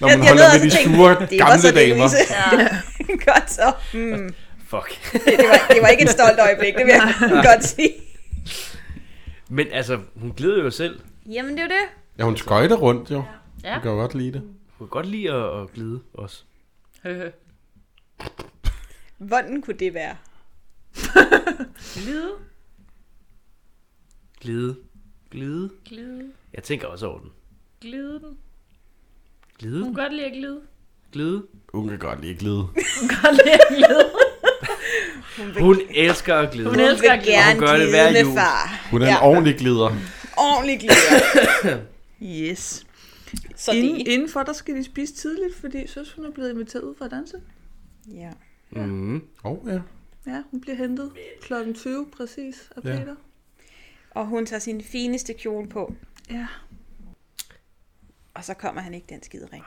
C: Når
E: jeg-
C: man
E: jeg
C: holder med
E: nåede
C: de
E: også at tænke,
C: sure
E: det var
C: gamle
E: så det,
C: damer.
E: Louise. godt så. Mm.
B: Fuck.
E: Det, var, det var ikke et stolt øjeblik, det vil jeg godt sige.
B: Men altså, hun glider jo selv.
E: Jamen, det er jo det.
C: Ja, hun skøjter rundt jo.
F: Ja.
C: Hun kan jo godt lide det.
B: Hun kan godt lide at, at glide også.
F: Høhø.
E: Hvordan kunne det være?
F: Glide,
B: Glide. Glide.
F: glide,
B: Jeg tænker også over den.
F: glide den.
B: Glide.
F: Du kan godt lide at glide.
B: Glide.
C: Hun kan godt lide at glide.
F: Du kan godt lide at glide.
B: Hun elsker at glide.
F: Hun
E: Hun
F: elsker
E: vil
F: at glide.
E: gerne
B: Hun gør det
E: glide
B: hver
E: med
B: jul.
E: far.
C: Hun er en
E: Ja.
C: ordentlig glider.
E: Ordentlig glider.
D: Yes.
E: Så
D: Inden,
E: det...
D: indenfor, der skal de spise tidligt, fordi søs, hun er blevet inviteret ud for at danse.
E: Ja.
B: Mm.
C: Åh oh, ja.
D: Ja, hun bliver hentet kl. 20 præcis af
C: Ja.
D: Peter.
E: Og hun tager sin fineste kjole på,
D: Ja.
E: og så kommer han ikke den skide ring.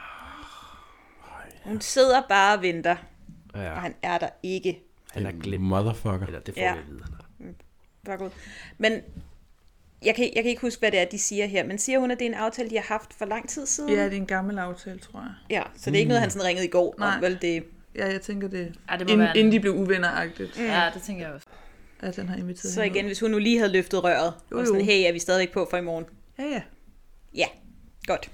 E: Hun sidder bare og venter,
B: Ja,
E: og han er der ikke.
B: han er glemt.
C: Motherfucker.
B: Eller det får
E: Ja.
B: ja. vi at vide.
E: Fuck ud. Men jeg kan, jeg kan ikke huske, hvad det er, de siger her, men siger hun, at det er en aftale, de har haft for lang tid siden?
D: ja, det er en gammel aftale, tror jeg.
E: ja så det er ikke noget, han sådan ringede i går
D: Nej.
E: om, vel? Det,
D: Ja, jeg tænker det,
F: Ja, det må
D: inden,
F: være en-
D: inden de blev uvenneragtigt,
F: Ja, det tænker jeg også.
D: at han har inviteret
E: så
D: hende
E: igen, hvis hun nu lige havde løftet røret,
D: Jo,
E: og sådan,
D: jo.
E: hey, er vi stadigvæk på for i morgen?
D: ud. Ja, ja.
E: Ja, godt.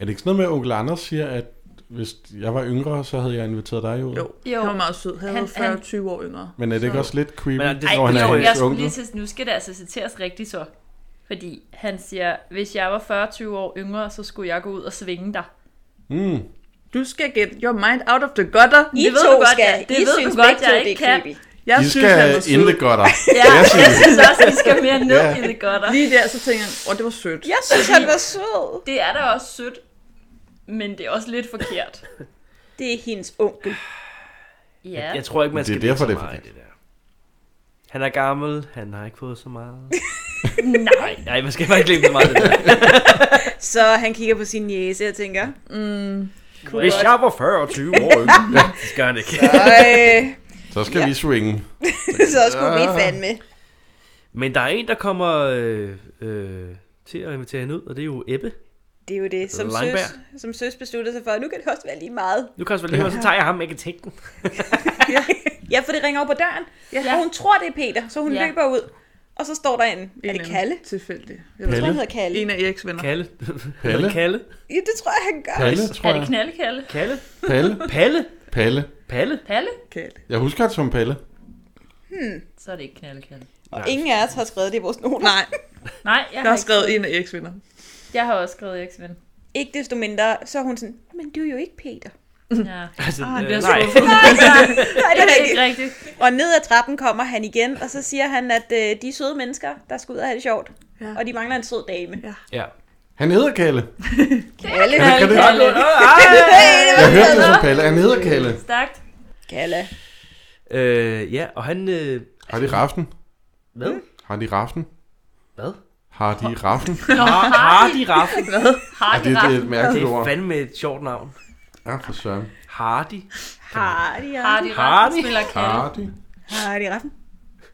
C: Er det ikke sådan noget med, at onkel Anders siger, at hvis jeg var yngre, så havde jeg inviteret dig ud?
D: Jo,
F: Jo.
D: jo. han var meget sød. Han,
F: Han-
D: var
F: han-
D: 40-20 år yngre.
C: Men er det ikke også lidt creepy,
B: Men er det-
C: når han
B: Ej,
C: er
B: jo,
F: jo, jeg
C: hendes
F: skulle
C: onkel?
F: lige til, nu skal det altså citeres rigtigt så. Fordi han siger, hvis jeg var 40-20 år yngre, så skulle jeg gå ud og svinge dig.
C: Mm.
D: Du skal get your mind out of the gutter.
E: I
F: Det ved
E: to
F: du godt,
E: skal,
F: ja.
E: det
F: Det
E: I
F: ved du
E: synes
F: godt,
E: begge to,
F: jeg
E: det er
F: ikke kan.
E: creepy.
D: Jeg
C: De
D: synes, han var
C: skal
D: sød.
C: intet godt dig.
F: Ja,
C: Jeg
F: jeg
C: synes-
F: synes, også, I skal mere ned i det godt.
D: Lige der, så tænker han, åh, det var sødt.
E: Jeg synes, han var sød.
F: Det er da også sødt, men det er også lidt forkert.
E: Det er hendes onkel.
F: Ja,
B: Jeg tror ikke, man
C: Det er
B: skal
C: derfor,
B: lægge
C: det
B: så
C: er
B: meget i
C: forkert.
B: det der. Han er gammel, han har ikke fået så meget.
F: nej.
B: Nej, man skal bare ikke lægge så meget i det der.
E: Så han kigger på sin jæse og tænker,
B: Hvis jeg var 40 og 20 år yngre, ja, det skal han ikke.
E: øh,
C: Så skal vi swinge.
E: så skulle vi fandme.
B: Men der er en, der kommer øh, øh, til at invitere hende ud, og det er jo Ebbe.
E: Det er jo det, som
B: Langberg.
E: søs, som søs besluttede sig for, nu kan det også være lige meget.
B: Nu kan jeg også være lige, og så tager jeg ham, ikke tænke den.
E: Ja, for det ringer op på døren, ja.
F: Ja.
E: og hun tror, det er Peter, så hun
F: Ja.
E: ja. løber ud. Og så står der en,
D: En
E: er det
D: anden
E: Kalle?
D: Tilfældig. Jeg
E: Jeg
D: ved
E: tror,
C: Kalle?
E: han hedder Kalle.
D: ikke. En af Eriks venner.
B: Kalle.
C: Palle?
B: Kalle.
E: Ja, det tror jeg, han gør.
C: Palle, tror
F: Er
C: jeg.
F: det knaldkalde?
B: Kalle.
C: Palle.
B: Palle.
C: Palle.
B: Palle.
F: Palle?
D: Kalle.
C: Jeg husker det som Palle.
F: Så er det ikke knaldkalde.
E: Og Altså, ingen af os har skrevet det i vores noter.
D: Nej,
F: Nej, jeg
D: jeg
F: har,
D: har skrevet en af Eriks venner.
F: ikke, jeg har også skrevet Eriks ven.
E: Ikke desto mindre, så er hun sådan, men du er jo ikke Peter.
F: Ja.
B: Altså,
D: Ah,
B: øh,
D: det er
B: nej.
E: Nej,
F: Det er ikke rigtigt.
E: Og ned ad trappen kommer han igen, og så siger han, at øh, de er søde mennesker, der skal ud og have det sjovt.
D: Ja.
E: Ja. Og de mangler en sød dame. Ja.
B: Ja.
C: Han hedder Kalle.
E: Kalle,
C: Han kan det.
F: Kalle.
C: Jeg hørte det som Palle. Han hedder Kalle.
F: Stærkt.
E: Kalle.
B: Øh, ja, og han... Øh,
C: Har de raften?
B: hvad?
C: Har de raften?
B: Hvad?
C: Har de raften?
F: Nå,
B: Hardy Raffen.
F: har
C: Ja, det, det er et
B: Det
C: mærkeligt
B: er
C: ord.
B: fandme et sjovt navn.
C: Ja, for søren.
B: Hardy.
F: Hardy
E: Hardy, Hardy.
F: Raffen spiller kalde.
C: Hardy.
E: Hardy Raffen.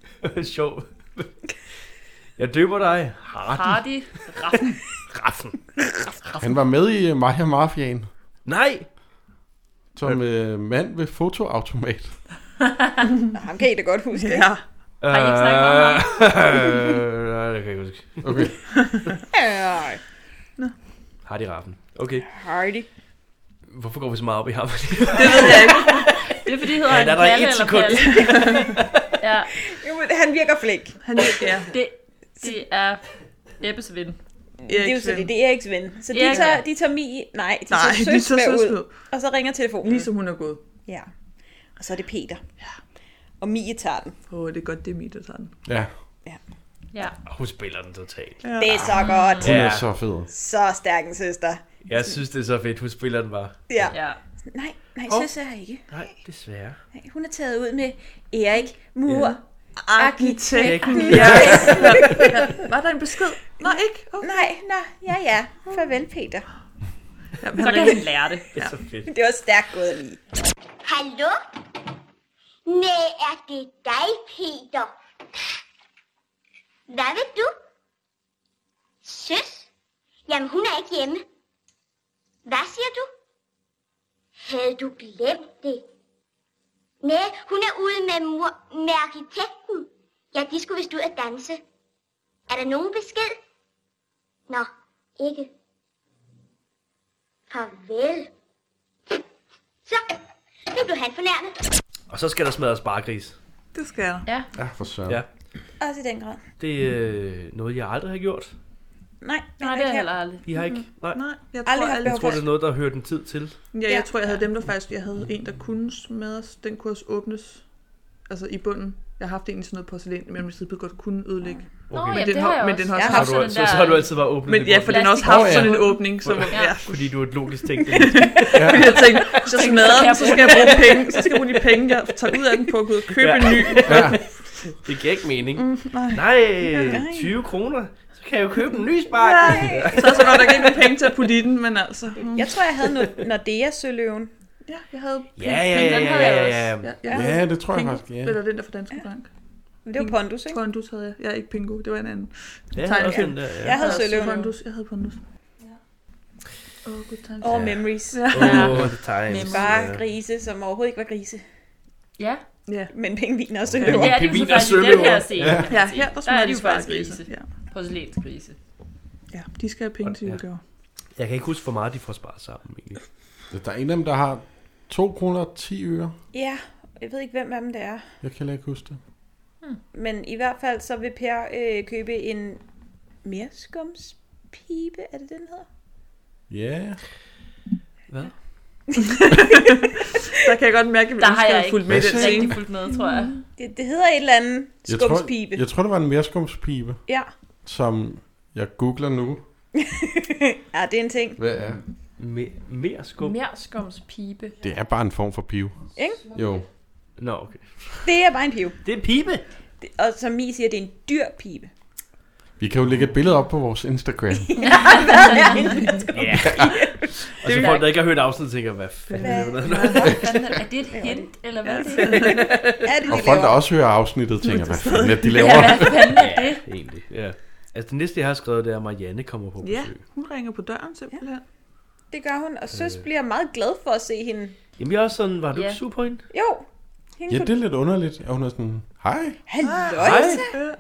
B: Sjov. Jeg døber dig. Hardy.
F: Hardy Raffen.
B: Raffen.
C: Han var med i øh, Maja Mafiaen.
B: Nej.
C: som øh, mand ved fotoautomat.
E: Nå, ham kan I da godt huske, ikke?
D: Ja.
F: Har I ikke snakket meget om ham?
B: Øh, Nej, det kan jeg ikke huske.
C: Okay.
E: Ja.
B: Hardy Raffen. Okay,
E: Hardy.
B: hvorfor går vi så meget op i ham?
F: Det er fordi, det hedder
B: Ja,
F: ja,
B: der er
F: en
B: der
F: Palle
B: et
F: eller
B: sekund.
F: Palle. ja,
E: Jamen, han virker flink.
D: Han, ja,
F: det, det er Ebbes ven.
E: Det er jo så det, det er Eriks ven. Så de,
F: Erik.
E: tager, de tager Mi... Nej, de
D: Nej,
E: tager
D: de
E: Søs
D: tager
E: med
D: søs med.
E: ud. Og så ringer telefonen.
D: Ligesom hun er gået.
E: Ja. Og så er det Peter. Ja. Og Mie tager den.
D: Åh, oh, det er godt, det er mig, der tager den.
C: Ja,
F: Ja.
B: Hun spiller den totalt.
E: Ja. Det er så godt.
C: hun
B: Ja.
C: er så fed.
E: Så stærk en søster.
B: Jeg synes, det er så fedt. Hun spiller den bare.
E: Ja.
F: ja.
E: Nej, nej,
B: Hov.
E: søster er her ikke.
B: Nej, desværre.
E: Nej, hun er taget ud med Erik Mur. Ja.
D: Arkitekten. Ja. Var der en besked? Nej, ikke? Oh.
E: Nej, nå, ja, ja. Farvel, Peter.
D: Jamen,
F: Så
D: han
F: kan
D: ringer.
F: han lære det.
B: Det er så fedt.
E: Det var stærkt gået af Mie.
H: Hallo? Nej, er det dig, Peter? Hvad vil du? Søs? Jamen, hun er ikke hjemme. Hvad siger du? Havde du glemt det? Nej, hun er ude med, mor, med arkitekten. Ja, de skulle vist ud at danse. Er der nogen besked? Nå, ikke. Farvel. Så, nu blev han fornærmet.
B: Og så skal der smadres bargris.
D: Det skal jeg.
C: Ja, for søren.
B: Ja.
C: Ja.
E: Også i den grad.
B: Det er øh, noget, jeg aldrig har gjort.
E: Nej,
F: Nej, det er heller aldrig.
B: I har ikke? Nej.
D: Nej, jeg
E: Aldrig
D: tror,
E: haft
D: aldrig,
B: Jeg tror, det er noget, der hører den tid til.
D: ja,
E: Ja.
D: jeg tror, jeg havde dem, der faktisk... Jeg havde en, der kunne smadres. Den kunne også åbnes. Altså i bunden. Jeg har haft en i sådan noget porcelæn, men min side godt kunne ødelægge.
F: Nå,
B: Okay.
F: okay.
B: Men
F: jamen,
D: den
F: det
D: har-
F: har jeg
D: men
F: også.
D: den har
E: Jeg
D: også
E: har
B: Har
D: haft
B: du, så, så har du altid bare åbnet
D: Men
B: det
D: ja,
B: godt.
D: for den har også haft
C: Plastik.
D: sådan en åbning, som...
B: Ja.
D: Ja.
B: Fordi du er et logisk tænkt
D: Fordi jeg tænkte, hvis jeg smadrer den, så skal jeg bruge penge. Så skal jeg bruge de penge, jeg tager ud af den på at gå ud og købe
B: Ja.
D: en ny.
B: Det giver ikke mening. Mm, nej. nej, 20 kroner. Så kan jeg jo købe en ny spark.
D: Så er jeg så godt nok ikke penge til at putte i den, men altså... mm.
E: Jeg tror, jeg havde noget Nordea Søløven.
D: Ja, jeg havde...
B: Ja, ja, ja, ja, ja, ja, ja.
D: Ja, jeg havde
C: ja, det tror jeg
D: Pingo,
C: faktisk. Ja.
D: eller den der fra Danske Bank.
E: Men Det var Pondus, ikke?
D: Pondus havde jeg. Jeg er ikke Pingo, det var en anden.
B: Ja,
D: Tegn,
B: også
D: ja.
B: den der, ja.
E: Jeg havde Søløven.
D: Pondus, jeg havde Pondus. Åh, oh, good times.
E: Og
B: Ja.
E: Memories.
B: Oh, the times.
E: Bare
B: Ja.
E: grise, som overhovedet ikke var grise.
F: Ja,
E: Men pengeviner og
F: men
E: søløver.
F: det er de jo
B: pingviner
F: så faktisk i den
B: søløver.
F: her scene. kan man
D: Ja,
F: sige.
D: her der
F: der er
D: smager
F: de
D: de
F: jo faktisk grise.
D: spargrise. Ja.
F: Porcelænsgrise.
D: ja, de skal have penge til
B: Ja.
D: julegaver.
B: Jeg kan ikke huske, hvor meget de får sparet sammen. Egentlig.
C: Der er en af dem, der har 2 kroner og 10 øre.
E: Ja, jeg ved ikke, hvem af dem det er.
C: Jeg kan heller ikke huske det.
E: Men i hvert fald, så vil Per øh, købe en merskumspibe, er det det, den hedder?
C: Ja.
B: Hvad?
D: Der kan jeg godt mærke, at vi
F: Der har
D: ønsker
F: jeg
D: at
F: ikke
D: fulgt med i
C: Hvad
D: den
C: sagde
D: scene.
F: Rigtig fuldt med, tror jeg.
E: Det, det hedder et eller andet
C: Jeg tror,
E: skumspibe.
C: jeg tror, det var en merskumspibe,
E: Ja.
C: som jeg googler nu.
E: ja, det er en ting.
C: Hvad er?
B: Me- mere skum?
F: Mærskums-pibe.
C: Det er bare en form for pive.
E: Ikke?
C: Jo.
B: Nå, okay.
E: Det er bare en pibe.
B: Det er en pibe.
E: Det, og som Mi siger, det er en dyr pibe.
C: Vi kan jo lægge et billede op på vores Instagram.
B: Ja. Og så folk, der ikke har hørt afsnittet, tænker, hvad fanden er det? for noget?
F: Er det et hint, eller hvad?
E: Er det,
C: Og
E: de
C: folk, der
E: laver?
C: også hører afsnittet, tænker, hvad fanden er det, de laver?
F: Ja, hvad fanden er det?
B: Egentlig, ja. Altså, det næste, jeg har skrevet, det er, at Marianne kommer på
D: Ja,
B: besøg.
D: hun ringer på døren simpelthen. Øh,
E: Det gør hun, og
C: Øh.
E: Søs bliver meget glad for at se hende.
B: Jamen, jeg er også sådan, var du
F: Ja.
B: ikke sur på hende?
E: Jo, hende
C: Ja,
E: kunne-
C: det Ah, er lidt underligt. Og hun er sådan, hej.
E: Halløj.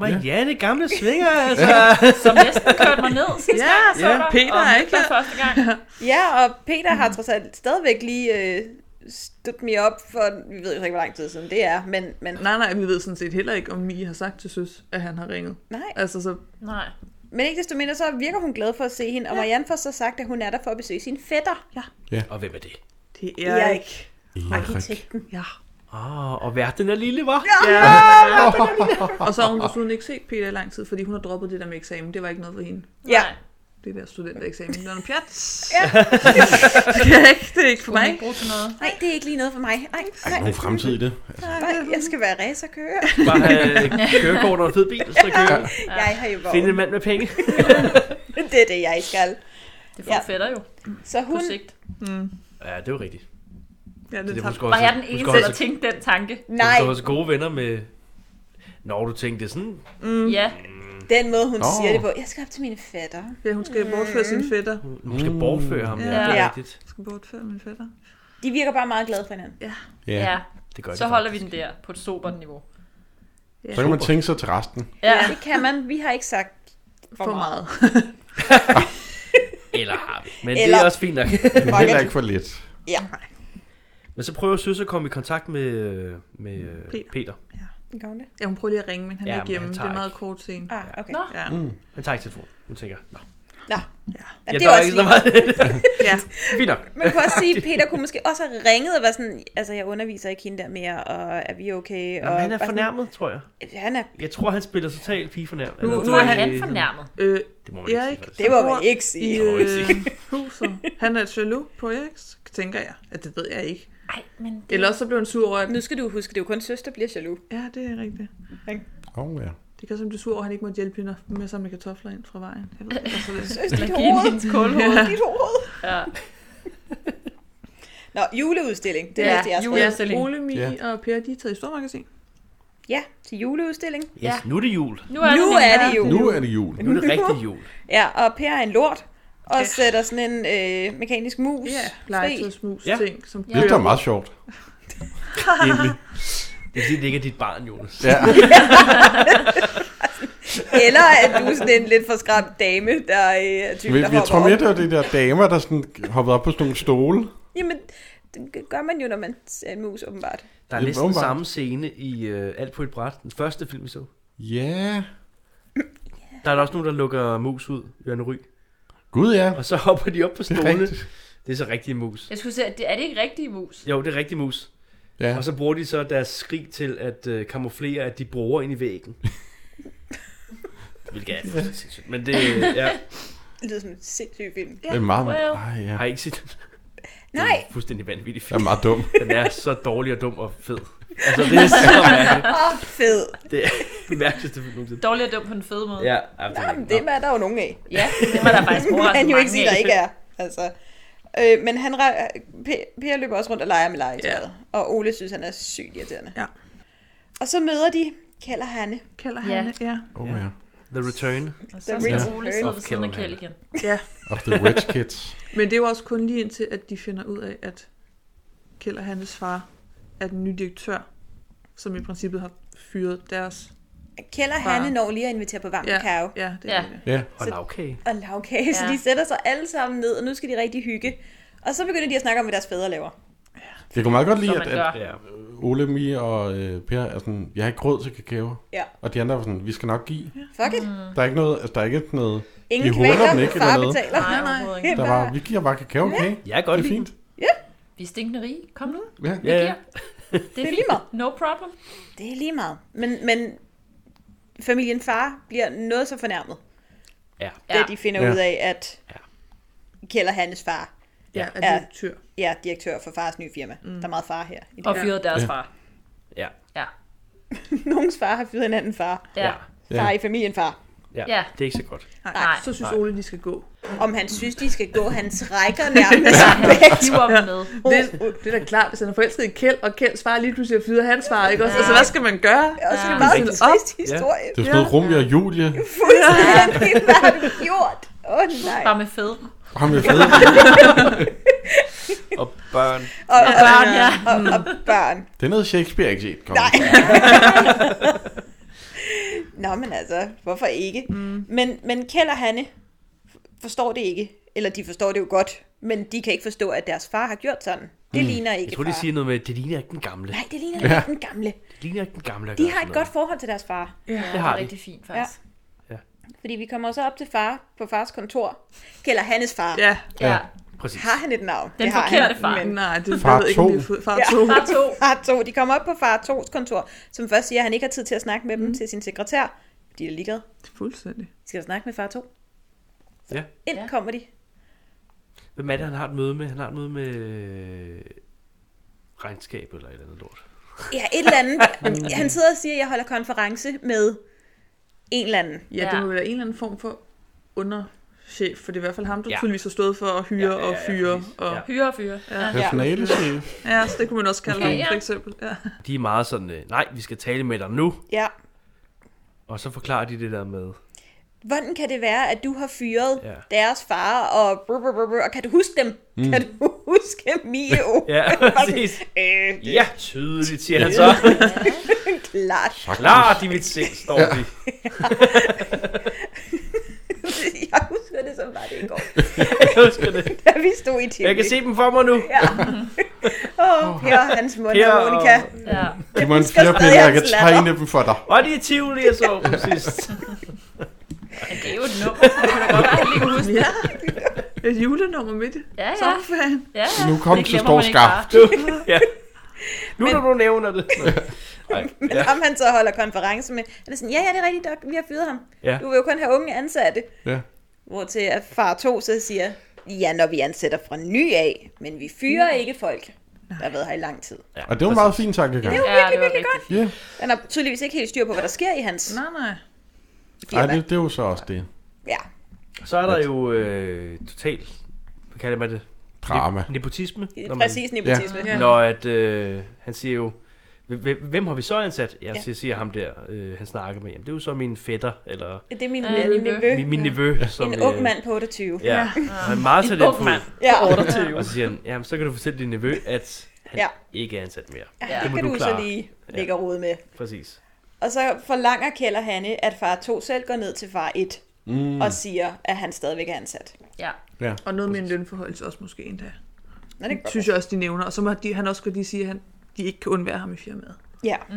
B: Marianne, gamle svinger, altså.
F: Som næsten kørte mig ned sidste
D: Ja,
F: gang, jeg så
D: ja,
F: dig,
D: Peter
F: og
D: er
F: mødte
D: ikke
F: dig
D: her.
F: første gang.
E: Ja, og Peter har trods alt stadigvæk lige øh, stødt mig op for, vi ved jo ikke, hvor lang tid siden det er, men, men
D: Nej, nej, vi ved sådan set heller ikke, om Mie har sagt til søs, at han har ringet.
E: nej.
D: Altså, så
F: Nej.
E: Men ikke desto mindre, så virker hun glad for at se hende, og Marianne får så sagt, at hun er der for at besøge sin fætter. Ja,
B: Og hvem er det?
D: det er ikke.
E: Arkitekten.
D: Ja.
B: Ah, og verden er lille, var?
D: Og så har hun desuden ikke set Peter i lang tid, fordi hun har droppet det der med eksamen. Det var ikke noget for hende.
E: Ja.
F: Nej.
D: Det der studentereksamen. Det var noget pjat. Ja. det, kan jeg ikke, det er ikke for
F: Hun
D: mig.
F: ikke bruge til noget.
E: Nej, det er ikke lige noget for mig. Nej, nej,
C: Nogen fremtid i det.
E: nej. jeg skal være racerkører.
B: Bare have kørekort og en fed bil, så kan jeg
E: Jeg har jo
B: finde en
E: vogn.
B: mand med penge.
E: Det er det, jeg skal.
F: Det får
E: Ja.
F: fætter jo,
E: Så
F: på
E: hun,
F: sigt.
B: Ja, det er jo rigtigt.
D: Mm. Ja,
B: Det
D: det
B: er
D: tager...
B: måske også,
F: Var jeg den
B: måske
F: eneste,
B: også-
F: der tænkte den tanke?
E: nej,
B: Du var også gode venner med... Når du tænkte sådan...
F: Ja,
E: den måde, hun
C: Nå.
E: siger det på. Jeg skal op til mine fætter.
D: Ja, hun skal bortføre sin fætter.
B: Nu skal bortføre ham. Ja.
F: Ja.
B: Det er
E: Ja.
B: rigtigt.
D: Hun skal bortføre min fætter.
E: De virker bare meget glade for hinanden.
C: Ja.
F: Ja,
B: Det gør
F: så holder vi den der på et sobert niveau.
C: Så kan man tænke sig til resten.
F: Ja,
E: Det kan man. Vi har ikke sagt for,
D: for
E: meget.
D: meget.
B: vi. Eller har vi. Men
E: Eller-
B: det er også fint nok.
C: Men heller ikke for lidt.
B: Men så prøver Søs at komme i kontakt med, øh, med øh,
D: Peter.
B: Peter.
E: Gør hun det?
D: Ja, hun prøver lige at ringe, men han
B: Ja,
D: er
B: men
D: ikke hjemme.
B: han
D: Det
B: tager
D: er en meget
B: ikke. Mm.
D: kort scene.
E: Ah, okay.
F: Nå.
D: Ja.
B: Han tager ikke telefonen. Hun tænker, nå.
E: Nå. Ja. Ja,
B: Ja,
E: det
B: der
E: er
B: var
E: også
B: ikke så
E: lige.
B: meget.
D: ja.
B: fint nok.
E: Man kan også sige, at Peter kunne måske også have ringet og været sådan, altså jeg underviser ikke hende der mere, og er vi okay? og
B: Jamen, han er
E: bare
B: fornærmet, tror jeg.
E: Sådan, han er,
B: Jeg tror, han spiller totalt pige fornærmet.
D: Nu-
F: nu
D: er
F: er
D: han
F: han fornærmet.
D: Øh,
B: Det må man ikke
D: Erik,
B: sige, faktisk.
E: det må
D: bor
E: man ikke
D: i
E: sige.
D: øh, huset. Han er jaloux på Eriks, tænker jeg. Ja, det ved jeg ikke.
F: Ej, men det...
D: Eller også så blev han sur over, at...
E: Nu skal du huske, det er jo kun søster, bliver jaloux.
D: Ja, det er rigtigt.
C: Åh, oh, ja.
D: Det kan som du sur over, at han ikke måtte hjælpe hende med at samle kartofler ind fra vejen. Jeg ved ikke, altså, det.
E: Søster, dit
F: Eller give hende
E: hoved.
F: hendes kålhoved.
E: Dit hoved.
F: Ja.
E: Nå, juleudstilling. Det
F: Ja,
E: ja, jeg
F: jule-
E: jule.
D: Ja,
F: Udstilling.
D: Ole, Mi
C: Ja.
D: og Per, de er taget i stormagasin.
E: ja, til juleudstilling.
B: Yes, nu er det jul.
E: Nu
F: nemlig
E: er det
F: her.
E: jul.
C: Nu er det jul.
B: Nu er det rigtig jul.
E: Ja, og Per er en lort, og sætter sådan en øh, mekanisk mus
D: Ja,
E: fri.
D: legetøjsmus-ting, som
C: Det er da meget sjovt. Egentlig.
B: Det er fordi, det ikke er dit barn, Jonas.
C: Ja.
E: Eller at du er sådan en lidt for skræmt dame, der øh, er typen,
C: Vi,
E: der
C: vi
E: hopper
C: tror mere,
E: op.
C: det var de der damer, der sådan hoppede op på sådan nogle stole.
E: Jamen, det gør man jo, når man er en mus, åbenbart.
B: Der er
C: Det er
B: næsten
C: åbenbart.
B: samme scene i øh, Alt på et bræt, den første film, vi så.
C: Ja.
B: Der er der også nogen, der lukker mus ud, Jørgen Ry.
C: Gud ja.
B: Og så hopper de op på
C: Det er
B: stolene.
C: rigtigt.
B: Det er så rigtige mus.
F: Jeg skulle sige, er det- er det ikke rigtige mus?
B: Jo, det er rigtige mus.
C: Ja.
B: Og så bruger de så deres skrig til at øh, kamuflere, at de bruger ind i væggen. Hvilket er fuldstændig sindssygt. Men det øh, ja,
E: Det lyder som en sindssyg film.
C: Det er meget,
F: Well.
C: Ej, ja.
B: har I ikke set den?
E: Nej,
B: Det er fuldstændig vanvittig
C: Det
B: film.
C: er meget dum.
B: Den er så dårlig og dum og fed. Altså, det er så mærkeligt.
E: åh, fed.
B: Det er den mærkeligste film nogensinde.
F: Dårlig og dum på den fede måde.
B: Ja, ja, det er
E: Jamen,
B: rigtigt.
E: dem er der jo nogen af.
F: ja det var der faktisk
E: Man
F: overraskende
E: kan jo ikke sige,
F: mange
E: der
F: af.
E: ikke er. Altså. Øh, men han, re- P- Per løber også rundt og leger med legetøjet. Ja. Og Ole synes, han er sygt irriterende.
D: Ja.
E: Og så møder de Kjell og Hanne.
D: Kalder
F: Ja.
D: han, ja.
C: Oh, ja.
B: The Return.
F: Og så
E: The
F: skal
E: Return
F: Ole sidde ved siden af
B: of
F: Kjeld
B: Kjeld.
F: igen.
D: ja.
C: Of the rich kids.
D: Men det er jo også kun lige indtil, at de finder ud af, at Kjell og hans far er den nye direktør, som i princippet har fyret deres...
E: Kjell og Hanne når lige at invitere på varm
D: Ja,
E: kakao.
D: ja, det
F: Ja.
D: er det.
C: Ja.
B: Og lavkage.
E: Og lavkage, så
F: Ja.
E: de sætter sig alle sammen ned, og nu skal de rigtig hygge. Og så begynder de at snakke om, hvad deres fædre laver.
C: Jeg kunne meget godt
F: Som
C: lide,
F: man
C: at,
F: gør.
C: at
B: Ja.
C: Ole, Mie og øh, Per er sådan, jeg har ikke råd til kakao.
E: Ja.
C: Og de andre var sådan, vi skal nok give.
E: Fuck it.
F: Mm.
C: Der er ikke noget, altså, der er ikke noget,
E: Ingen
C: I huller den
E: kvæler,
C: ikke, eller
E: far
C: noget?
E: betaler.
F: Nej, overhovedet ikke.
E: Det er
C: der
E: bare-
C: var, vi giver bare kakao, okay?
B: Jeg kan
C: Det
B: godt
C: er
B: lide
C: fint.
F: Vi er stinkende rige. Kom nu.
C: Ja.
B: den. Ja, ja.
F: giver. Det er
E: er
F: fint.
E: lige meget.
F: No problem.
E: Det er lige meget. Men, men familien far bliver noget så fornærmet,
B: ja.
E: ja.
F: Ja.
E: da de finder
C: Ja.
E: ja. ud af, at
B: Ja.
E: Kjell og Hannes far
D: Ja, er
E: Ja.
D: direktør.
E: er direktør for fars nye firma. Mm. Der er meget far her. I det.
F: Og
E: her.
F: fyrede deres far.
B: Ja.
F: Ja.
E: Nogens far har fyret en anden far.
F: Ja.
B: Ja.
E: Far i familien far.
B: ja.
F: Ja.
B: ja. Det er ikke så godt.
D: Nej,
F: Nej.
D: Nej, så synes Ole, de skal gå.
E: Om han synes, de skal gå, han trækker nærmest.
F: Han hiver dem med.
D: Det, det er da klart, hvis han er forelsket i Kjeld, og Kjelds far lige pludselig fyret hans far, ikke også? Altså, hvad skal man gøre?
E: Og så er det
F: Ja.
E: bare en
D: Rigtig.
E: trist historie.
C: Det er sådan noget Romeo og Julie.
E: Fuldstændig, hvad har du gjort? Åh oh, nej.
F: Bare med fædre.
C: Ham med fede.
B: Og børn.
E: Og,
F: Og børn, ja.
E: og, og børn.
C: Det er noget Shakespeare ikke set. Kom.
E: Nej. Nå, men altså, hvorfor ikke? Mm. Men, men Kjell og Hanne f- forstår det ikke. Eller de forstår det jo godt, men de kan ikke forstå, at deres far har gjort sådan. Det mm. ligner ikke
B: Jeg tror,
E: far.
B: de siger noget med, det ligner ikke den gamle.
E: Nej, det ligner ja. ikke den gamle.
B: Det ligner ikke den gamle. at
E: De
B: gøre
E: har
B: sådan
E: et
B: noget.
E: godt forhold til deres far.
F: Ja,
B: har
F: det er
B: de.
F: rigtig fint, faktisk.
E: Fordi vi kommer også op til far på fars kontor. Gælder Hannes far.
D: Ja,
F: Ja.
B: Præcis.
E: Har han et navn?
F: Den
E: det har
F: forkerte
E: han,
F: far.
E: Men...
D: nej, det
C: Far
D: jeg ved ikke, om
C: to.
D: det er fu- far
E: Ja.
D: to.
F: Far to.
E: Far to, de kommer op på far tos kontor, som først siger, at han ikke har tid til at snakke
F: Mm.
E: med dem til sin sekretær. De er ligeglade.
D: Fuldstændig.
E: De skal da snakke med far to.
B: Ja.
E: Ind
F: Ja.
E: kommer de.
B: Hvem er det, han har et møde med? Han har et møde med øh, regnskab eller et eller andet lort.
E: Ja, et eller andet. Han sidder og siger, at jeg holder konference med en eller anden.
D: Ja, det
F: Ja.
D: må være en eller anden form for underchef, for det er i hvert fald ham, der
B: Ja.
D: tydeligvis har stået for at hyre
B: Ja, ja,
D: og
B: ja,
D: fyre.
B: præcis.
D: Og...
B: Ja.
F: Hyre og fyre. Ja.
C: Personalechef.
D: Ja, så det kunne man også kalde
F: Okay,
D: ham,
F: ja.
D: for eksempel. Ja.
B: De er meget sådan, øh, nej, vi skal tale med dig nu.
E: Ja,
B: Og så forklarer de det der med,
E: hvordan kan det være, at du har fyret
B: Ja.
E: ja. deres far, og, brr, brr, brr, brr, og kan du huske dem? Mm. Kan du huske Mio?
B: Ja, præcis.
E: Øh,
B: Ja, tydeligt, siger han så.
E: klart.
B: Klart i mit sind, står vi.
E: Jeg husker det som var det i går,
B: Jeg husker det.
E: da vi stod i Tivoli.
B: Jeg kan se dem for mig nu.
E: Ja. Åh, oh, Per, hans mund
B: Per
E: og
B: og-
E: Monika.
F: Ja.
C: De må en
E: husker
C: firepinde,
E: stadig
C: jeg kan
E: hans latter.
C: tegne dem for dig.
B: Og de er Tivoli, jeg så dem sidst.
F: Men det er jo et nummer, så det kan da godt være, at han lige kan huske det.
D: Et julenummer midt i
F: Ja, ja.
D: sommerferien.
F: ja, ja.
C: Nu kom
F: Det
C: så
F: glemmer
C: står
F: man ikke
C: skarpt.
B: Du, ja. Nu når du nævner det. Nej,
E: Men
B: ja.
E: ja. ham han så holder konference med, han er sådan, ja, ja, det er rigtigt, Doc, vi har fyret ham.
B: Ja.
E: Du vil jo kun have unge ansatte.
C: Ja.
E: Hvor til at far to så siger, ja, når vi ansætter fra ny af, men vi fyrer ikke folk. Der har været her i lang tid.
C: Og det var en meget fin tankegang.
E: Det var
F: Ja,
E: virkelig,
F: det var
E: virkelig godt.
F: rigtigt.
C: Ja,
E: Han har tydeligvis ikke helt styr på, hvad der sker i hans
D: Nej, nej.
C: Ej,
E: firma.
C: det, det er jo så også det.
E: Ja.
B: Så er der jo øh, totalt, hvad kalder man det?
C: Drama.
B: Nep- Nepotisme.
E: Det
B: når
E: er
B: man-
E: præcis nepotisme. Ja.
D: Ja.
B: Når at, øh, han siger jo, "Hvem- hvem har vi så ansat? Jeg ja. siger ham der, øh, han snakker med. Jamen, det er jo så min fætter, eller
E: Det er min,
F: Ja,
E: min
F: nevø.
E: nevø.
B: min, min nevø. Som, øh,
E: En ung mand på 28.
B: Ja, han er meget
F: En ung
B: talentfuld.
F: mand.
E: Ja,
B: Og så siger han, jamen så kan du fortælle din nevø, at han
E: Ja.
B: ikke er ansat mere.
E: ja.
B: Det
E: det
B: må
E: kan
B: du
E: du, så
B: klare.
E: lige lægge ja. rode med.
B: Præcis.
E: Og så forlanger Kjell og Hanne, at far 2 selv går ned til far 1 mm. og siger, at han stadigvæk er ansat.
F: Ja.
D: Og noget med en lønforholdelse også måske endda.
E: Nå, det
D: Det synes jeg også, de nævner. Og så må de, han også godt lige sige, at han, de ikke kan undvære ham i firmaet.
E: Ja,
D: Ja.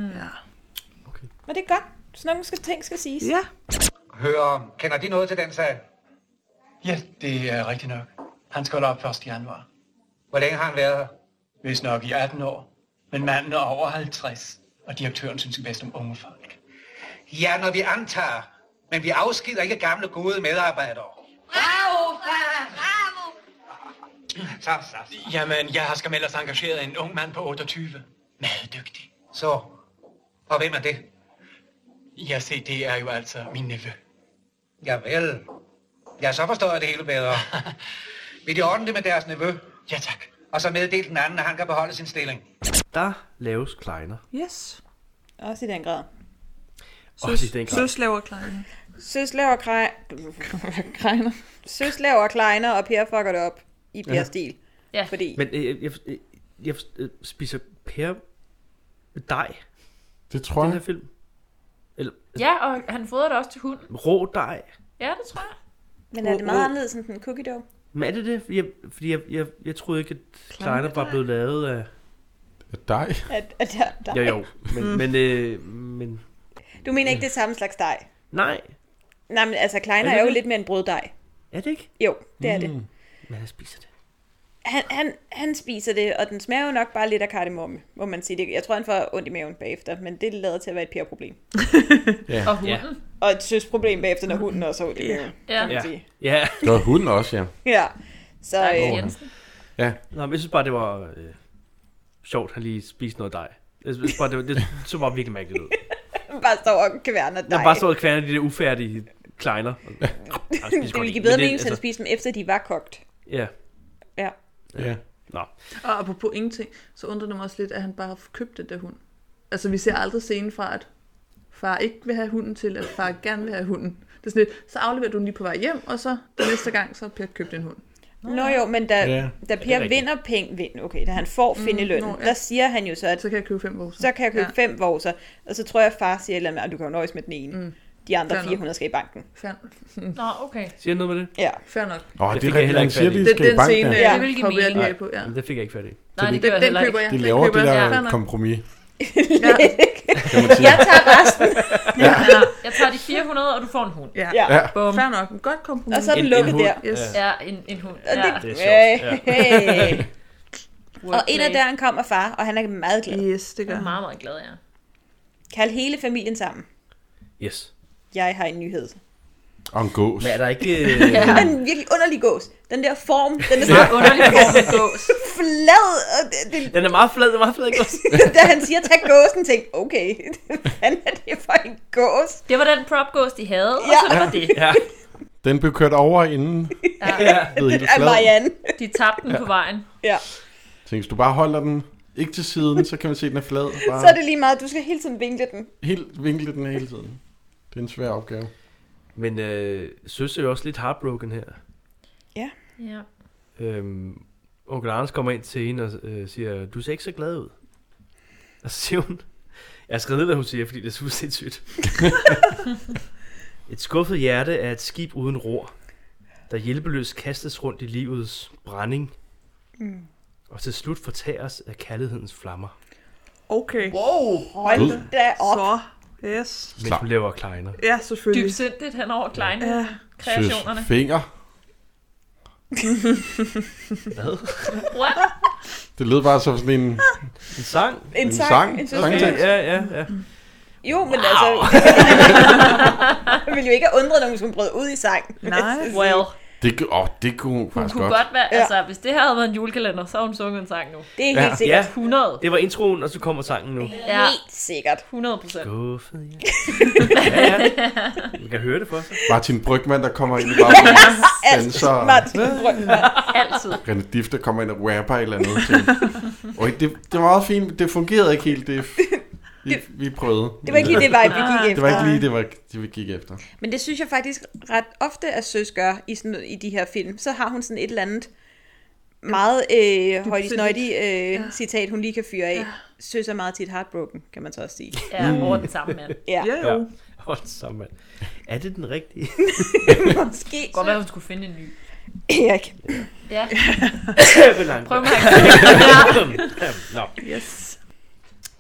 E: men det er godt. Sådan nogle skal, ting skal siges.
D: Ja.
J: Hør, kender de noget til den sag?
G: Ja, det er rigtigt nok. Han skal holde op 1. januar.
J: Hvor længe har han været her?
G: Hvis nok i 18 år. Men manden er over 50, og direktøren synes bedst om unge folk.
J: Ja, når vi antager, men vi afskeder ikke gamle gode medarbejdere.
I: Bravo, far!
J: Så, så,
G: Jamen, jeg har skam ellers engageret en ung mand på 28. Meget dygtig.
J: så. Og hvem er det?
G: Ja, se, det er jo altså min nevø.
J: Javel. Ja, så forstår jeg det hele bedre. Vil de ordne det med deres nevø?
G: Ja, tak.
J: Og så meddele den anden, at han kan beholde sin stilling.
B: Der laves kleiner.
D: Yes.
E: Også i den grad.
B: Også i den grad.
D: Søs laver kleine.
E: Søs laver, krej...
D: Kleiner.
E: Søs laver kleiner, og Per fucker det op i Pers stil.
F: Ja.
E: Fordi
B: Men øh, jeg, jeg, jeg øh, spiser Per dej
C: Det tror
B: i den
C: jeg.
B: her film. Eller
F: ja, og han fodrer det også til hunden.
B: rå dej.
F: Ja, det tror jeg.
E: men er det meget anderledes end den cookie dough?
B: Men er det det? Fordi jeg, fordi jeg, jeg, jeg troede ikke, at kleiner var blevet lavet af...
C: Dig?
E: At, at der, der.
B: Jo, jo. Men, men, øh, men
E: Du mener ikke, det er samme slags dej?
B: nej,
E: Nej, men altså, kleiner
B: Er
E: er,
B: det
E: jo
B: det? Mm.
E: lidt mere en brøddej.
B: er det ikke?
E: Jo, det er det.
B: Men han spiser det.
E: Han, han, han spiser det, og den smager jo nok bare lidt af kardemomme, må man sige det. Jeg tror, han får ondt i maven bagefter, men det lader til at være et Per-problem.
F: Og hunden.
E: Og et søsproblem bagefter, når hunden også har ondt i maven,
F: Ja.
E: kan man
B: Ja.
E: sige.
B: Ja.
C: Det var hunden også, ja.
E: Ja. Så
F: Stakkels
E: øh,
F: Jensen.
B: Nå, men jeg synes bare, det var øh, sjovt, at han lige spiste noget dej. Jeg synes bare, det, var, det så bare virkelig mærkeligt ud.
E: bare står og kværner dig.
B: Jeg bare stod og kværnede de der ufærdige kleiner. Og, ja.
E: det ville give bedre mening, hvis han spiste dem, efter de var kogt.
B: altså, Ja.
E: Ja.
C: ja.
B: Nå.
D: Og apropos ingenting, så undrer det mig også lidt, at han bare har købt den der hund. Altså, vi ser aldrig scenen fra, at far ikke vil have hunden til, at far gerne vil have hunden. Det er sådan lidt, så afleverer du den lige på vej hjem, og så den næste gang, så har Per købt en hund.
E: Nå jo, men da,
C: Ja.
E: ja. da
B: det er
E: Per
B: rigtigt.
E: vinder penge, vind, okay, da han får finde løn,
D: nå, ja.
E: der siger han jo så, at
D: Så kan jeg købe fem vores.
E: så kan jeg købe ja. fem vorser, og så tror jeg, at far siger et eller andet, "Ah, du kan jo nøjes med den ene. Mm. De andre
D: Fair nok.
E: 400 skal i banken.
D: Fair,
F: Nå, okay.
B: Siger jeg noget med det?
E: Ja.
D: fair nok.
C: Åh, oh,
B: Det
C: det
B: fik
C: er
B: jeg heller
C: rigtigt, han
B: ikke
C: siger,
B: fat i.
C: de
D: Den,
C: skal i
D: den
C: bank.
D: scene,
C: Ja.
D: ja.
F: Det vil give
D: hopper jeg
F: mening.
D: lige af på. Ja.
B: Men det fik jeg ikke fat i.
F: Nej, det
D: Den,
F: gør jeg
D: den
F: heller
D: køber
F: ikke.
D: jeg.
C: De
D: Den
C: laver
D: køber
C: det
D: jeg.
C: der
D: Fair nok.
C: kompromis.
D: Ja,
E: Jeg tager resten.
F: Ja, jeg tager de 400, og du får en hund.
D: ja.
E: Ja.
C: Ja.
F: Bum.
D: fair nok. En Godt kompromis.
E: Og så er den lukket
B: hund.
E: der.
D: Yes. Ja.
F: Ja, en, en hund.
E: Og,
F: Ja,
E: det,
B: det er sjovt,
E: sjovt. Hey. og
F: Wordplay.
E: ind ad døren kommer far, og han er meget glad.
D: Yes, det
F: Jeg
D: gør
F: er
D: han.
F: meget, meget glad, ja.
E: Kald hele familien sammen.
B: Yes.
E: Jeg har en nyhed.
C: Og en gås.
B: Men er der ikke... Øh,
E: Ja. En virkelig underlig gås. Den der form, den er
F: Ja.
E: så
F: Underlig form af gås.
E: flad. Og det, det,
B: den er meget flad, den er meget flad, ikke også?
E: da han siger, tag gåsen, tænkte okay, hvad er det for en gås?
F: Det var den prop-gås, de havde, og
E: Ja.
F: så det var det.
B: Ja.
C: Den blev kørt over inden.
B: ja.
C: Blev
E: Den
C: helt
E: er
C: flad.
E: Marianne.
F: De tabte den på vejen.
E: Ja.
C: Tænk, hvis du bare holder den ikke til siden, så kan man se, at den er flad. Bare
E: Så er det lige meget, du skal hele tiden vinkle den.
C: helt vinkle den hele tiden. Det er en svær opgave.
B: Men øh, Søs er jo også lidt heartbroken her.
E: Ja.
F: Ja.
B: Øhm, onkel Anders kommer ind til hende og øh, siger, du ser ikke så glad ud. Og så siger hun, jeg har skrevet ned, hvad hun siger, fordi det er så sindssygt. Et skuffet hjerte er et skib uden ror, der hjælpeløst kastes rundt i livets brænding,
D: Mm.
B: og til slut fortæres af kærlighedens flammer,
D: Okay.
E: Wow,
B: Gud.
D: hold da op. Så, yes.
B: mens hun laver kleiner.
D: Ja, selvfølgelig.
F: Dybsindigt hen over kleine
D: Ja.
F: kreationerne.
C: finger.
B: Hvad?
F: What?
C: Det lød bare som sådan en...
B: En sang?
E: En
C: En
E: sang,
C: sang.
E: en
C: Sangtekst.
B: Ja, ja, ja.
E: Jo, men wow. altså... jeg ville jo ikke have undret nogen, hvis hun brød ud i sang.
D: Nej.
F: Well,
C: Det, gu- åh, det kunne hun
F: hun
C: faktisk
F: kunne
C: godt.
F: godt være, altså hvis det her havde været en julekalender, så havde hun sunget en sang nu.
E: Det er
C: Ja.
E: helt sikkert.
F: 100.
B: Det var introen, og så kommer sangen nu.
F: Ja,
E: Helt sikkert.
F: 100 procent.
B: Skuffet hjerte. Ja, ja. Man kan høre det for sig.
C: Martin Brygman, der kommer ind i baggrunden. Danser.
E: Martin Brygman.
F: Altid.
C: René Dif, der kommer ind og rapper et eller andet. Ting. Oj, det, det var meget fint. Det fungerede ikke helt, det vi, vi prøvede.
E: Det var ikke lige det vej, vi gik efter.
C: Det var ikke lige det, var, det vi gik efter.
E: Men det synes jeg faktisk ret ofte, at Søs gør i, sådan, i de her film. Så har hun sådan et eller andet meget øh, højdesnøjtig øh, ja. citat, hun lige kan fyre af. Ja. Søs er meget tit heartbroken, kan man så også sige.
F: Ja, over den samme mand.
E: Ja,
D: Ja, jo.
B: Ja. Hold så, mand. Er det den rigtige?
E: måske.
F: Godt være, hun skulle finde en ny.
E: Erik.
F: Ja, prøv
B: Prøv
F: mig.
B: Nå.
D: Yes.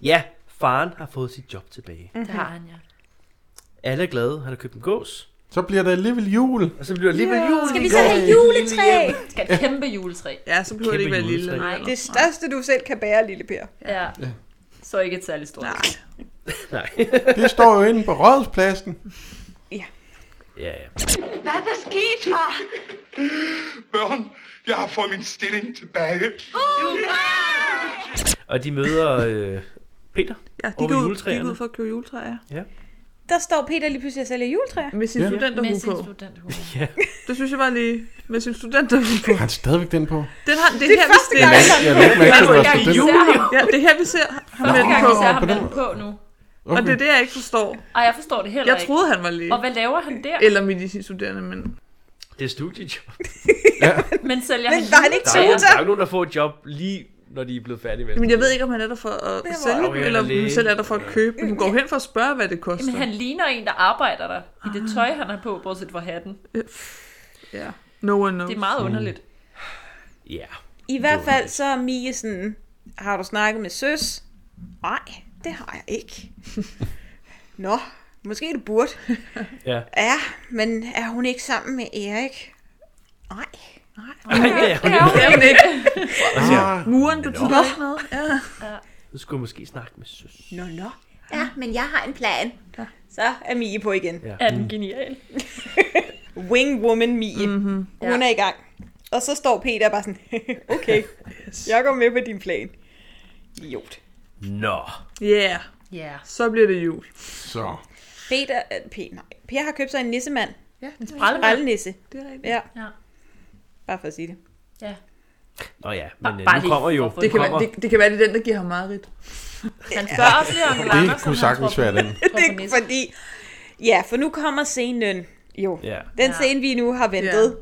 B: Ja, faren har fået sit job tilbage.
F: Det har han, ja.
D: Mm.
B: Alle er glade, han har købt en gås.
C: Så bliver der alligevel jul.
B: Og så bliver det alligevel jul.
E: Skal vi så have
C: Øh,
E: juletræ?
F: Skal et kæmpe juletræ.
D: Ja, så behøver det ikke
B: Kæmpe
D: være lille.
B: juletræ.
D: eller-
E: Det største, du selv kan bære, lille Per.
F: Ja. Så ikke et særligt stort.
D: Nej.
B: Nej.
C: Det står jo inde på rådspladsen.
B: Ja, ja.
H: Hvad er der sket, far?
G: Børn, jeg har fået min stilling tilbage.
B: Og de møder øh, Peter.
D: Ja, de
B: Over
D: gik ud,
B: juletræerne.
D: gik ud for at købe juletræer.
E: Der står Peter lige pludselig og sælger juletræer.
D: Med sin
C: Ja.
D: ja.
F: Med
D: studenterhue
F: sin
D: på.
F: studenterhue.
D: Det synes jeg var lige... Med sin studenterhue på.
C: Har han stadigvæk den på?
D: Den har, det, er her, vi ser.
C: Jeg, jeg lagde ikke mærke til, at det var
F: Gang i
C: student.
F: serien.
D: Ja, det er her, vi ser ham med
F: Første
D: den
F: gang,
D: på.
F: vi ser ham
C: på
F: med
C: den
F: den på nu.
D: Og det
C: Okay.
D: er det, jeg ikke forstår.
F: Og jeg forstår det heller
D: Jeg troede, han var
F: ikke.
D: læge.
F: Og hvad laver han der?
D: Eller medicinstuderende, men...
B: Det er studiejob.
F: Men sælger
E: Men
F: han
E: var han ikke
B: Der er, jo,
E: tutor?
B: der er jo nogen, der får et job lige når de er blevet færdige med.
D: Men jeg ved ikke, om han er der for at
E: Det var
D: sælge
B: jo
D: dem, eller om
B: læge.
D: han selv er der for at købe dem. Hun går jo hen for at spørge, hvad det koster.
F: Jamen, han ligner en, der arbejder der. I det tøj, han har på, bortset fra hatten.
D: Ja. No one knows.
F: Det er meget underligt.
B: Ja.
E: I hvert fald så er Mie sådan, har du snakket med søs? Nej, det har jeg ikke. Nå, måske du burde.
B: Ja.
E: Ja, men er hun ikke sammen med Erik? Nej.
B: Ej, ja, hun,
D: Det er hun ikke.
C: Ah,
D: Muren betyder ikke noget. Ja.
B: du skulle måske snakke med søs.
E: Nå, nå. "Ah." Ja, men jeg har en plan. Så er Mie på igen.
B: Ja.
F: Er den genial?
E: Wing woman Mie. Mm-hmm. Hun
F: Ja.
E: er i gang. Og så står Peter bare sådan, okay, jeg går med på din plan. Idiot.
B: Nå.
D: Yeah.
F: Ja.
D: Så bliver det jul.
C: så.
E: Peter, øh, P, nej, Per har købt sig en nissemand.
D: Ja, det
F: Sprallemand.
E: Rallenisse.
D: det er rigtigt.
E: Ja.
F: Ja.
E: Bare for at sige det.
B: Nå ja, men
F: Bare-
B: øh,
F: bare
B: nu
F: lige
B: kommer jo.
F: for at få
D: Det
B: nu
D: kan, være,
B: kommer,
D: det, det kan være, det er den, der giver ham meget rigt.
F: Han spørger også lige om Andersen.
C: Det kunne sagtens være den.
E: Det er fordi... Ja, for nu kommer scenen. Jo.
B: Ja.
E: Den
F: Ja.
E: scene, vi nu har ventet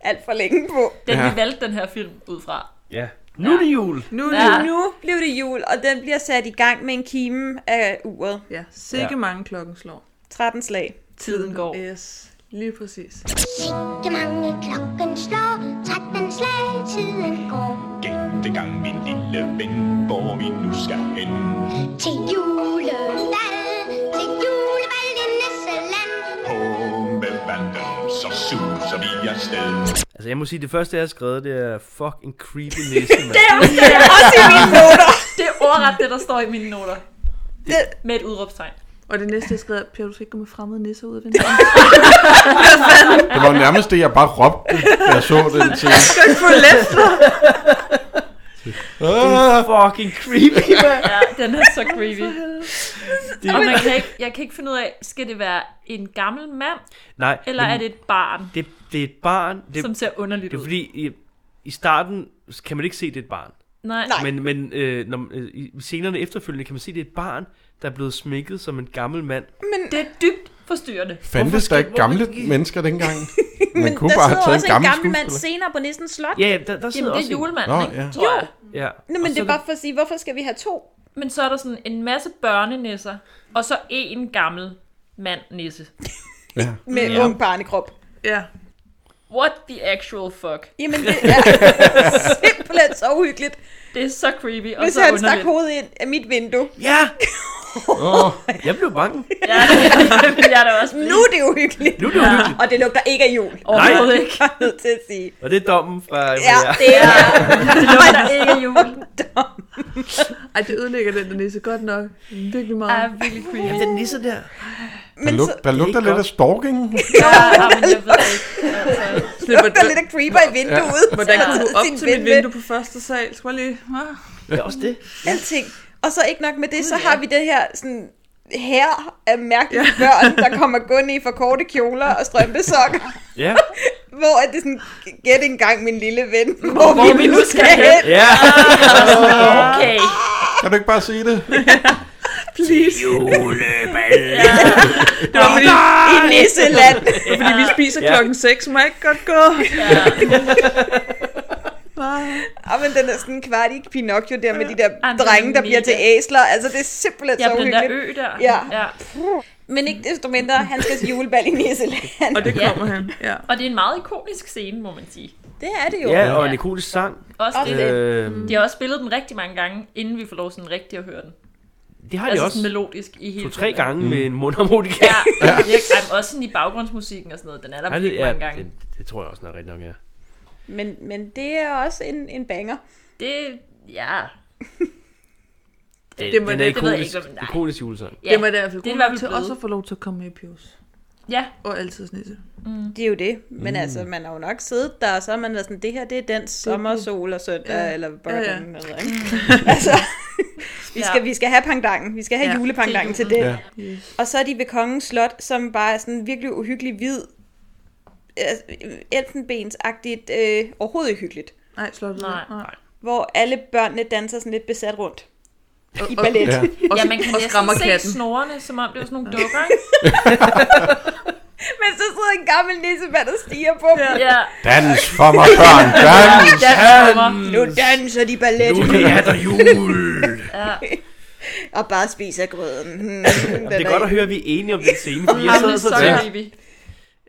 E: alt for længe på.
F: Den, vi
C: Ja.
F: valgte den her film ud fra.
B: Ja. Nu er det jul.
D: Nu er det
F: Ja.
D: jul.
E: Nu blev det jul, og den bliver sat i gang med en kime af uret.
D: Ja, sikke
B: Ja.
D: mange klokken slår.
E: 13 slag.
F: Tiden går.
D: Yes, lige præcis.
H: Sikke mange klokken slår, tretten slag, tiden går.
G: Gætte gang, min lille ven, hvor vi nu skal hen.
H: Til juledal, til julebal i Nisseland.
G: På med vandet, så suser vi afsted.
B: Altså, jeg må sige, det første, jeg har skrevet, det er fucking creepy næse, mand.
F: Det er ordret det, der står i mine noter.
E: Det-
F: Med et udråbstegn.
D: Og det næste, jeg skrev, er, Per, du skal ikke gå med fremmede nisser ud af vinduet.
C: Det var nærmest det, jeg bare råbte, da jeg så den til.
D: Skal ikke få læst
C: Ah,
B: fucking creepy, mand.
F: Ja, den er så creepy. Og man kan ikke, jeg kan ikke finde ud af, skal det være en gammel mand,
B: Nej,
F: eller
B: men
F: er det et barn,
B: det, det er et barn. Det,
F: som ser underligt
B: det er
F: ud?
B: fordi, i, i starten kan man ikke se, det er et barn.
F: Nej.
E: Nej.
B: Men, men øh, når, øh, i scenerne efterfølgende kan man se, det er et barn, der er blevet smækket som en gammel mand.
F: Det er dybt forstyrrende.
C: Fandtes der ikke gamle mennesker dengang? Man
E: Men
C: kunne
E: der
C: bare have
E: sidder
C: taget
E: også
C: en
E: en
C: gammel,
E: gammel mand
C: skuespiller.
E: senere på Nissen Slot.
B: Ja, ja, der- der sidder
F: Jamen, det
B: også en-
F: er julemanden,
C: Nå,
F: ikke?
C: ja.
F: Tror jeg.
B: Ja.
E: Nå, men det er bare for at sige, hvorfor skal vi have to?
F: Men så er der sådan en masse børnenisser, og så en gammel mand nisse.
C: Ja.
E: Med
B: Ja.
E: ja. ung barnekrop.
D: Ja.
F: What the actual fuck?
E: Jamen, det er simpelthen så uhyggeligt.
F: Det er så creepy og
E: Hvis
F: så
E: han stak
F: underligt.
E: hovedet ind af mit vindue.
B: Ja! Åh, jeg blev bange.
F: Ja, det vil jeg da også blive.
E: Nu er det uhyggeligt.
B: Nu er det uhyggeligt.
E: Og det lugter ikke af jul.
F: Overhovedet
E: Det
F: ikke.
E: er jeg nødt til at sige.
B: Og det er dommen fra...
E: Ja,
B: fra jer.
E: det er
F: Det lugter ikke af jul.
D: Ej, det ødelægger den der nisse godt nok. Virkelig
F: Er
D: meget.
F: virkelig creepy.
B: Jamen, den nisse der.
C: Der,
E: Men så
C: lug, der lugter
B: ikke
C: lidt af stalking.
F: Ja, men jeg ved det ikke.
D: Slipper
E: lugter lidt af creeper i vinduet. Ja.
D: Hvordan kom du op til mit vindue på første sal? Skal jeg lige... Ah.
B: Det er også det.
E: Alting. Og så ikke nok med det, så har vi det her sådan her af mærkelige børn, der kommer gående i for korte kjoler og strømpesokker.
B: Ja.
E: Hvor er det sådan, gæt engang min lille ven, hvor, hvor vi nu skal hen.
B: Ja.
F: Okay.
C: Kan du ikke bare sige det?
D: Please.
B: Juleball.
D: Det var fordi,
E: I Nisseland.
D: det var fordi vi spiser
B: Ja.
D: klokken 6. Må jeg ikke godt gå? Ah.
E: Og men den er sådan en kvart i Pinocchio der med de der
F: Ej, men
E: drenge,
F: det
E: der
F: er
E: bliver til
F: mega.
E: æsler. Altså det er simpelthen
F: Ja,
E: så
F: på den der
E: uhyggeligt.
F: ø der.
E: Ja.
F: ja.
E: Men ikke desto mindre, han skal til julebal i Nisseland.
D: Og det
F: Ja.
D: kommer han. Ja.
F: Og det er en meget ikonisk scene, må man sige.
E: Det er det jo.
B: Ja, og en ikonisk sang.
F: Også det.
B: Øh,
F: De har også spillet den rigtig mange gange, inden vi får lov sådan rigtig at høre den.
B: det har de
F: Altså sådan
B: også
F: melodisk i hele
B: to-tre
F: filmen.
B: gange med en mundharmonika.
F: Ja, ja. Ej, men også sådan i baggrundsmusikken og sådan noget. Den er der
B: Ja, det,
F: virkelig
B: ja,
F: mange gange.
B: det, det tror jeg også, den er rigtig nok, ja.
E: Men, men det er også en, en banger.
F: Det, ja.
B: Det,
D: det må-
B: den er
D: det ved jeg
B: ikonisk,
F: ikke, om- nej.
B: ikonisk julesang.
F: ja.
D: Det må i hvert fald
F: det er i
D: god
F: hvert
D: nok
F: fald
D: til
F: blevet.
D: også at få lov til at komme med i Pius.
F: Ja,
D: Og altid nisse.
E: Det er jo det. Men mm. altså, man har jo nok siddet der, og så har man været sådan, det her, det er den sommersol og søndag, ja.
D: Ja.
E: eller
D: Ja, ja.
E: bøkken, ja, ja. altså, vi, skal,
F: Ja.
E: vi skal have pangdangen. Vi skal have
D: Ja,
E: ja, julepangdangen
F: til
E: til det.
C: julen.
E: Ja. Og så er de ved Kongens Slot, som bare er sådan virkelig uhyggelig hvid, altså, elfenbensagtigt, øh, overhovedet ikke hyggeligt.
D: Nej, slottet.
F: Nej.
D: Nej.
E: Hvor alle børnene danser sådan lidt besat rundt.
D: Og,
E: I ballet.
C: Ja.
E: Ja.
D: Og,
F: ja man kan
D: og skræmmer
F: næsten se
D: katten.
F: snorene, som om det var sådan nogle dukker, ikke?
E: Men så sidder en gammel nissemand og stiger på dem. Ja.
F: Ja,
C: Dans for mig, børn. Dans.
F: ja, Mm.
E: Nu danser de ballet.
B: Nu er der jul!
F: ja.
E: Og bare spiser grøden. Hmm,
B: Det er godt at høre, at vi er enige om den scene, fordi jeg
F: Jamen, det
B: sad
F: er
B: og så tænkte,
F: så creepy.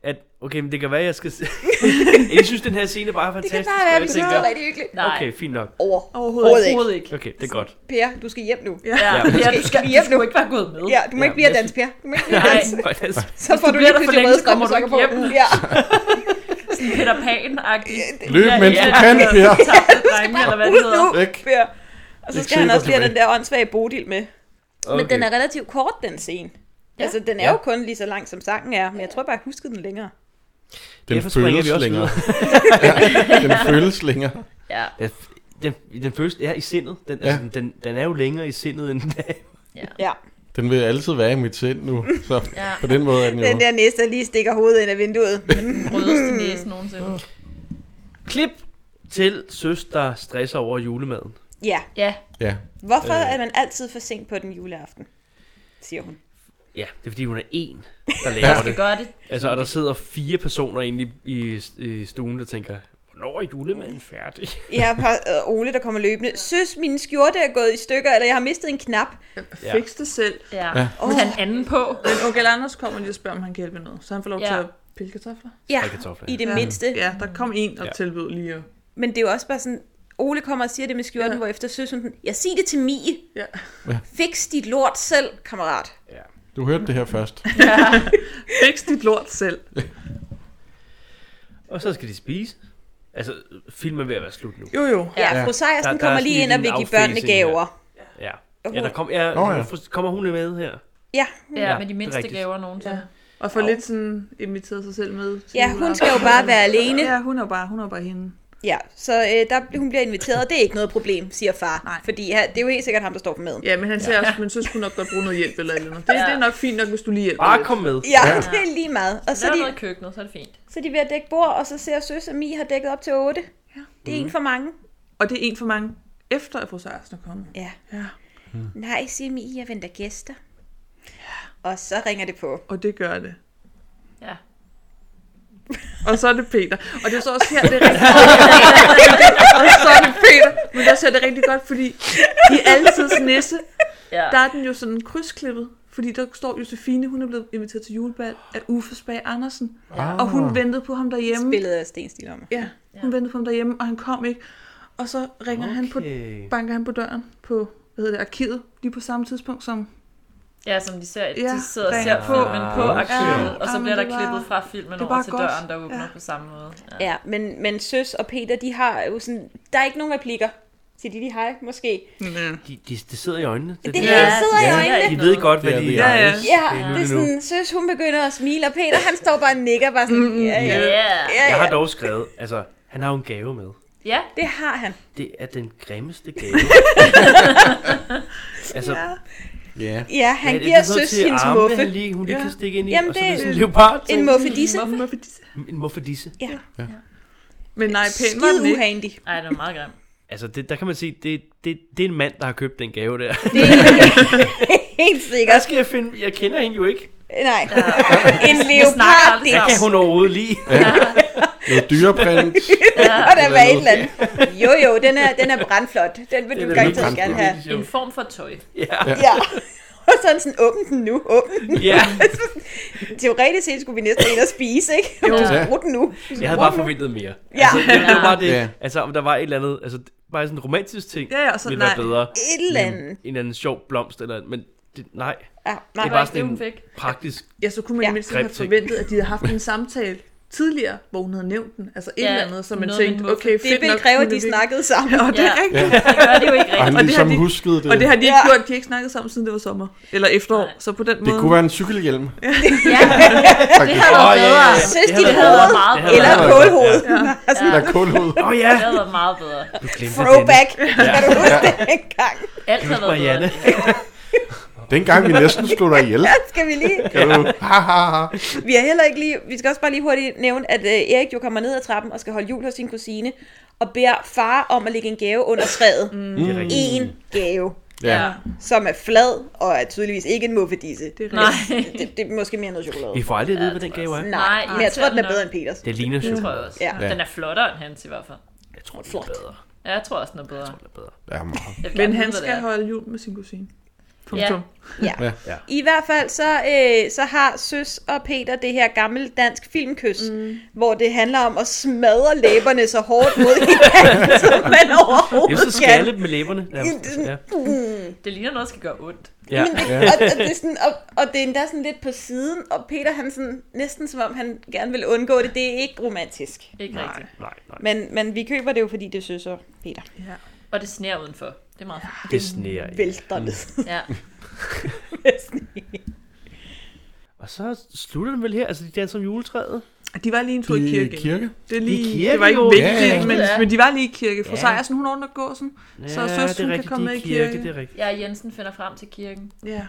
B: at okay, men det kan være, at jeg skal... se- jeg synes, den her scene bare er
E: Det
B: fantastisk.
E: kan bare
B: og
E: være, at vi
B: jeg
E: synes,
B: tænker,
E: det er rigtig hyggeligt.
F: Nej,
B: Okay, fint nok.
E: Over.
D: Overhovedet ikke.
F: overhovedet ikke.
B: Okay, det er godt.
E: Per, du skal hjem nu. Ja,
F: Ja,
B: Ja.
F: ja
E: skal-
F: du skal
E: hjem
F: du
E: nu.
F: skulle ikke være gået med.
E: ja du må ikke blive at danse, Per. Du må ikke blive at
F: Nej.
E: danse.
B: Faktisk.
E: Så får
F: du
E: du
F: bliver der
E: lige
F: for
E: pludselig
F: længe,
E: røde
F: så kommer du
E: strømpesokker på.
F: ikke hjem.
E: Ja,
F: Sådan Peter Pan-agtig.
C: Løb, mens du kan, Per.
F: Tabte drenge, eller hvad det
E: ud nu,
F: hedder.
C: Væk.
E: Per. Og så
C: Ikke
E: skal han
C: sikkert
E: også lige have den
C: tilbage.
E: der åndssvage bodil med.
B: Okay.
E: Men den er relativt kort, den scene. Altså, den er jo kun lige så lang, som sangen er, men jeg tror bare, jeg huskede den længere.
C: Den
B: Derfor springer vi
C: føles
B: også
C: længere. ja, den føles længere.
F: Ja,
B: Ja, Den, den føles er i sindet. Den, ja.
C: Ja.
B: altså, den, den er jo længere i sindet end
E: Ja.
C: Den vil altid være i mit sind nu. Så
F: Ja.
C: på den måde er den jo...
E: Den der næste, der lige stikker hovedet ind af vinduet.
F: rødeste næse nogensinde.
B: Klip til søster stresser over julemaden.
E: Ja.
F: Ja,
C: Ja.
E: Hvorfor
B: Øh.
E: er man altid for sent på den juleaften? Siger hun.
B: Ja, det er fordi hun er en, der
F: jeg
B: laver
F: skal
B: det.
F: gøre det.
B: Altså, og der sidder fire personer egentlig i, i stuen, der tænker, hvornår er julemanden færdig?
E: Jeg har øh, Ole, der kommer løbende. Søs, min skjorte er gået i stykker, eller jeg har mistet en knap.
B: Ja.
D: Fix det selv.
F: Ja.
C: Ja.
F: Og han anden på.
D: Men onkel Anders kommer lige og spørger, om han kan hjælpe med noget. Så han får lov
F: Ja.
D: til at pille kartofler.
E: Ja,
B: Ej, kartofler, ja.
E: i det
D: Ja.
E: mindste.
D: Ja, der kom en og
B: Ja.
D: tilbød lige at...
E: Men det er jo også bare sådan, Ole kommer og siger det med skjorten, ja.
D: Ja.
E: hvor efter søs hun sådan, jeg siger det til Mie.
D: Ja.
E: Fix dit lort selv, kammerat.
C: Du hørte det her først.
D: Fix dit lort selv.
B: Og så skal de spise. Altså, filmen er ved at være slut nu.
D: Jo jo.
E: Ja,
C: Ja.
E: fru Sejersen
B: Der- der
E: kommer
B: er
E: lige
B: sådan
E: ind og
B: lige
E: vil
B: en
E: give børnene
B: affacing her.
E: gaver.
B: Ja.
E: Og
B: Ja,
E: hun-
B: der kom, ja,
C: Nå, ja.
B: kommer hun med her?
E: Ja,
F: Ja,
B: Ja,
F: med de
B: det er
F: mindste
B: rigtigt.
F: gaver nogensinde.
D: Ja. Og får lidt sådan inviteret sig selv med. til
E: ja hun
D: juleaften.
E: skal jo bare være alene.
D: Ja, hun er bare, hun er bare hende.
E: Ja, så øh, der, hun bliver inviteret, og det er ikke noget problem, siger far.
D: Nej.
E: Fordi ja, det er jo helt sikkert ham, der står for maden.
D: Ja, men han siger også, men så skulle hun nok godt bruge noget hjælp eller et eller andet. Det,
F: Ja.
D: det er nok fint nok, hvis du lige hjælper
B: Bare
D: lidt.
B: kom med.
E: Ja, ja. det er lige meget. Og så
F: Lav
E: er,
F: noget
E: de,
F: i køkkenet, så er det fint.
E: så er de ved at dække bord, og så ser søs, at Mi har dækket op til 8. Ja. Det er en
B: Mhm.
E: for mange.
D: Og det er en for mange, efter at fru Sejersen er kommet.
E: Ja.
D: Ja.
E: Nej, siger Mi, jeg venter gæster. Og så ringer det på.
D: Og det gør det.
F: Ja.
D: Og så er det Peter. Og det er så også her, det er rigtig Og så er det Peter. Men der ser det rigtig godt, fordi i altid nisse,
F: Ja.
D: der er den jo sådan krydsklippet. Fordi der står Josefine, hun er blevet inviteret til julebal af Uffe Spag Andersen.
C: Ah.
D: Og hun ventede på ham derhjemme.
E: Spillet af Sten Stilhammer.
D: Ja, hun ventede på ham derhjemme, og han kom ikke. Og så ringer okay. han på,
B: Okay.
D: banker han på døren på, hvad hedder det, arkivet, lige på samme tidspunkt som...
F: Ja, som de ser,
D: Ja,
F: de sidder og
D: ringer
F: ser
D: på.
F: filmen på
C: Ah,
F: arkivet,
D: okay.
F: og så
D: Ah,
F: bliver
D: men
F: der
D: det var-
F: klippet fra filmen
D: det
F: over
D: var
F: til
D: godt.
F: døren, der åbner
D: Ja.
F: på samme måde. Ja.
E: Ja, men, men Søs og Peter, de har jo sådan... Der er ikke nogen replikker til de, de hej, måske.
B: De, de, det sidder i øjnene.
E: Det,
B: er
E: det hele sidder i
F: Ja.
E: øjnene.
B: De ved godt, hvad
C: Det er
B: de
C: det.
D: Ja, ja.
E: Ja,
B: Det er
E: det er
B: det nu.
E: sådan, Søs hun begynder at smile, og Peter han står bare og nikker, bare sådan, ja, ja, ja,
F: Yeah.
E: ja.
B: Jeg har dog skrevet, altså, han har jo en gave med.
F: ja,
E: Det har han.
B: Det er den grimmeste gave. altså, ja,
C: Ja.
E: Ja, han
B: det er
E: giver
B: sådan noget
E: Søs
B: til
E: hendes
B: armene,
E: muffe.
B: Han lige, hun lige
D: Ja.
B: kan stikke ind i,
E: Jamen,
B: og så
E: det
B: er
E: er
B: det sådan en leopard.
E: En muffedisse.
D: Hvorfor de...
B: En muffedisse.
D: Men nej, pæn var
E: Skide
D: den ikke.
E: uhandy.
F: Ej, det var meget grimt.
B: Altså, det, der kan man sige, det, det, det er en mand, der har købt den gave der.
E: Det er helt
B: Hvad
E: sikkert.
B: skal jeg finde? Jeg kender hende jo ikke.
E: Nej. En
F: snakker
E: leopard,
F: aldrig
E: det
B: Hvad kan hun overhovedet lide?
C: Noget dyreprint.
E: må da være et eller andet. Jo, jo, den er, den er brandflot. Den vil du
B: Den er
E: garanteret
C: brandflot.
E: gerne have.
F: En form for tøj.
E: Ja. Og sådan sådan, åbn den nu, åbn den.
B: Ja,
E: Teoretisk set skulle vi næsten ind og spise, ikke? Jo.
C: Ja.
E: Brug den nu.
B: jeg havde bare forventet mere.
E: Ja,
B: Altså, det, det var bare det.
C: Ja.
B: Altså, om der var et eller andet, altså, bare sådan en romantisk ting,
D: Ja, ja, og så
B: ville være
D: nej.
B: bedre.
E: et eller andet.
B: En eller anden sjov blomst, eller, men det, nej.
E: Ja, nej,
B: Det
F: var
B: var
F: ikke det,
B: sådan
F: hun
B: en
F: fik.
B: praktisk
D: Ja, så kunne man
E: Ja.
D: ja. mindst have
B: Grim ting.
D: forventet, at de havde haft en samtale tidligere, hvor hun havde nævnt den. Altså et
F: Ja,
D: ja, eller andet, så man
F: noget med
D: tænkte,
F: en muffet.
D: okay,
E: det
D: fedt
E: ville
D: nok.
E: kræve,
D: hun
E: at
D: er
E: de
D: lige-
E: snakkede sammen.
D: Ja, og det er
F: Ja.
D: rigtigt.
F: Det gør det jo ikke
C: Og han
F: rigtigt.
D: Og det
C: ligesom
D: har de-
C: huskede det.
D: Og det har de ikke
E: Ja.
D: gjort, de har ikke snakket sammen, siden det var sommer. Eller efterår,
F: Nej.
D: så på den
C: Det
D: måde.
C: kunne være en cykelhjelm.
F: Ja, det
C: Faktisk.
F: havde
B: Åh,
F: været
B: ja, ja,
F: bedre.
B: ja.
E: Søs,
B: Det
E: de
B: havde
F: Det havde
E: hoved
F: været meget bedre.
E: eller
C: bedre.
E: kålhoved.
C: Der er kulhoved.
B: Åh oh, ja!
F: Det havde været meget bedre.
B: Du glemte
E: Throwback. Kan du huske det engang?
F: Alt havde været bedre.
B: Marianne.
C: Dengang vi næsten slog dig ihjel.
E: Skal vi lige...
C: Kan du? Ha, ha, ha.
E: Vi har heller ikke lige... Vi skal også bare lige hurtigt nævne, at øh, Erik jo kommer ned ad trappen og skal holde jul hos sin kusine, og beder far om at lægge en gave under træet. Mm.
B: Det er rigtigt.
E: En gave,
C: Ja.
E: som er flad, og er tydeligvis ikke en muffedisse. Det,
D: er
F: Nej.
E: det, det er måske mere noget chokolade.
B: Vi får aldrig at vide, hvad den gave er.
E: Nej,
F: Nej,
E: men jeg tror, den
F: irriterende
E: er bedre end Peters.
B: Det ligner
F: Det tror
B: chokolade.
F: jeg også.
E: Ja.
F: Den er flottere end hans i hvert fald.
B: Jeg tror, det er bedre.
F: Ja, jeg tror også, den er bedre.
B: Den er bedre.
C: Ja, meget.
F: Jeg vil
D: Men
F: gerne
D: han
F: vide, hvad det
D: skal
F: er.
D: holde jul med sin kusine.
F: Ja.
D: Punktum.
E: Ja.
C: Ja.
B: Ja.
E: I hvert fald så, øh, så har Søs og Peter det her gammel dansk filmkys, mm. hvor det handler om at smadre læberne så hårdt mod hinanden, som man
B: Det er
E: overhovedet
B: jo så skalle med læberne. nærmest. Ja.
F: Det ligner noget, der skal gøre ondt.
B: Ja.
E: Og, og, det er sådan, og, og det er endda sådan lidt på siden, og Peter han sådan, næsten som om han gerne vil undgå det, det er ikke romantisk.
F: Ikke rigtigt.
B: Nej, nej.
E: Men, men vi køber det jo, fordi det synes så Peter
F: Og det sneer udenfor. Det er meget fedt.
B: Det sneer ikke.
E: vælter det.
F: Ja.
B: Og så slutter den vel her, altså de danser om juletræet.
D: De var lige en tur i
C: I
D: kirke.
C: kirke?
D: Det, er lige,
B: I kirke,
D: det var ikke
B: jo.
D: vigtigt,
C: Ja.
D: men,
F: Ja.
D: men de var lige i kirke. Fru
B: Ja.
D: Sejersen, hun ordner gåsen. Så søs,
B: det er
D: hun kan
B: rigtigt,
D: komme
B: de
D: med i kirke.
B: Det er rigtigt.
F: Ja, Jensen finder frem til kirken.
D: Ja,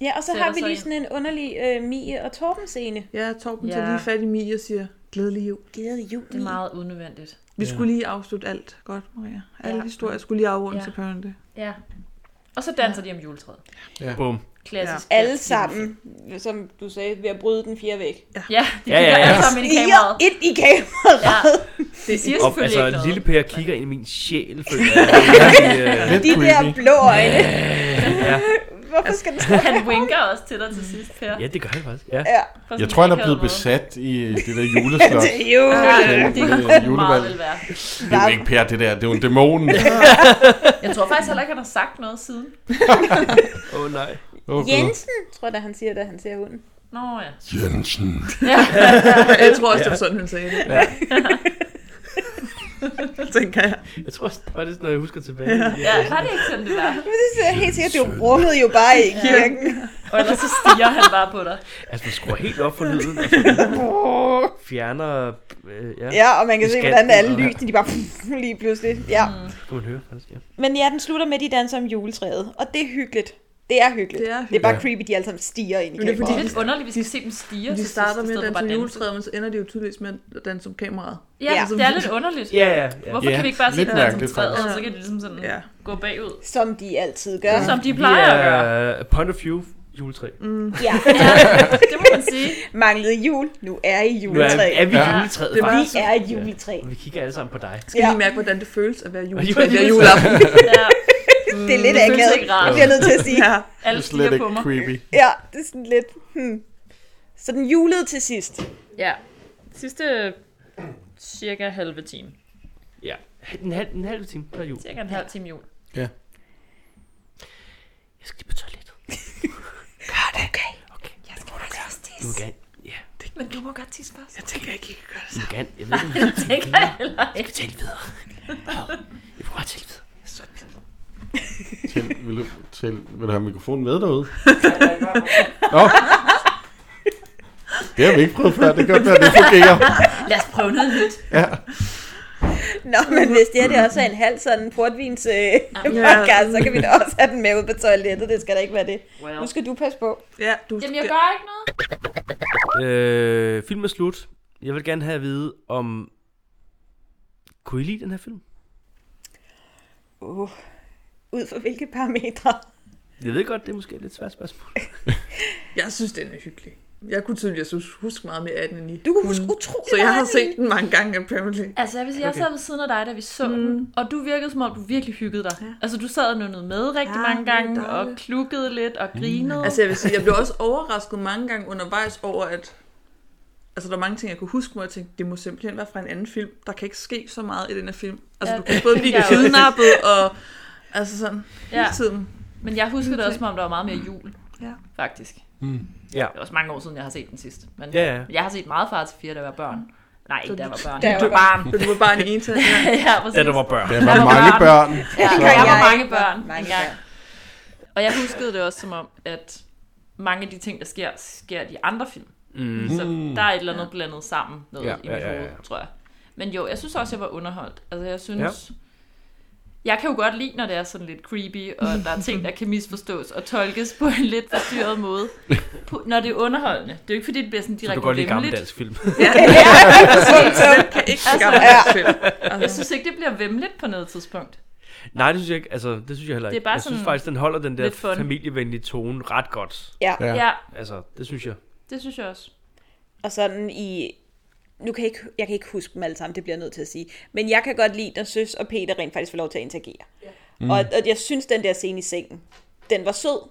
E: Ja, og så
F: Sætter
E: har vi
F: sig
E: lige
F: ind.
E: sådan en underlig øh, Mie og Torben scene.
D: ja Torben
F: Ja.
D: tager lige fat i Mie og siger, glædelig jul.
E: Glædelig jul,
F: Det er
E: Mie.
F: meget unødvendigt.
D: Vi
B: Ja.
D: skulle lige afslutte alt godt, Maria. Alle
F: Ja.
D: historier skulle lige afrundes,
F: Ja.
D: ja. apparently.
F: Ja. Og så danser de om juletræet.
B: Bum.
F: Klassisk. Ja.
E: Alle sammen, som du sagde, ved at bryde den fjerde væg.
F: Ja, de
B: Ja, ja,
F: kigger
B: ja.
F: alle sammen ind i
E: Stiger
F: kameraet.
E: ind i kameraet.
F: Ja. Det siger
B: Og,
F: selvfølgelig
B: altså,
F: ikke noget.
B: lille Per kigger ind i min sjæl, føler jeg.
C: Lidt
E: De der
C: creepy.
E: blå øjne. Hvorfor skal den stå
F: Han winker også til dig til sidst, Per.
B: Ja, det gør han faktisk. Ja.
E: der?
F: På sådan
C: Jeg
F: en
C: tror, han er
F: akavet
C: blevet
F: måde.
C: besat i det der juleslot.
E: Det er jo
F: Ja, det
C: Med
F: kunne meget
C: julevalg.
F: vel være.
C: Det er jo ikke Per, det der. Det er jo en dæmon.
F: Jeg tror faktisk heller ikke, han har sagt noget siden.
B: Åh oh, nej.
C: Åh,
E: Jensen, tror jeg da, han siger, da han ser hunden.
F: Nå ja.
C: gud. Jensen.
D: Jeg tror også, det var sådan, han sagde det. Ja. Tænker jeg.
B: Jeg tror også, det var det, når jeg husker tilbage.
F: ja. Var det ikke sådan, det var?
E: Men det ser helt sikkert, du rummede jo bare i kirken.
F: Og ellers så stiger han bare på dig.
B: Altså, man skruer helt op for lyden. og så Fjerner... Øh, ja, ja,
E: Ja, og man kan
B: Det
E: se,
B: skal
E: hvordan
B: den.
E: alle lysene, de bare lige pludselig. Ja.
B: kan man høre faktisk. Ja.
E: Men ja, den slutter med, at de danser om juletræet. Og det er hyggeligt. Det er hyggeligt.
D: Det er
E: Det er bare
C: hyggeligt.
E: creepy, de alle sammen stiger ind i
D: Men det er
F: Det
E: kameraet.
F: er
D: fordi-
F: lidt underligt, vi skal se dem stige. til
D: De
F: sidst,
D: starter
F: i
D: med
F: stedet
D: at
F: for
D: danse
F: bare
D: om
F: at
D: juletræet, men så ender de jo tydeligvis med at danse om kameraet.
F: Ja,
E: Ja.
F: det er lidt underligt.
B: Ja, ja, ja.
F: Hvorfor
C: Ja,
F: kan vi ikke bare se
C: lidt
F: den danse om
C: mærkeligt,
F: træet, og
D: faktisk.
F: så kan de ligesom sådan
D: Ja.
F: gå bagud?
E: Som de altid gør.
F: Som de plejer at gøre.
B: Uh, point of view juletræ.
D: Mm.
E: Ja.
F: det må man sige.
E: Manglede jul. Nu er I
B: Nu er,
E: juletræ.
B: er vi ja. juletræet,
E: Det var
B: faktisk.
E: Vi er et juletræ.
B: Og vi kigger alle sammen på dig.
D: Skal
E: Ja.
D: ja. lige mærke, hvordan det føles at være
B: Juletræ.
D: juletræ hver juleaften.
F: Ja,
E: Det er lidt
F: det føles
E: akavet.
F: ikke rart.
E: Det bliver jeg nødt til at sige.
D: ja.
C: Det
F: alle
C: er slet
F: stiger på
C: ikke
F: mig.
C: creepy.
E: Ja, det er sådan lidt... Hmm. Så den julede til sidst.
F: Ja. Sidste cirka halve time.
B: Ja. En halv, en halv time før jul.
F: Cirka en halv time jul.
B: Jeg skal lige på toilettet. Gør det. Okay. Okay. Jeg skal bare Du må gerne. Ja, det
F: Men du må godt tisse først.
D: Jeg tænker ikke, I kan gøre det.
B: du må gerne. Jeg ved ikke, om
F: Det tænker jeg heller
B: jeg
F: ikke.
B: skal tale videre. Jeg får bare tale videre.
C: Til, vil, du, til, vil du have mikrofonen med derude? Nå. Det har vi ikke prøvet før. Det kan godt være, det fungerer.
F: Lad os prøve noget nyt.
C: Ja.
E: Nå, men hvis det her det også er en halv sådan portvins øh, podcast, så kan vi da også have den med ud på toilettet. Det skal da ikke være det. Nu
F: Well.
E: skal du passe på.
D: Ja, du
F: Jamen, jeg gør ikke noget.
B: Øh, film er slut. Jeg vil gerne have at vide, om... Kunne I lide den her film?
E: Uh, ud fra hvilke parametre?
B: Jeg ved godt, det er måske et lidt svært spørgsmål.
D: Jeg synes, den er hyggelig. Jeg kunne tydeligvis hus- huske meget mere af den end I.
E: Du kan
D: kunne.
E: huske utrolig
D: Så jeg har
E: meget af
D: set den mange gange, apparently.
F: Altså, jeg vil sige, jeg sad ved siden af dig, da vi så mm. den, og du virkede, som om du virkelig hyggede dig. Ja. Altså, du sad og noget med rigtig
D: Ja,
F: ja, mange
D: det er
F: gange, og
D: dejligt.
F: klukkede lidt,
B: Mm.
F: og grinede.
D: Altså jeg vil sige, jeg blev også overrasket mange gange undervejs over, at altså, der er mange ting, jeg kunne huske, hvor jeg tænkte, det må simpelthen være fra en anden film. Der kan ikke ske så meget i den her film. Altså
F: Ja,
D: du kan både
F: det
D: blive
F: tænker jeg også.
D: kidnappet og altså sådan hele
F: Ja.
D: tiden.
F: Men jeg husker det også, som om der var meget mere jul,
D: Ja.
F: faktisk.
B: Mm. Ja.
F: Det er også mange år siden, jeg har set den sidst. Men
B: Ja, ja.
F: jeg har set meget far til fire, da jeg var børn. Nej, ikke da jeg var børn.
E: Da jeg var
F: barn.
D: Så du var bare en ental. Ja.
F: ja, præcis.
B: Ja, der var børn.
C: Der var mange børn.
F: Ja,
E: Det
F: der
E: gør jeg
F: var mange
E: ikke.
F: børn
E: Mange
F: engang.
E: børn.
F: Og jeg huskede det også som om, at mange af de ting, der sker, sker i andre film.
B: Mm.
F: Så der er et eller andet blandet sammen noget
B: Ja,
F: i mit
B: ja, ja, ja.
F: hoved, tror jeg. Men jo, jeg synes også, jeg var underholdt. Altså, jeg synes... Ja. Jeg kan jo godt lide, når det er sådan lidt creepy, og der er ting, der kan misforstås og tolkes på en lidt forstyrret måde. På- Når det er underholdende. Det er jo ikke, fordi det bliver sådan
B: Så du
F: direkte
B: kan godt lide gammel
F: væmmeligt.
B: dansk film.
D: Den kan ikke altså, skamme ja. film.
F: Jeg synes ikke, det bliver vemmeligt på noget tidspunkt.
B: Nej, det synes jeg ikke. Altså, det synes jeg heller
F: Det er
B: ikke.
F: bare
B: jeg synes
F: sådan
B: faktisk, den holder den der
F: lidt fun.
B: familievenlige tone ret godt.
C: Ja.
F: Ja. ja,
B: Altså, det synes jeg.
F: det synes jeg også.
E: Og sådan i... Nu kan jeg, ikke, jeg kan ikke huske dem alle sammen, det bliver jeg nødt til at sige. Men jeg kan godt lide, når Søs og Peter rent faktisk får lov til at interagere. Mm. Og, og jeg synes, den der scene i sengen, den var sød.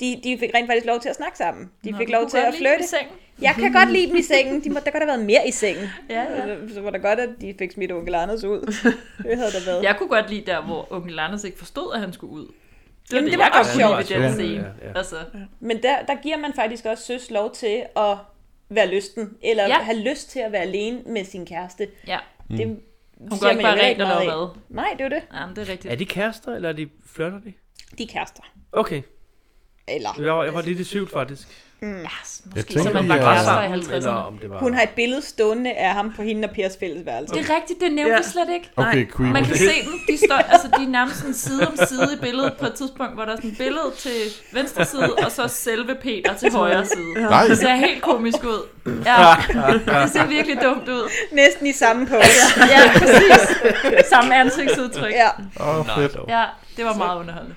E: De, de fik rent faktisk lov til at snakke sammen. De Nå, fik
F: du
E: lov
F: kunne
E: til at
F: godt lide dem
E: flytte.
F: i sengen.
E: Jeg kan godt lide dem i sengen. De må, der godt have været mere i sengen.
F: Ja, ja.
E: Så, så var det godt, at de fik smidt onkel Anders ud. Det havde der været.
F: Jeg kunne godt lide der, hvor onkel Anders ikke forstod, at han skulle ud. Det,
E: Jamen,
F: var
E: det var
F: jeg
E: godt
F: godt kunne lide ved
B: sjovt. Ja,
F: den scene.
B: ja, ja.
F: Altså,
E: Men der, der giver man faktisk også søs lov til at være lysten, eller ja.
F: Ja.
E: have lyst til at være alene med sin kæreste.
F: ja.
E: Det
B: Mm.
F: Hun går
E: ser man
F: ikke
E: jo
F: bare
E: heller
F: rent og
E: meget
F: laver
E: af.
F: mad.
E: Nej, det er jo det.
F: Ja, men det er rigtigt.
B: Er de kærester, eller er de flirter de?
E: De er kærester.
B: Okay.
E: Eller
B: Jeg var, jeg var lidt i tvivl, faktisk.
F: Ja, måske
C: Jeg
F: jeg
C: tænker,
F: tænker, så man
C: de
F: var
C: er-
F: kærester i
B: eller
F: 50'erne.
B: om det var...
E: hun har et billede stående af ham på hende og Pers fælles værelse.
F: Det er rigtigt, det nævnte
D: Ja.
F: vi slet ikke.
C: Okay, creepy.
F: Man kan se dem, de står, altså de er nærmest sådan side om side i billedet på et tidspunkt, hvor der er sådan et billede til venstre side, og så selve Peter til højre side.
C: Nej,
F: Det ser helt komisk ud. Ja, det ser virkelig dumt ud.
E: Næsten i samme pose.
F: Ja, præcis. Samme ansigtsudtryk.
E: ja.
C: åh, oh, fedt.
F: Ja, det var meget underholdende.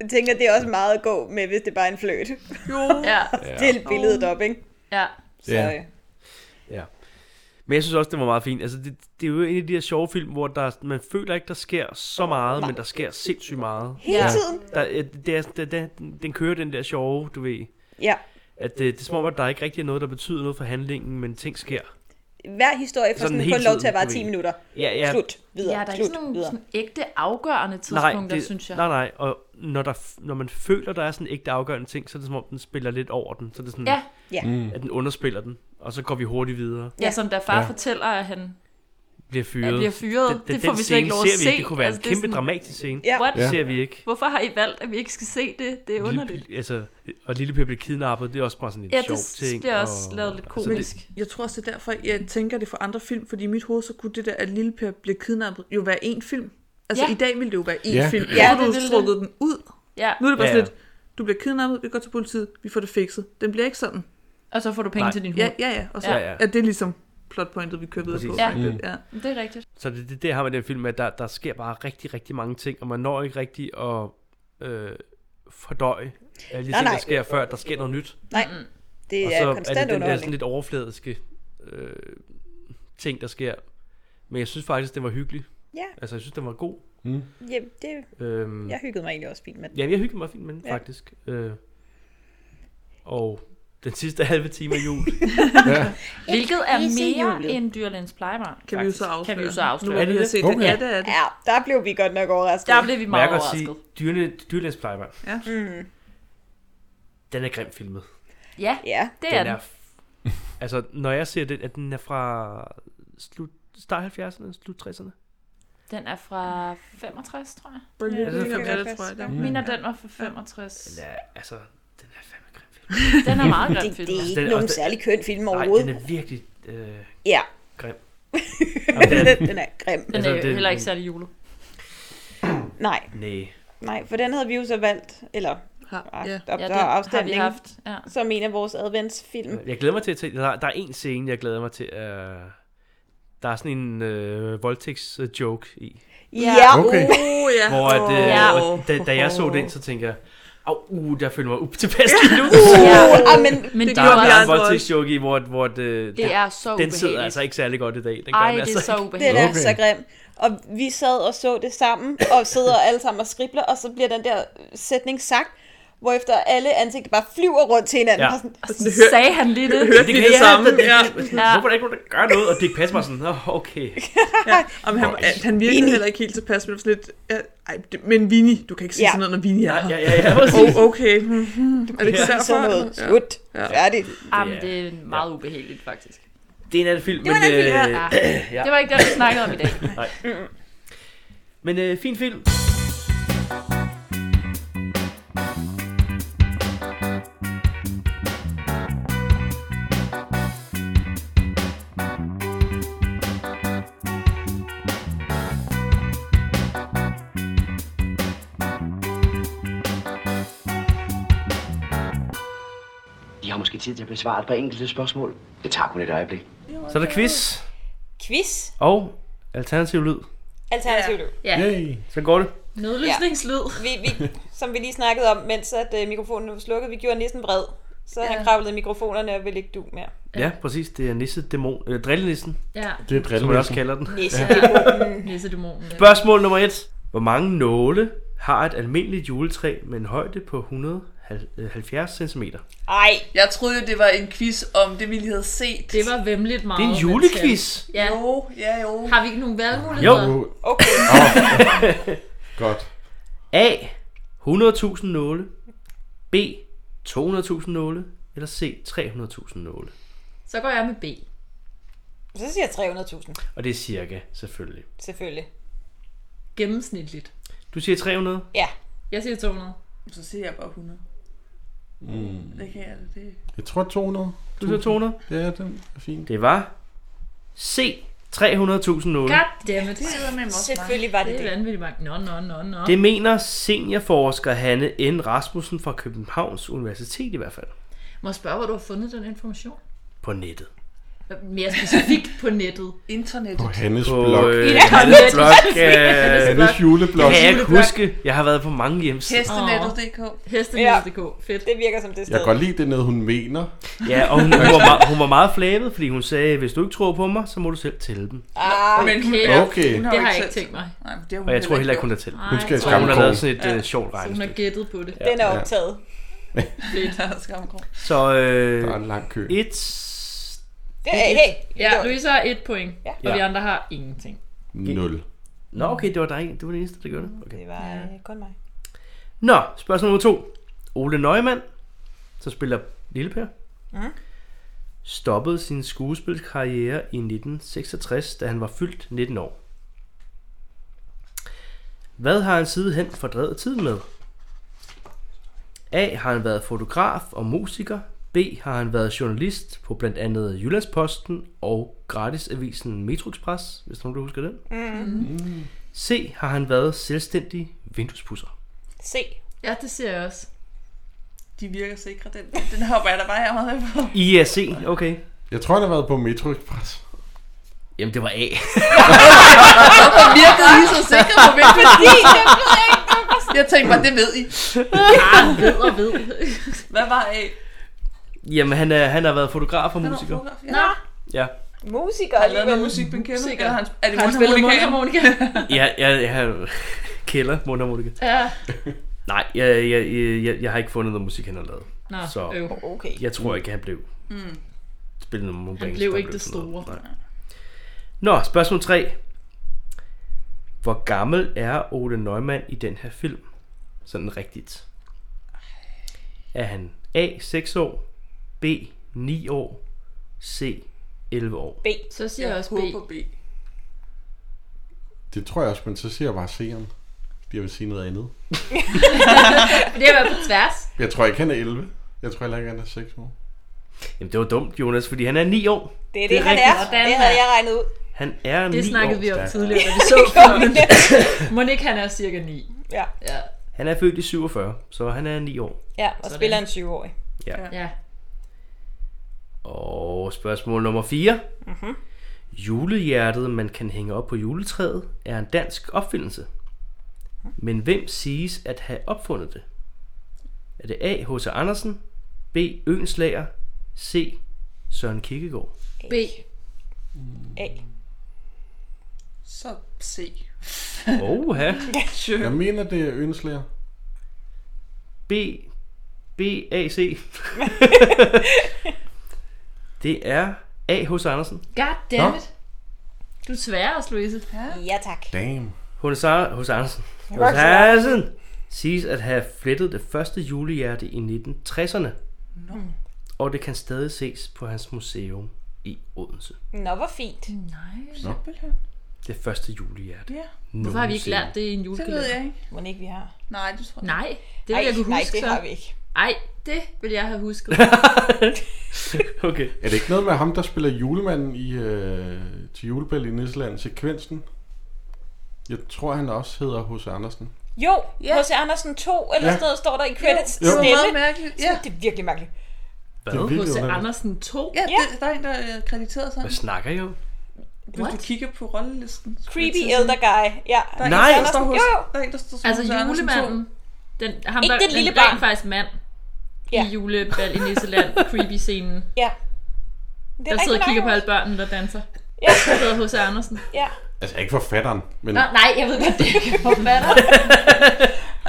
E: Jeg tænker, det er også meget at gå med, hvis det bare er en fløjt.
D: Jo.
F: Ja,
E: Ja. Til billedet
F: Oh.
E: op, ikke?
F: ja.
E: Så,
C: Ja.
E: øh,
B: Men jeg synes også, det var meget fint. Altså, det, det er jo en af de her sjove film, hvor der, man føler ikke, der sker så meget, men der sker sindssygt meget.
E: Hele
F: Ja.
E: tiden.
B: Der, øh, det er, det, det, den kører den der sjove, du ved.
E: Ja.
B: At det, det er som om, at der ikke rigtig er noget, der betyder noget for handlingen, men ting sker.
E: Hver historie får
B: Sådan
E: sådan,
B: hele
E: kun lov til
B: tiden,
E: at vare
B: du
E: 10
B: ved.
E: minutter.
B: Ja, ja.
E: Slut. Videre.
F: Ja, der er
E: Slut.
F: ikke sådan nogle
E: videre.
F: sådan ægte afgørende tidspunkter, synes jeg.
B: Nej, nej. Og når, der, f- når man føler, der er sådan ægte afgørende ting, så er det som om, den spiller lidt over den. Så er det sådan,
F: Ja,
E: Mm.
B: at den underspiller den, og så går vi hurtigt videre.
F: ja, som da far
C: Ja.
F: ja. fortæller, at han
B: Bliver fyret.
F: Ja, bliver fyret.
B: Den- den-
F: Det får
B: den
F: vi slet
B: scene
F: ikke lov at
B: ser vi
F: se.
B: Det kunne være
F: Altså,
B: en
F: det er
B: kæmpe
F: sådan-
B: dramatisk scene.
E: Ja.
F: What?
B: Det
C: Ja.
B: ser vi ikke.
F: Hvorfor har I valgt, at vi ikke skal se det? Det er underligt.
B: Lille, altså, og Lille Per bliver kidnappet, det er også bare sådan en
F: Ja,
B: sjov
F: det
B: ting. Altså,
F: bliver også lavet lidt komisk.
D: Jeg tror også, det er derfor, jeg tænker det for andre film, fordi i mit hoved, så kunne det der, at Lille Per blev kidnappet, jo være én film. Altså
F: Ja.
D: i dag ville det jo være én
C: Ja.
D: film.
F: Ja,
D: Ja,
F: det
D: du
F: ville det.
D: strukket den ud.
F: Ja,
D: Nu er det bare
B: Ja,
D: ja,
B: ja.
D: sådan lidt, du bliver kidnappet, vi går til politiet, vi får det fikset. Den bliver ikke sådan.
F: og så får du penge
B: Nej.
F: til din hund.
D: Ja, ja, ja. Og så
B: Ja,
D: ja,
B: ja.
D: ja. er det ligesom plotpointet, vi kører videre
B: Præcis.
D: på.
F: Ja.
D: Mm. ja.
F: Det er rigtigt.
B: Så det, det, det har man i den film, at der, der sker bare rigtig, rigtig mange ting, og man når ikke rigtig at øh, fordøje alle de
E: Nej,
B: ting, der
E: nej.
B: sker, før der sker noget nyt.
E: Nej, det
B: og
E: er
B: så
E: konstant
B: er det den der sådan
E: underholdning.
B: lidt overfladiske øh, ting, der sker. Men jeg synes faktisk, den var hyggelig.
E: Ja.
B: Altså, jeg synes, den var god.
C: Mm.
E: Jamen, det,
B: Øhm,
E: jeg hyggede mig egentlig også fint med den.
B: Ja, jeg hyggede mig fint med den,
E: Ja.
B: ja. faktisk. Øh, og den sidste halve time af jul.
F: Ja. Hvilket er
E: Ikke i
F: mere
E: julet.
F: end dyrlægens plejebarn.
D: Kan vi jo så afsløre.
F: Kan vi jo så afsløre.
D: Nu hvor vi har set det. Ja, det er det.
E: Ja, der blev vi godt nok overrasket.
F: Der blev vi
B: Men jeg
F: meget
B: kan godt sige,
F: overrasket.
B: dyrene, dyrlægens plejebørn,
D: Ja.
E: Mm,
B: den er grimt filmet.
F: Ja,
E: ja.
F: det er
B: den.
F: den.
B: Er, f- altså, når jeg ser den, at den er fra slut, start 70'erne, slut 60'erne.
F: Den er fra 65, tror jeg.
D: Bølge
B: Ja, det er
D: Bølge om
B: fedt.
D: det, tror jeg. det er.
B: Mm.
F: Jeg mener, den var fra 65.
B: Den er, altså, den er fandme grim film.
F: Den er meget
E: Det,
F: grim
E: det
F: film.
E: er
B: Den
E: ikke
B: er
E: nogen
B: også-
E: særlig køn film
B: Nej,
E: overhovedet.
B: den er virkelig øh,
E: Ja,
B: grim. Jamen, den er,
E: den er grim.
F: Den
B: Altså,
F: er jo
B: det-
F: heller ikke særlig julet.
E: Nej,
B: nej.
E: nej, for den havde vi jo så valgt, eller
D: Har-
E: ah,
D: Ja.
E: der,
F: Ja,
E: der
F: den
E: er
F: har vi
E: afstemning,
F: haft. Ja.
E: som en af vores adventsfilm.
B: Jeg glæder mig til at se, der, der er en scene, jeg glæder mig til. Øh, der er sådan en øh, voldtægts-joke i.
E: Ja,
C: Okay.
D: Åh, Oh, ja.
B: Hvor at, øh,
F: Ja.
B: og da, da jeg så den, så tænker jeg, au, uh, der føler jeg mig utilpas lige nu.
F: Ja.
E: ah, men
F: Men
D: det
F: der
D: gjorde
F: var-
D: vi
B: Der er en
D: andre også.
B: voldtægtsjoke i, hvor, hvor øh, det,
F: Det er så
B: den sidder altså
F: ubehageligt.
B: ikke særlig godt i dag. Den gør
F: Ej,
B: den
F: det
B: altså
F: er så
B: ikke.
E: den
F: ubehageligt.
E: er
C: Okay.
E: så grim. Og vi sad og så det sammen, og sidder alle sammen og skribler, og så bliver den der sætning sagt, hvorefter alle ansigter bare flyver rundt til hinanden.
B: Ja.
E: Ja. Sådan,
F: Sagde han lige det?
D: Hørte vi det samme? Ja.
B: Ja. Hvorfor er der ikke nogen, der gør noget? Og Dirk Passer mig sådan, "Nå, okay.
D: ja. Jamen, han, han virkede heller ikke helt tilpas, men det var sådan lidt... Ja, ej, det, men Vini, du kan ikke sige
E: Ja.
D: sådan noget, når Vini er
B: Ja,
D: her.
B: ja, ja, præcis.
D: Oh, okay. Mhm. Er det ikke
E: ja.
D: derfor?
E: sådan noget. Slut.
D: Ja.
E: Ja. Færdigt.
F: Jamen, det er meget ubehageligt, faktisk.
B: Det er en anden film,
E: Det var
B: men, øh,
E: en anden film,
F: Ja.
B: Ja.
F: Det var ikke det, vi snakkede om i dag.
B: men øh, fin film.
K: I har måske tid til at besvare et par enkelte spørgsmål. Det tager kun et øjeblik.
B: Så er der quiz
E: Quiz.
B: og alternativ lyd.
E: Alternativ ja.
F: Ja.
C: Yay.
B: Så går det.
F: Nødløsningslyd.
E: vi, vi, som vi lige snakkede om, mens at øh, mikrofonen var slukket, vi gjorde næsten vred. Så ja. han kravlede i mikrofonerne og ville ikke du mere.
B: Ja, præcis. Det er Nisse Dæmon. Øh, drillenissen,
F: Ja.
C: Det er
B: som man også
C: drillende.
B: kalder den.
E: Næste.
F: Nissedæmonen.
B: Spørgsmål nummer et. Hvor mange nåle har et almindeligt juletræ med en højde på 170 cm?
E: Ej,
D: Jeg troede jo, det var en quiz om det, vi lige havde set.
F: Det var vemmeligt meget.
B: Det er en
F: men
B: julequiz.
F: tæt. Ja.
D: Jo, ja jo.
F: Har vi ikke nogen valgmuligheder?
B: Jo.
C: Uh,
E: okay.
C: godt.
B: A. 100.000 nåle. B. 200.000 nåle. Eller C. 300.000 nåle.
F: Så går jeg med B.
E: Så siger jeg 300.000,
B: Og det er cirka, selvfølgelig.
E: selvfølgelig.
F: Gennemsnitligt.
B: Du siger 300.
E: Ja,
F: Jeg siger 200.
D: Så siger jeg bare 100. Mm. Det kan jeg, det
C: Jeg tror 200.
B: Du siger 200.
C: Ja, den er fint.
B: Det var C. 300.000 nåle.
F: Goddammit. Det er med
E: selvfølgelig var det
F: Det er
E: det.
F: vanvittigt mange. Nå, nå, nå, nå.
B: Det mener seniorforsker Hanne N. Rasmussen fra Københavns Universitet i hvert fald.
F: Må jeg spørge, hvor du har fundet den information?
B: På nettet.
F: Mere specifikt på nettet.
D: Internet.
C: På Hannes
B: På
C: blog.
B: øh,
F: Ja,
B: Hannes blog. øh,
C: Hannes juleblog.
B: Kan jeg ikke
F: Juleblok.
B: huske? Jeg har været på mange hjemsider.
D: Hestenet.dk.
F: Hestenet.dk. Fedt.
E: det virker som det sted.
C: Jeg kan godt lide det ned, hun mener.
B: Ja, og hun, hun, var meget, hun var meget flabet, fordi hun sagde, hvis du ikke tror på mig, så må du selv tælle dem.
E: Ah,
D: Men hun,
F: Okay.
C: Okay.
F: Det har jeg
D: selv
F: ikke tænkt mig.
D: Nej, men det har hun
B: Og jeg tror heller ikke, hun har tælt.
F: Nej,
C: Hun skal i
F: jeg tror,
B: Så hun har
C: Skammekrog.
B: lavet sådan et øh, sjovt
F: Så hun har
B: regnestykke.
F: gættet på det.
E: den er
C: ja.
E: optaget.
F: Fedt.
D: har skammekrog.
B: Så
C: Der er
B: øh,
C: en lang kø.
B: et...
E: Det, hey, hey.
F: Ja, Louise har et point,
E: Ja.
F: og vi andre har ingenting.
C: 0.
B: Nå, okay, det var dig. Det var den eneste, der gjorde det. Okay.
E: Det var øh, kun mig.
B: Nå, spørgsmål nummer to. Ole Neumann, som spiller Lille Per, stoppede sin skuespilskarriere i 1966, da han var fyldt 19 år. Hvad har han sidenhen fordrevet tiden med? A. Har han været fotograf og musiker. B. Har han været journalist på blandt andet Jyllandsposten og gratisavisen Metroxpress, hvis nogen kan huske den. Mm. C. Har han været selvstændig vinduespusser.
E: Se.
F: Ja, det ser jeg også.
D: De virker sikre, den, den hopper jeg da bare her meget på.
B: IAC, E, okay.
C: Jeg tror, han har været på Metro Express.
B: Jamen, det var A.
D: Virkede I så sikre på mig?
E: Fordi det var ikke
D: Jeg tænkte bare, det ved I.
E: Ah, ved og ved.
L: Hvad var øh,
B: Jamen, han, er, han har været fotograf og
L: Han var
B: musiker.
L: fotograf, ja.
B: Nå. Ja.
L: musiker? Har han lavet noget musik, Ben Kemmer? Eller hans, er det mundspillet med harmonika?
B: Ja, jeg, jeg har kælder, mundharmonika.
L: Ja.
B: Nej, jeg, jeg, jeg, jeg, jeg har ikke fundet noget musik, han har lavet.
L: Nå,
F: øh,
B: så
L: øv. Okay.
B: jeg tror ikke, han blev
L: Mm.
B: spillet nogle bands.
L: blev
B: der
L: ikke det
B: sådan noget. Nej. Nå, spørgsmål 3. Hvor gammel er Ole Neumann i den her film? Sådan rigtigt. Er han A. 6 år, B. 9 år, C. 11 år?
E: B.
F: Så siger jeg,
L: Jeg
F: også
L: håber
F: B.
L: B.
C: Det tror jeg også, men så siger jeg bare seeren. Fordi jeg vil sige noget andet.
F: det har været på tværs.
C: Jeg tror ikke, han er 11. Jeg tror heller ikke, han er 6 år.
B: Jamen, det var dumt, Jonas, fordi han er 9 år.
E: Det er det, han er. Det havde jeg regnet ud.
B: Han er 9
F: Det snakkede
B: år.
F: vi om
B: stærk.
F: tidligere, da vi så filmen. Monique, han er cirka 9.
E: Ja.
F: ja.
B: Han er født i 47, så han er 9 år.
E: Ja, og
F: Sådan.
E: spiller en 7-årig.
B: Ja.
F: ja.
B: Og spørgsmål nummer 4.
E: Mhm.
B: Julehjertet, man kan hænge op på juletræet, er en dansk opfindelse. Men hvem siges at have opfundet det? Er det A. H.C. Andersen, B. Øenslager, C. Søren Kierkegaard?
L: B.
F: Mm.
E: A.
L: Så C.
B: Oha.
L: Sure.
C: Jeg mener, det er Ønslæger.
B: B. B. A. C. det er A. H.C. Andersen.
F: God damn it. Du er svær også, Louise.
E: Ja, ja tak.
C: Damn.
B: H.C. Andersen.
E: Jeg
B: H.C.
E: var ikke så langt.
B: Andersen siges at have flettet det første julehjerte i 1960'erne,
E: Nå.
B: og det kan stadig ses på hans museum i Odense.
E: Nå, hvor fint.
F: Nej.
L: Simpelthen.
B: Det første julehjerte.
L: Ja.
F: Hvorfor har vi ikke lært det i en
L: Det
F: julekalender?
L: ved jeg ikke.
E: Må ikke, vi har.
L: Nej, det tror jeg
F: Nej,
L: ikke.
F: det vil
E: Ej,
F: jeg kunne
E: nej,
F: huske
E: det
F: så.
E: har vi ikke.
F: Ej, det vil jeg have husket.
B: Okay.
C: Er det ikke noget med ham, der spiller julemanden i, øh, til julebæl i Nisland, sekvensen? Jeg tror, han også hedder H.C. Andersen.
E: Jo, H.C. Andersen 2 eller
C: Ja.
E: ja. sådan noget står der i credits.
C: Jo. Det var
E: Stemme.
L: meget mærkeligt,
E: Ja. Det er virkelig mærkeligt.
C: Det er virkelig
F: H.C.
C: underligt.
F: Andersen 2?
L: Ja, det, der er en, der
D: øh,
L: er krediteret sådan.
B: Hvad snakker I om?
L: Hvis du kigger på rollelisten. skulle jeg til
E: Creepy
L: at sige.
E: elder guy. Ja.
L: Der er
B: Nej.
L: En, der står hos,
E: Jo, jo.
L: der er en, der står
F: Altså
L: hos Andersen
F: julemanden.
L: to.
F: Den, ham,
E: Ikke
F: der,
E: den lille
F: der
E: barn.
F: faktisk mand
E: Ja.
F: i julebal i Nisseland, creepy-scenen.
E: Ja. Det
F: Der
E: rigtig
F: sidder og kigger på
E: nok.
F: alle børnene, der danser.
E: Ja.
F: Der hedder H.C. Andersen.
E: ja.
C: Altså ikke forfatteren, men...
F: Nå, nej, jeg ved godt, det er ikke forfatter.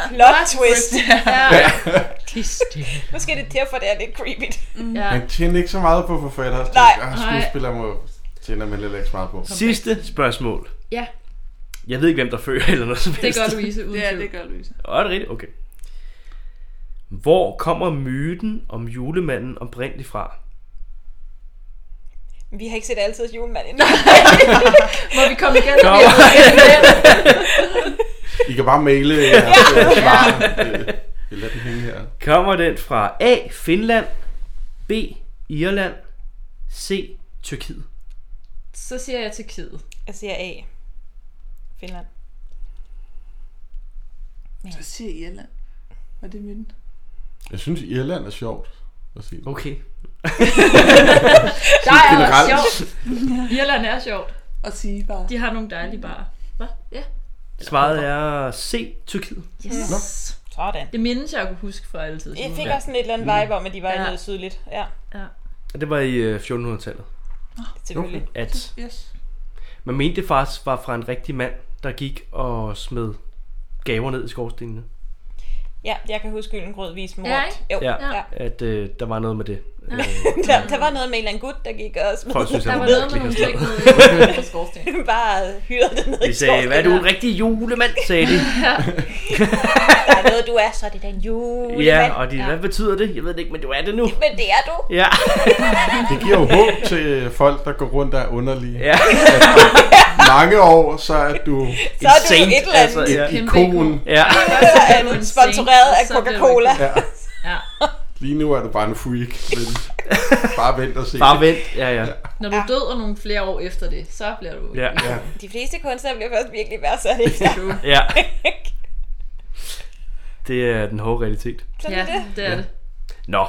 E: Plot twist.
F: Ja.
E: Måske er det derfor, det er lidt creepy.
F: ja.
C: Han tjener ikke så meget på forfatter.
E: Nej.
C: Ah,
F: Nej.
C: skuespiller må tjener man heller ikke så meget på.
B: Sidste spørgsmål.
F: ja,
B: Jeg ved ikke, hvem der fører eller noget som
F: det
B: helst.
F: gør Louise uden
L: Ja,
F: tvivl.
L: det gør Louise.
B: Åh, er det rigtigt? Okay. Hvor kommer myten om julemanden oprindeligt fra?
E: Vi har ikke set altid julemand endnu.
F: Må vi komme igen?
B: Kom.
C: I kan bare maile jeres øh, svar. Øh, Vi lader den hænge her.
B: Kommer den fra A. Finland, B. Irland, C. Tyrkiet?
F: Så siger jeg til Kid.
E: Jeg siger A. Finland.
L: Så siger Irland. Var det min?
C: Jeg synes, Irland er sjovt at sige.
B: Okay.
F: Der er også
C: generelt.
F: sjovt. Irland er sjovt.
L: Og sige bare.
F: De har nogle dejlige barer. Hvad? Ja.
B: Svaret er C. Tyrkiet.
F: Yes.
C: Nå.
E: Sådan.
F: Det mindes jeg, jeg kunne huske fra altid.
E: Jeg fik også sådan et eller
B: Mm.
E: andet vibe om, at de var
F: Ja.
E: ja. noget sydligt. Ja,
B: Og det var i øh, 1400-tallet,
E: selvfølgelig.
B: at
L: Yes.
B: man mente det faktisk var fra en rigtig mand, der gik og smed gaver ned i skorstenene.
E: Ja, jeg kan huske Gyllengrød vise mig
F: Ja,
E: rundt. Jo,
B: Ja,
E: ja. ja.
B: at øh, der var noget med det. Øh,
E: Der, der, var noget med en eller anden gut, der gik og smed
B: folk synes,
F: Der
B: han
F: var
B: var
F: noget med
B: virkelig
F: nogle
B: afslappet.
F: ting nede på skorstenen.
E: bare hyrede det ned i
B: De sagde,
E: skoven.
B: hvad er du en rigtig julemand, sagde de.
E: Der er noget, du er, så er det den julemand.
B: Ja, og de, hvad betyder det? Jeg ved det ikke, men du er det nu.
E: Men det er du.
B: Ja.
C: Det giver jo håb til folk, der går rundt og er underlige. Altså,
B: Ja.
C: Mange år, så er du
E: Så er du jo et eller andet.
B: ja.
F: Kæmpe ikon.
C: ikon.
B: ja.
E: Eller andet sponsoreret af
F: Så bliver du
E: Coca-Cola.
C: Ja.
F: Ja.
C: Lige nu er du bare en freak, men bare vent og se.
B: Bare vent. Ja, ja.
F: Når du døder nogle flere år efter det, så bliver du...
B: Ja.
C: Ja.
E: De fleste kunstnere bliver først virkelig værdsat efter.
B: ja. Det er den hårde realitet.
E: Sådan
F: Ja,
E: er det.
F: det er det.
B: Nå.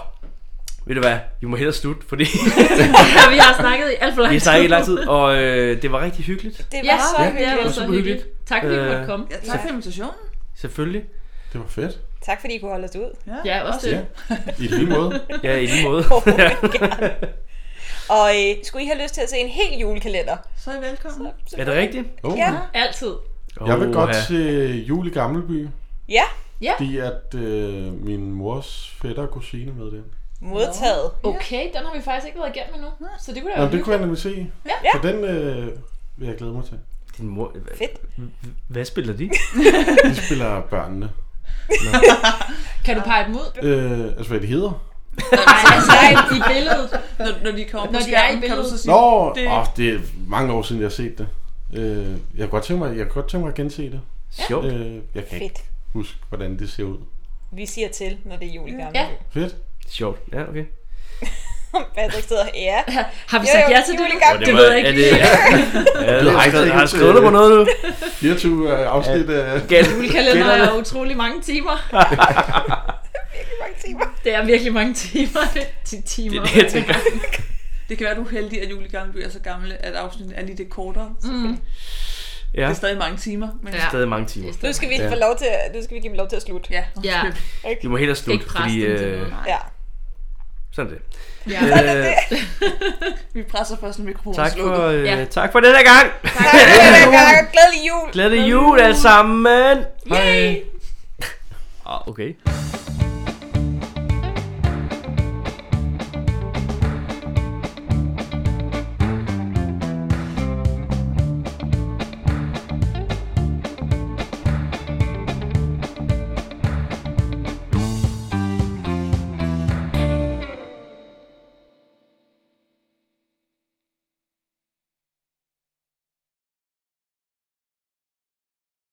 B: Ved du hvad? Vi må hellere slutte, fordi
F: Ja, vi har snakket i alt for lang
B: vi
F: tid.
B: har snakket i lang tid, og øh, det var rigtig hyggeligt.
E: Det
F: Ja,
E: var så
F: det har
E: hyggeligt.
F: været så
B: Super
F: hyggeligt. Tak fordi du måtte
B: Øh,
F: komme.
L: Ja, tak for invitationen.
B: Selvfølgelig.
C: Det var fedt.
E: Tak fordi I kunne holde os ud.
F: Ja, også også det.
C: I lige måde.
B: Ja, i lige måde.
E: Åh, gerne. Og øh, skulle I have lyst til at se en hel julekalender?
D: Så er I velkommen.
E: Så,
B: Er det rigtigt?
C: Oh.
E: Ja, altid.
C: Jeg vil godt
B: Oha.
C: se Jul i Gammelby,
E: Ja,
C: fordi at øh, min mors fætter og kusine er med den.
E: modtaget.
F: Okay, den har vi faktisk ikke været igennem endnu, så det kunne da
C: Nå,
F: være
C: det kunne jeg
F: hyggeligt.
C: nemlig se.
E: Ja.
C: Så den øh, vil jeg glæde mig til.
B: Din mor... Hvad,
E: Fedt.
B: Hvad spiller de?
C: De spiller børnene.
F: Kan du pege dem ud? altså,
C: Øh, altså, hvad de hedder?
F: Nej, i billedet.
D: Når, når de kommer
F: Når
D: på
F: de er i
D: skærmen, kan du
F: billedet.
D: så sige...
C: Nå, det...
D: det-
C: Oh, det er mange år siden, jeg har set det. Øh, jeg, kunne godt tænke mig, jeg kunne godt tænke mig at gense det.
B: Sjovt.
C: Øh, jeg kan ikke
E: Fedt.
C: huske, hvordan det ser ud.
E: Vi siger til, når det er jul i gamle. Ja.
C: Fedt.
B: Sjovt. Ja, okay.
E: Patrick sidder ja.
F: Har vi sagt ja til det?
E: det?
F: Det ved jeg ikke.
B: Er det, ja,
C: Du
B: det
C: har
B: har,
C: ikke
B: skrevet,
C: set
B: har
C: det.
B: jeg skrevet dig på noget nu?
C: 24 øh, afsnit af...
F: Julekalender er jo utrolig mange timer. Det er virkelig mange timer. Det er timer.
B: Det er det, jeg tænker.
D: Det kan være, du er heldig, at Julie Gammelby er så gamle, at afsnittet er lige lidt kortere.
F: Mm.
D: Det
B: Ja,
D: er stadig mange timer. Men...
B: Ja. Stadig mange timer.
E: Nu skal vi
B: Ja.
E: få lov til, at- nu skal vi give dem lov til at slutte.
D: Ja.
F: Ja.
B: vi må hellere slutte, fordi... Øh,
E: Ja.
B: sådan er det.
D: Ja.
B: Øh,
D: Vi presser først, når mikrofonen
B: tak,
D: er slukket.
B: for, øh, tak for denne gang.
E: Tak, glædelig jul.
B: Glædelig jul alle sammen. Hej. Ah, okay.